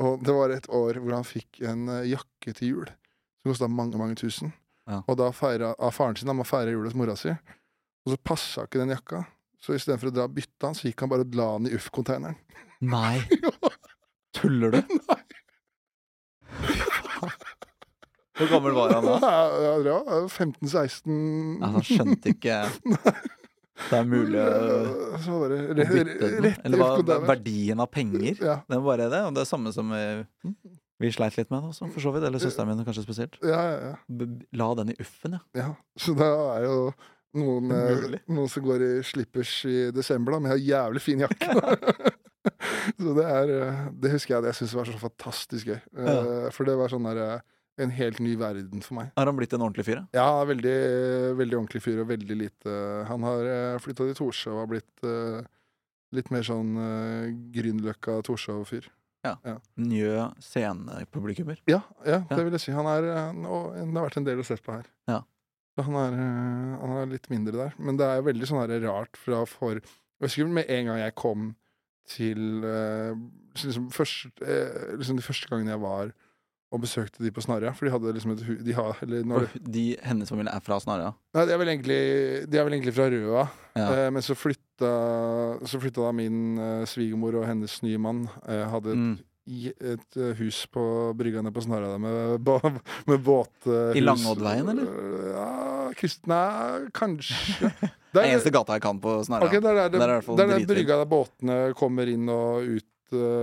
A: Og det var et år hvor han fikk en eh, jakke til jul som kosta mange, mange tusen.
B: Ja.
A: Og da feira av faren sin, han må feire jul hos mora si. Og så passa ikke den jakka. Så istedenfor å dra og bytte han, så gikk han bare og la den i UFF-konteineren.
B: Nei,
A: Jo,
B: tuller du?
A: Nei.
B: Hvor gammel var han
A: ja,
B: da?
A: ja, eh, 15-16
B: Nei, han skjønte ikke det er mulig å
A: Så bare
B: å
A: re-
B: bytte
A: re-
B: den.
A: rett i
B: Eller hva
A: UFF-konteineren.
B: verdien av penger?
A: Ja, Mm.
B: Det var bare det, og det er samme som eh, vi sleit litt med, da, så for så vidt. Eller søsteren min, kanskje spesielt.
A: ja, ja, ja.
B: B b- la den i uffen, ja.
A: Ja, så da er jo noen, eh,
B: Umulig.
A: noen som går i slippers i desember, da, men jeg har jævlig fin jakke. da. så det er eh, Det husker jeg at jeg syntes var så fantastisk gøy. Eh, For det var sånn der eh, en helt ny verden for meg.
B: Har han blitt en ordentlig fyr? ja?
A: Ja, veldig, veldig ordentlig fyr og veldig lite Han har flytta til Torshov og har blitt eh, litt mer sånn eh, Grünerløkka-Torshov-fyr.
B: Njø scenepublikummer.
A: Ja, ja,
B: Ja.
A: det vil jeg si. Han er, han, og han har vært en del å se på her.
B: Ja.
A: Så han er, øh, han er litt mindre der. Men det er jo veldig sånn her rart fra for Jeg husker med en gang jeg kom til øh, liksom, først, øh, liksom De første gangene jeg var og besøkte de på Snarøya For de hadde liksom et hu... De har, eller nå er det-
B: For de, hennes familie er fra Snarøya.
A: Nei, de er vel egentlig, de er vel egentlig fra Røa.
B: Ja.
A: Eh, men så flytta, så flytta da min eh, svigermor og hennes nye mann eh, hadde et,
B: Mm.
A: i- et eh, hus på brygga nede på Snarøya med, ba- med båthus.
B: I Langoddveien, eller?
A: Ja, Krist... Nei, kanskje.
B: Det er eneste gata jeg kan på Snarøya.
A: Ok, der er det,
B: Der er det i hvert fall
A: der er det
B: dritfint.
A: brygga der båtene kommer inn og ut. eh,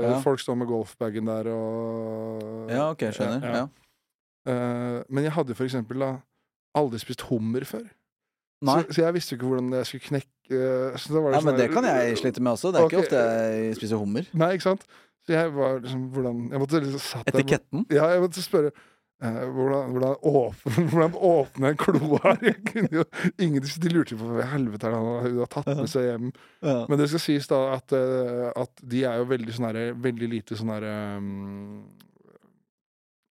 B: Ja.
A: Folk står med golfbagen der og
B: Ja, ok, skjønner.
A: Ja,
B: Ja,
A: ja. Eh, men jeg hadde for eksempel da aldri spist hummer før.
B: Nei.
A: Så, så jeg visste jo ikke hvordan jeg skulle knekke eh, så da var det
B: Nei,
A: sånn
B: men det
A: der-
B: kan jeg slite med også. Det er
A: Ok.
B: ikke ofte jeg spiser hummer.
A: Nei, ikke sant? Så jeg var liksom hvordan Jeg måtte liksom satt der-
B: Etiketten.
A: Ja, jeg måtte spørre eh, hvordan, hvordan, åpne, hvordan åpne en kloa? Jeg kunne jo- Ingen de lurte jo på hva i helvete er det han har- hun har tatt med seg hjem.
B: Ja.
A: Men det skal sies da at, eh, at de er jo veldig sånn herre Veldig lite sånn herre mm,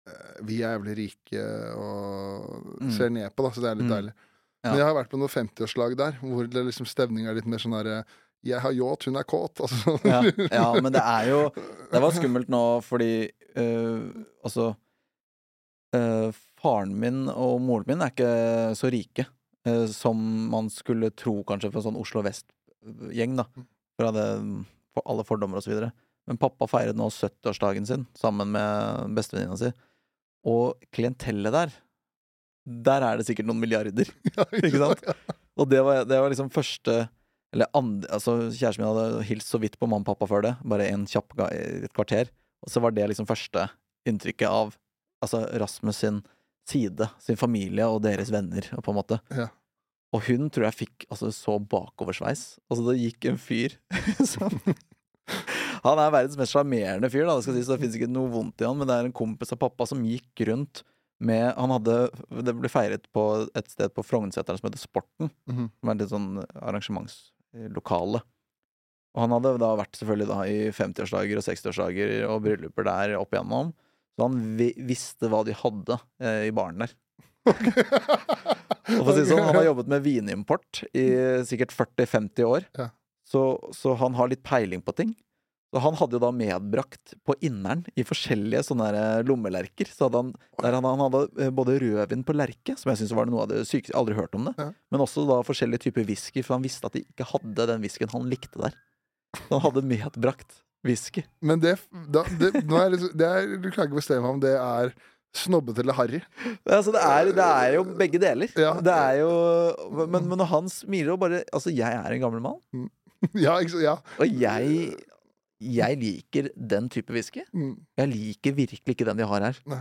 A: eh, Vi er jævlig rike og
B: Mm.
A: ser ned på, da, så det er litt
B: Mm.
A: deilig.
B: Ja.
A: Men jeg har vært på noen 50-årslag der, hvor det liksom stemninga er litt mer sånn herre Jeg har yacht, hun er kåt. Altså.
B: Ja. ja, men det er jo Det var skummelt nå fordi øh, Altså øh, Faren min og moren min er ikke så rike øh, som man skulle tro, kanskje, for en sånn Oslo Vest-gjeng, da. Fra det, for alle fordommer og så videre. Men pappa feiret nå 70-årsdagen sin sammen med bestevenninna si. Og klientellet der Der er det sikkert noen milliarder. Ikke sant? Og det var, det var liksom første Eller andre, altså kjæresten min hadde hilst så vidt på mamma og pappa før det. Bare en kjapp ga- et kvarter. Og så var det liksom første inntrykket av altså Rasmus sin side, sin familie og deres venner, på en måte.
A: Ja.
B: Og hun tror jeg fikk altså, så bakoversveis. Altså, det gikk en fyr som Han er verdens mest sjarmerende fyr, da. Det, skal sies, det fins ikke noe vondt i han, men det er en kompis av pappa som gikk rundt med Han hadde Det ble feiret på et sted på Frognerseteren som heter Sporten
A: Mhm.
B: som er litt sånn arrangementslokale. Og han hadde da vært selvfølgelig da i 50-årsdager og 60-årsdager og brylluper der opp igjennom, så han vi visste hva de hadde eh, i baren der. Og for å si det sånn, han har jobbet med vinimport i sikkert 40-50 år,
A: Ja.
B: så, så han har litt peiling på ting. Så han hadde jo da medbrakt på inneren i forskjellige sånne der lommelerker. Så hadde han, der han, han hadde eh, både rødvin på lerke, som jeg syns var noe av det sykeste, aldri hørt om det,
A: Ja.
B: men også da forskjellige typer whisky, for han visste at de ikke hadde den whiskyen han likte der. Så han hadde medbrakt whisky.
A: Men det, da, det, nå er jeg litt- det er, du klarer ikke å bestemme om det er snobbete eller harry.
B: Altså, det, er, det er jo begge deler.
A: Ja.
B: Det er jo, men, men når han smiler og bare Altså, jeg er en gammel mann.
A: Ja, ikke, så- ja.
B: Og jeg Jeg liker den type whisky.
A: Mm.
B: Jeg liker virkelig ikke den de har her.
A: Nei.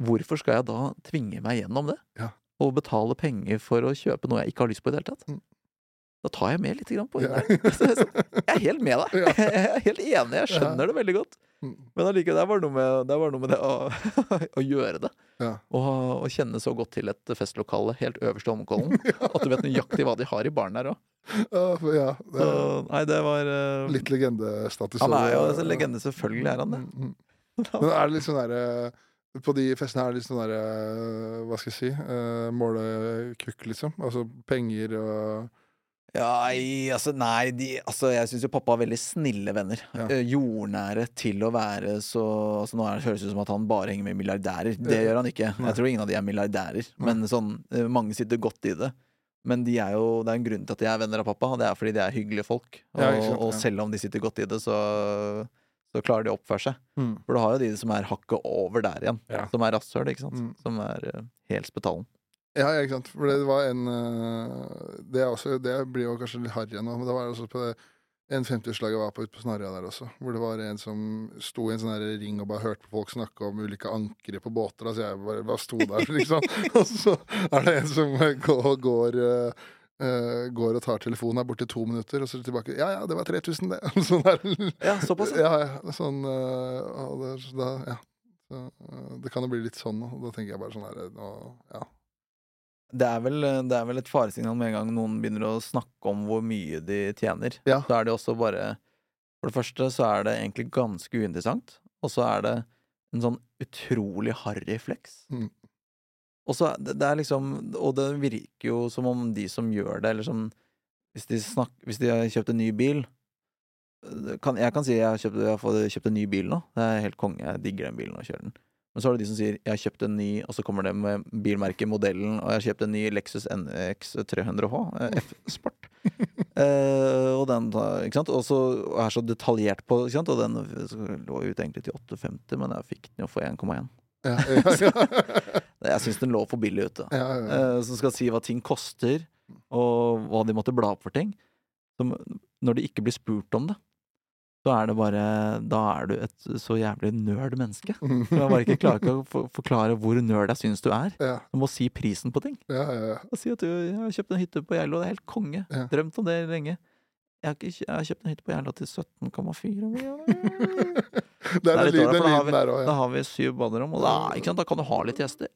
B: Hvorfor skal jeg da tvinge meg gjennom det?
A: Ja.
B: Og betale penger for å kjøpe noe jeg ikke har lyst på i det hele tatt?
A: Mm.
B: da tar jeg med litt grann på
A: Ja.
B: inneren. Så jeg er sånn, jeg er helt med deg.
A: Ja.
B: Jeg er helt enig. Jeg skjønner det veldig godt.
A: Mm.
B: Men allikevel, det var noe med det, var noe med det å, å gjøre det.
A: Ja.
B: Og å kjenne så godt til et festlokale helt øverst i Holmenkollen at du vet nøyaktig hva de har i baren der òg.
A: Ja, for- ja, det
B: Så
A: er
B: nei, det var eh,
A: litt legendestatus.
B: Han er jo altså
A: over-
B: en legende, selvfølgelig er han det.
A: Mm, mm. Men er det litt sånn derre På de festene er det litt sånn derre Hva skal jeg si? eh, Målekukk, liksom? Altså penger og
B: Ja, nei, altså, nei de, altså, jeg syns jo pappa har veldig snille venner.
A: Ja.
B: Eh, jordnære til å være så altså, Nå er det, høres det ut som at han bare henger med milliardærer. Det
A: Ja.
B: gjør han ikke.
A: Nei.
B: Jeg tror ingen av de er milliardærer.
A: Nei.
B: Men sånn, eh, mange sitter godt i det. Men de er jo, det er en grunn til at de er venner av pappa, og det er fordi de er hyggelige folk. Og,
A: Ja, ikke sant,
B: og
A: ja.
B: selv om de sitter godt i det, så, så klarer de å oppføre seg. For du har jo de som er hakket over der igjen,
A: Ja.
B: som er rasshøl, ikke sant.
A: Mm.
B: Som er eh, helt spetalen.
A: Ja, ja, ikke sant. For det var en eh, Det, er også, det blir jo kanskje litt harry nå, men det var også på det en 50-årslag jeg var på ute på Snarøya der også, hvor det var en som sto i en sånn her ring og bare hørte på folk snakke om ulike ankre på båter. Altså jeg bare, bare sto der, liksom. og så er det en som går, går eh, eh, går og tar telefonen, er borte i to minutter, og så er det tilbake. Ja, ja, det var 3000, det. Sånn der.
B: Ja, såpass.
A: Ja, ja, sånn eh, og det, er så da, ja. Så, eh, det kan jo bli litt sånn, og da tenker jeg bare sånn her nå- ja.
B: Det er, vel, eh, det er vel et faresignal med en gang noen begynner å snakke om hvor mye de tjener.
A: Ja.
B: Så er det også bare For det første så er det egentlig ganske uinteressant, og så er det en sånn utrolig harry fleks.
A: Mm.
B: Og så er det, det er liksom Og det virker jo som om de som gjør det, eller som Hvis de, snak, hvis de har kjøpt en ny bil det kan, Jeg kan si jeg har, kjøpt, jeg har fått- kjøpt en ny bil nå. Det er helt konge. Jeg digger den bilen og kjører den. Men så er det de som sier 'jeg har kjøpt en ny', og så kommer det med bilmerket, modellen, og 'jeg har kjøpt en ny Lexus NX 300H, eh, F Sport'. Eh, og den da, ikke sant? Og så og er så detaljert på, ikke sant? og den lå ut egentlig til 850, men jeg fikk den jo for 1,1.
A: Ja, ja, ja.
B: Jeg syns den lå for billig ute.
A: ja, ja, ja.
B: eh, som skal si hva ting koster, og hva de måtte bla opp for ting. Som, når de ikke blir spurt om det, så er det bare Da er du et så jævlig nerd menneske.
A: Mm.
B: Som jeg bare ikke klarer ikke å for- forklare hvor nerd jeg syns du er.
A: Ja,
B: Du må si prisen på ting.
A: ja, ja.
B: Og si at du jeg har kjøpt en hytte på Geilo, det er helt konge.
A: Ja.
B: Drømt om det lenge. Jeg har, ikke, kjø- jeg har kjøpt en hytte på Geilo til 17,4 millioner.
A: Det er den
B: litt
A: lyden
B: dårlig,
A: den
B: for da har
A: lyden der òg,
B: Da
A: ja.
B: har vi syv baderom, og da, ikke sant? da kan du ha litt gjester.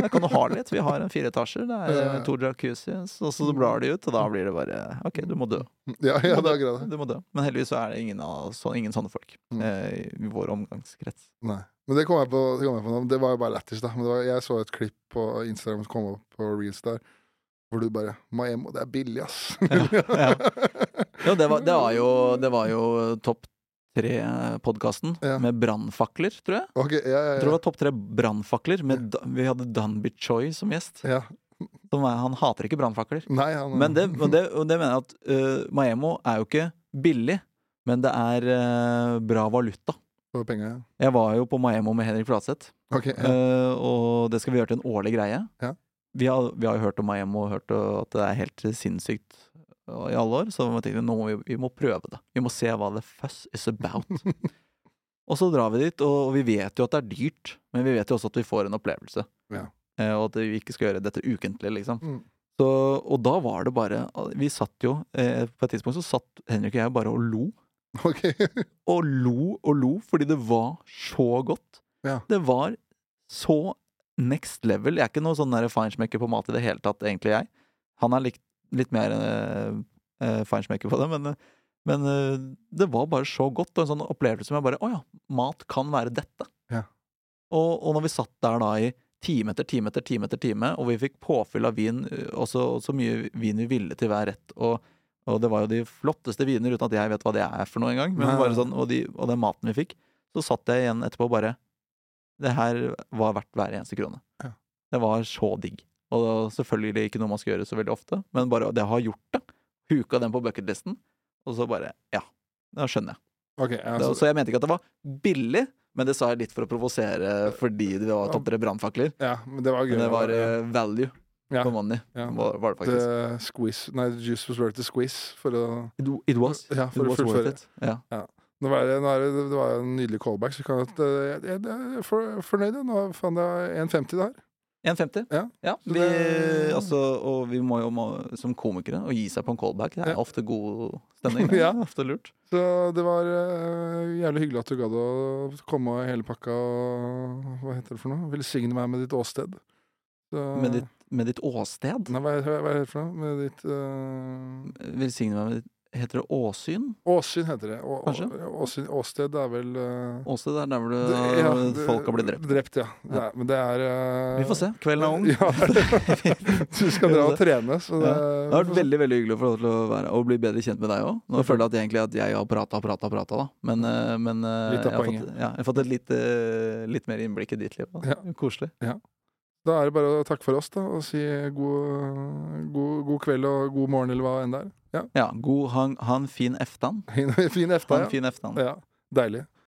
B: Da kan du ha litt. Vi har en fire etasjer, det er eh, to jacuzzis, og så blar de ut, og da blir det bare OK, du må dø.
A: Ja, ja, det er akkurat det.
B: Du må dø. Men heldigvis så er det ingen, av, så, ingen sånne folk
A: Mm.
B: eh, i vår omgangskrets.
A: Nei. Men det kom jeg på, det kom jeg på nå. Det var jo bare lættis, da. Men det var, jeg så et klipp på Instagram som kom opp på Reels der, hvor du bare Maemo, det er billig, ass.
B: ja. Ja, det var, det var, jo, det var jo topp tre-podkasten
A: Ja.
B: med brannfakler, tror jeg.
A: Ok, ja, ja,
B: Jeg tror det
A: ja.
B: var topp tre brannfakler. Med, Da- vi hadde Danby Choi som gjest.
A: ja.
B: Som er, han hater ikke brannfakler.
A: Nei, han
B: Men det, og det, og det mener jeg at eh, Maemo er jo ikke billig, men det er eh, bra valuta.
A: For penger, ja.
B: Jeg var jo på Maemo med Henrik Flatseth,
A: Ok, ja.
B: eh, og det skal vi gjøre til en årlig greie.
A: Ja.
B: Vi, har, vi har jo hørt om Maemo og hørt eh, at det er helt sinnssykt eh, i alle år, så vi tenkte, nå må vi, vi må prøve det. Vi må se hva the fuss is about. og så drar vi dit, og vi vet jo at det er dyrt, men vi vet jo også at vi får en opplevelse.
A: Ja.
B: Eh, og at vi ikke skal gjøre dette ukentlig, liksom.
A: Mm.
B: Så, og da var det bare Vi satt jo eh, På et tidspunkt så satt Henrik og jeg bare og lo.
A: Ok.
B: Og lo og lo, fordi det var så godt.
A: Ja.
B: Det var så next level. Jeg er ikke noe sånn der feinschmecker på mat i det hele tatt, egentlig, jeg. Han er likt, litt mer eh, eh, feinschmecker på det, men, eh, men eh, det var bare så godt, og en sånn opplevelse som jeg bare Å ja, mat kan være dette.
A: Ja.
B: Og, og når vi satt der da i time etter time etter time, etter time og vi fikk påfyll av vin, eh, og så, og så mye vin vi ville til hver rett, og, og det var jo de flotteste viner, uten at jeg vet hva det er for noe engang, men
A: Nei.
B: bare sånn, og, de, og den maten vi fikk, så satt jeg igjen etterpå og bare Det her var verdt hver eneste krone.
A: Ja.
B: Det var så digg. Og det var selvfølgelig ikke noe man skal gjøre så veldig ofte, men bare det å ha gjort det, huka den på bucketlisten, og så bare Ja, da skjønner jeg.
A: Ok, ja, altså,
B: Det-
A: så,
B: så jeg mente ikke at det var billig, men det sa jeg litt for å provosere fordi det var tatt dere brannfakler.
A: ja, men det var gøy.
B: Men det var eh, value
A: Ja.
B: for money,
A: ja.
B: var, var det faktisk.
A: The squeeze Nei, the juice was worth the squeeze, for å
B: It, it was.
A: Ja,
B: It
A: for å
B: was worth
A: fullføre.
B: it. Ja.
A: Nå var det, nå er det, det var en nydelig callback, så vi kan, jeg, jeg, jeg er for, fornøyd. jeg. Nå fant jeg 1,50 der.
B: 1,50.
A: Ja. Så
B: vi,
A: det-
B: altså, og vi må jo må, som komikere å gi seg på en callback. Det er
A: Ja.
B: ofte god stemning. Det
A: Ja.
B: er ofte lurt.
A: Så det var eh, jævlig hyggelig at du gadd å komme og hele pakka og hva heter det for noe? Velsigne meg med ditt åsted. Så-
B: Med ditt, med ditt åsted.
A: Nei, hva, hva hva heter det for noe? Med ditt eh,
B: Velsigne meg med ditt Heter det åsyn?
A: Åsyn heter det. Å- å-
B: Kanskje?
A: Åsyn, åsted er vel eh,
B: Åsted er der hvor
A: det-
B: det-
A: ja,
B: folk har blitt drept.
A: ja. Det er, men det er eh,
B: Vi får se. Kvelden er ung.
A: Ja. du skal dra og trene, så det,
B: Det har vært veldig veldig hyggelig å få lov til å være og bli bedre kjent med deg òg. Nå føler jeg at egentlig at jeg har prata og prata og prata, da. Men, eh, men eh,
A: Litt av
B: jeg, har fått,
A: poenget.
B: ja, jeg har fått et litt, eh, litt mer innblikk i ditt liv. Da. Koselig.
A: Da er det bare å takke for oss, da, og si god, god, god kveld og god morgen, eller hva enn det er.
B: Ja, god, ha en- ha en fin eftan.
A: Fin- Fin
B: Ha
A: efta,
B: en
A: ja.
B: fin eftan.
A: ja. Deilig.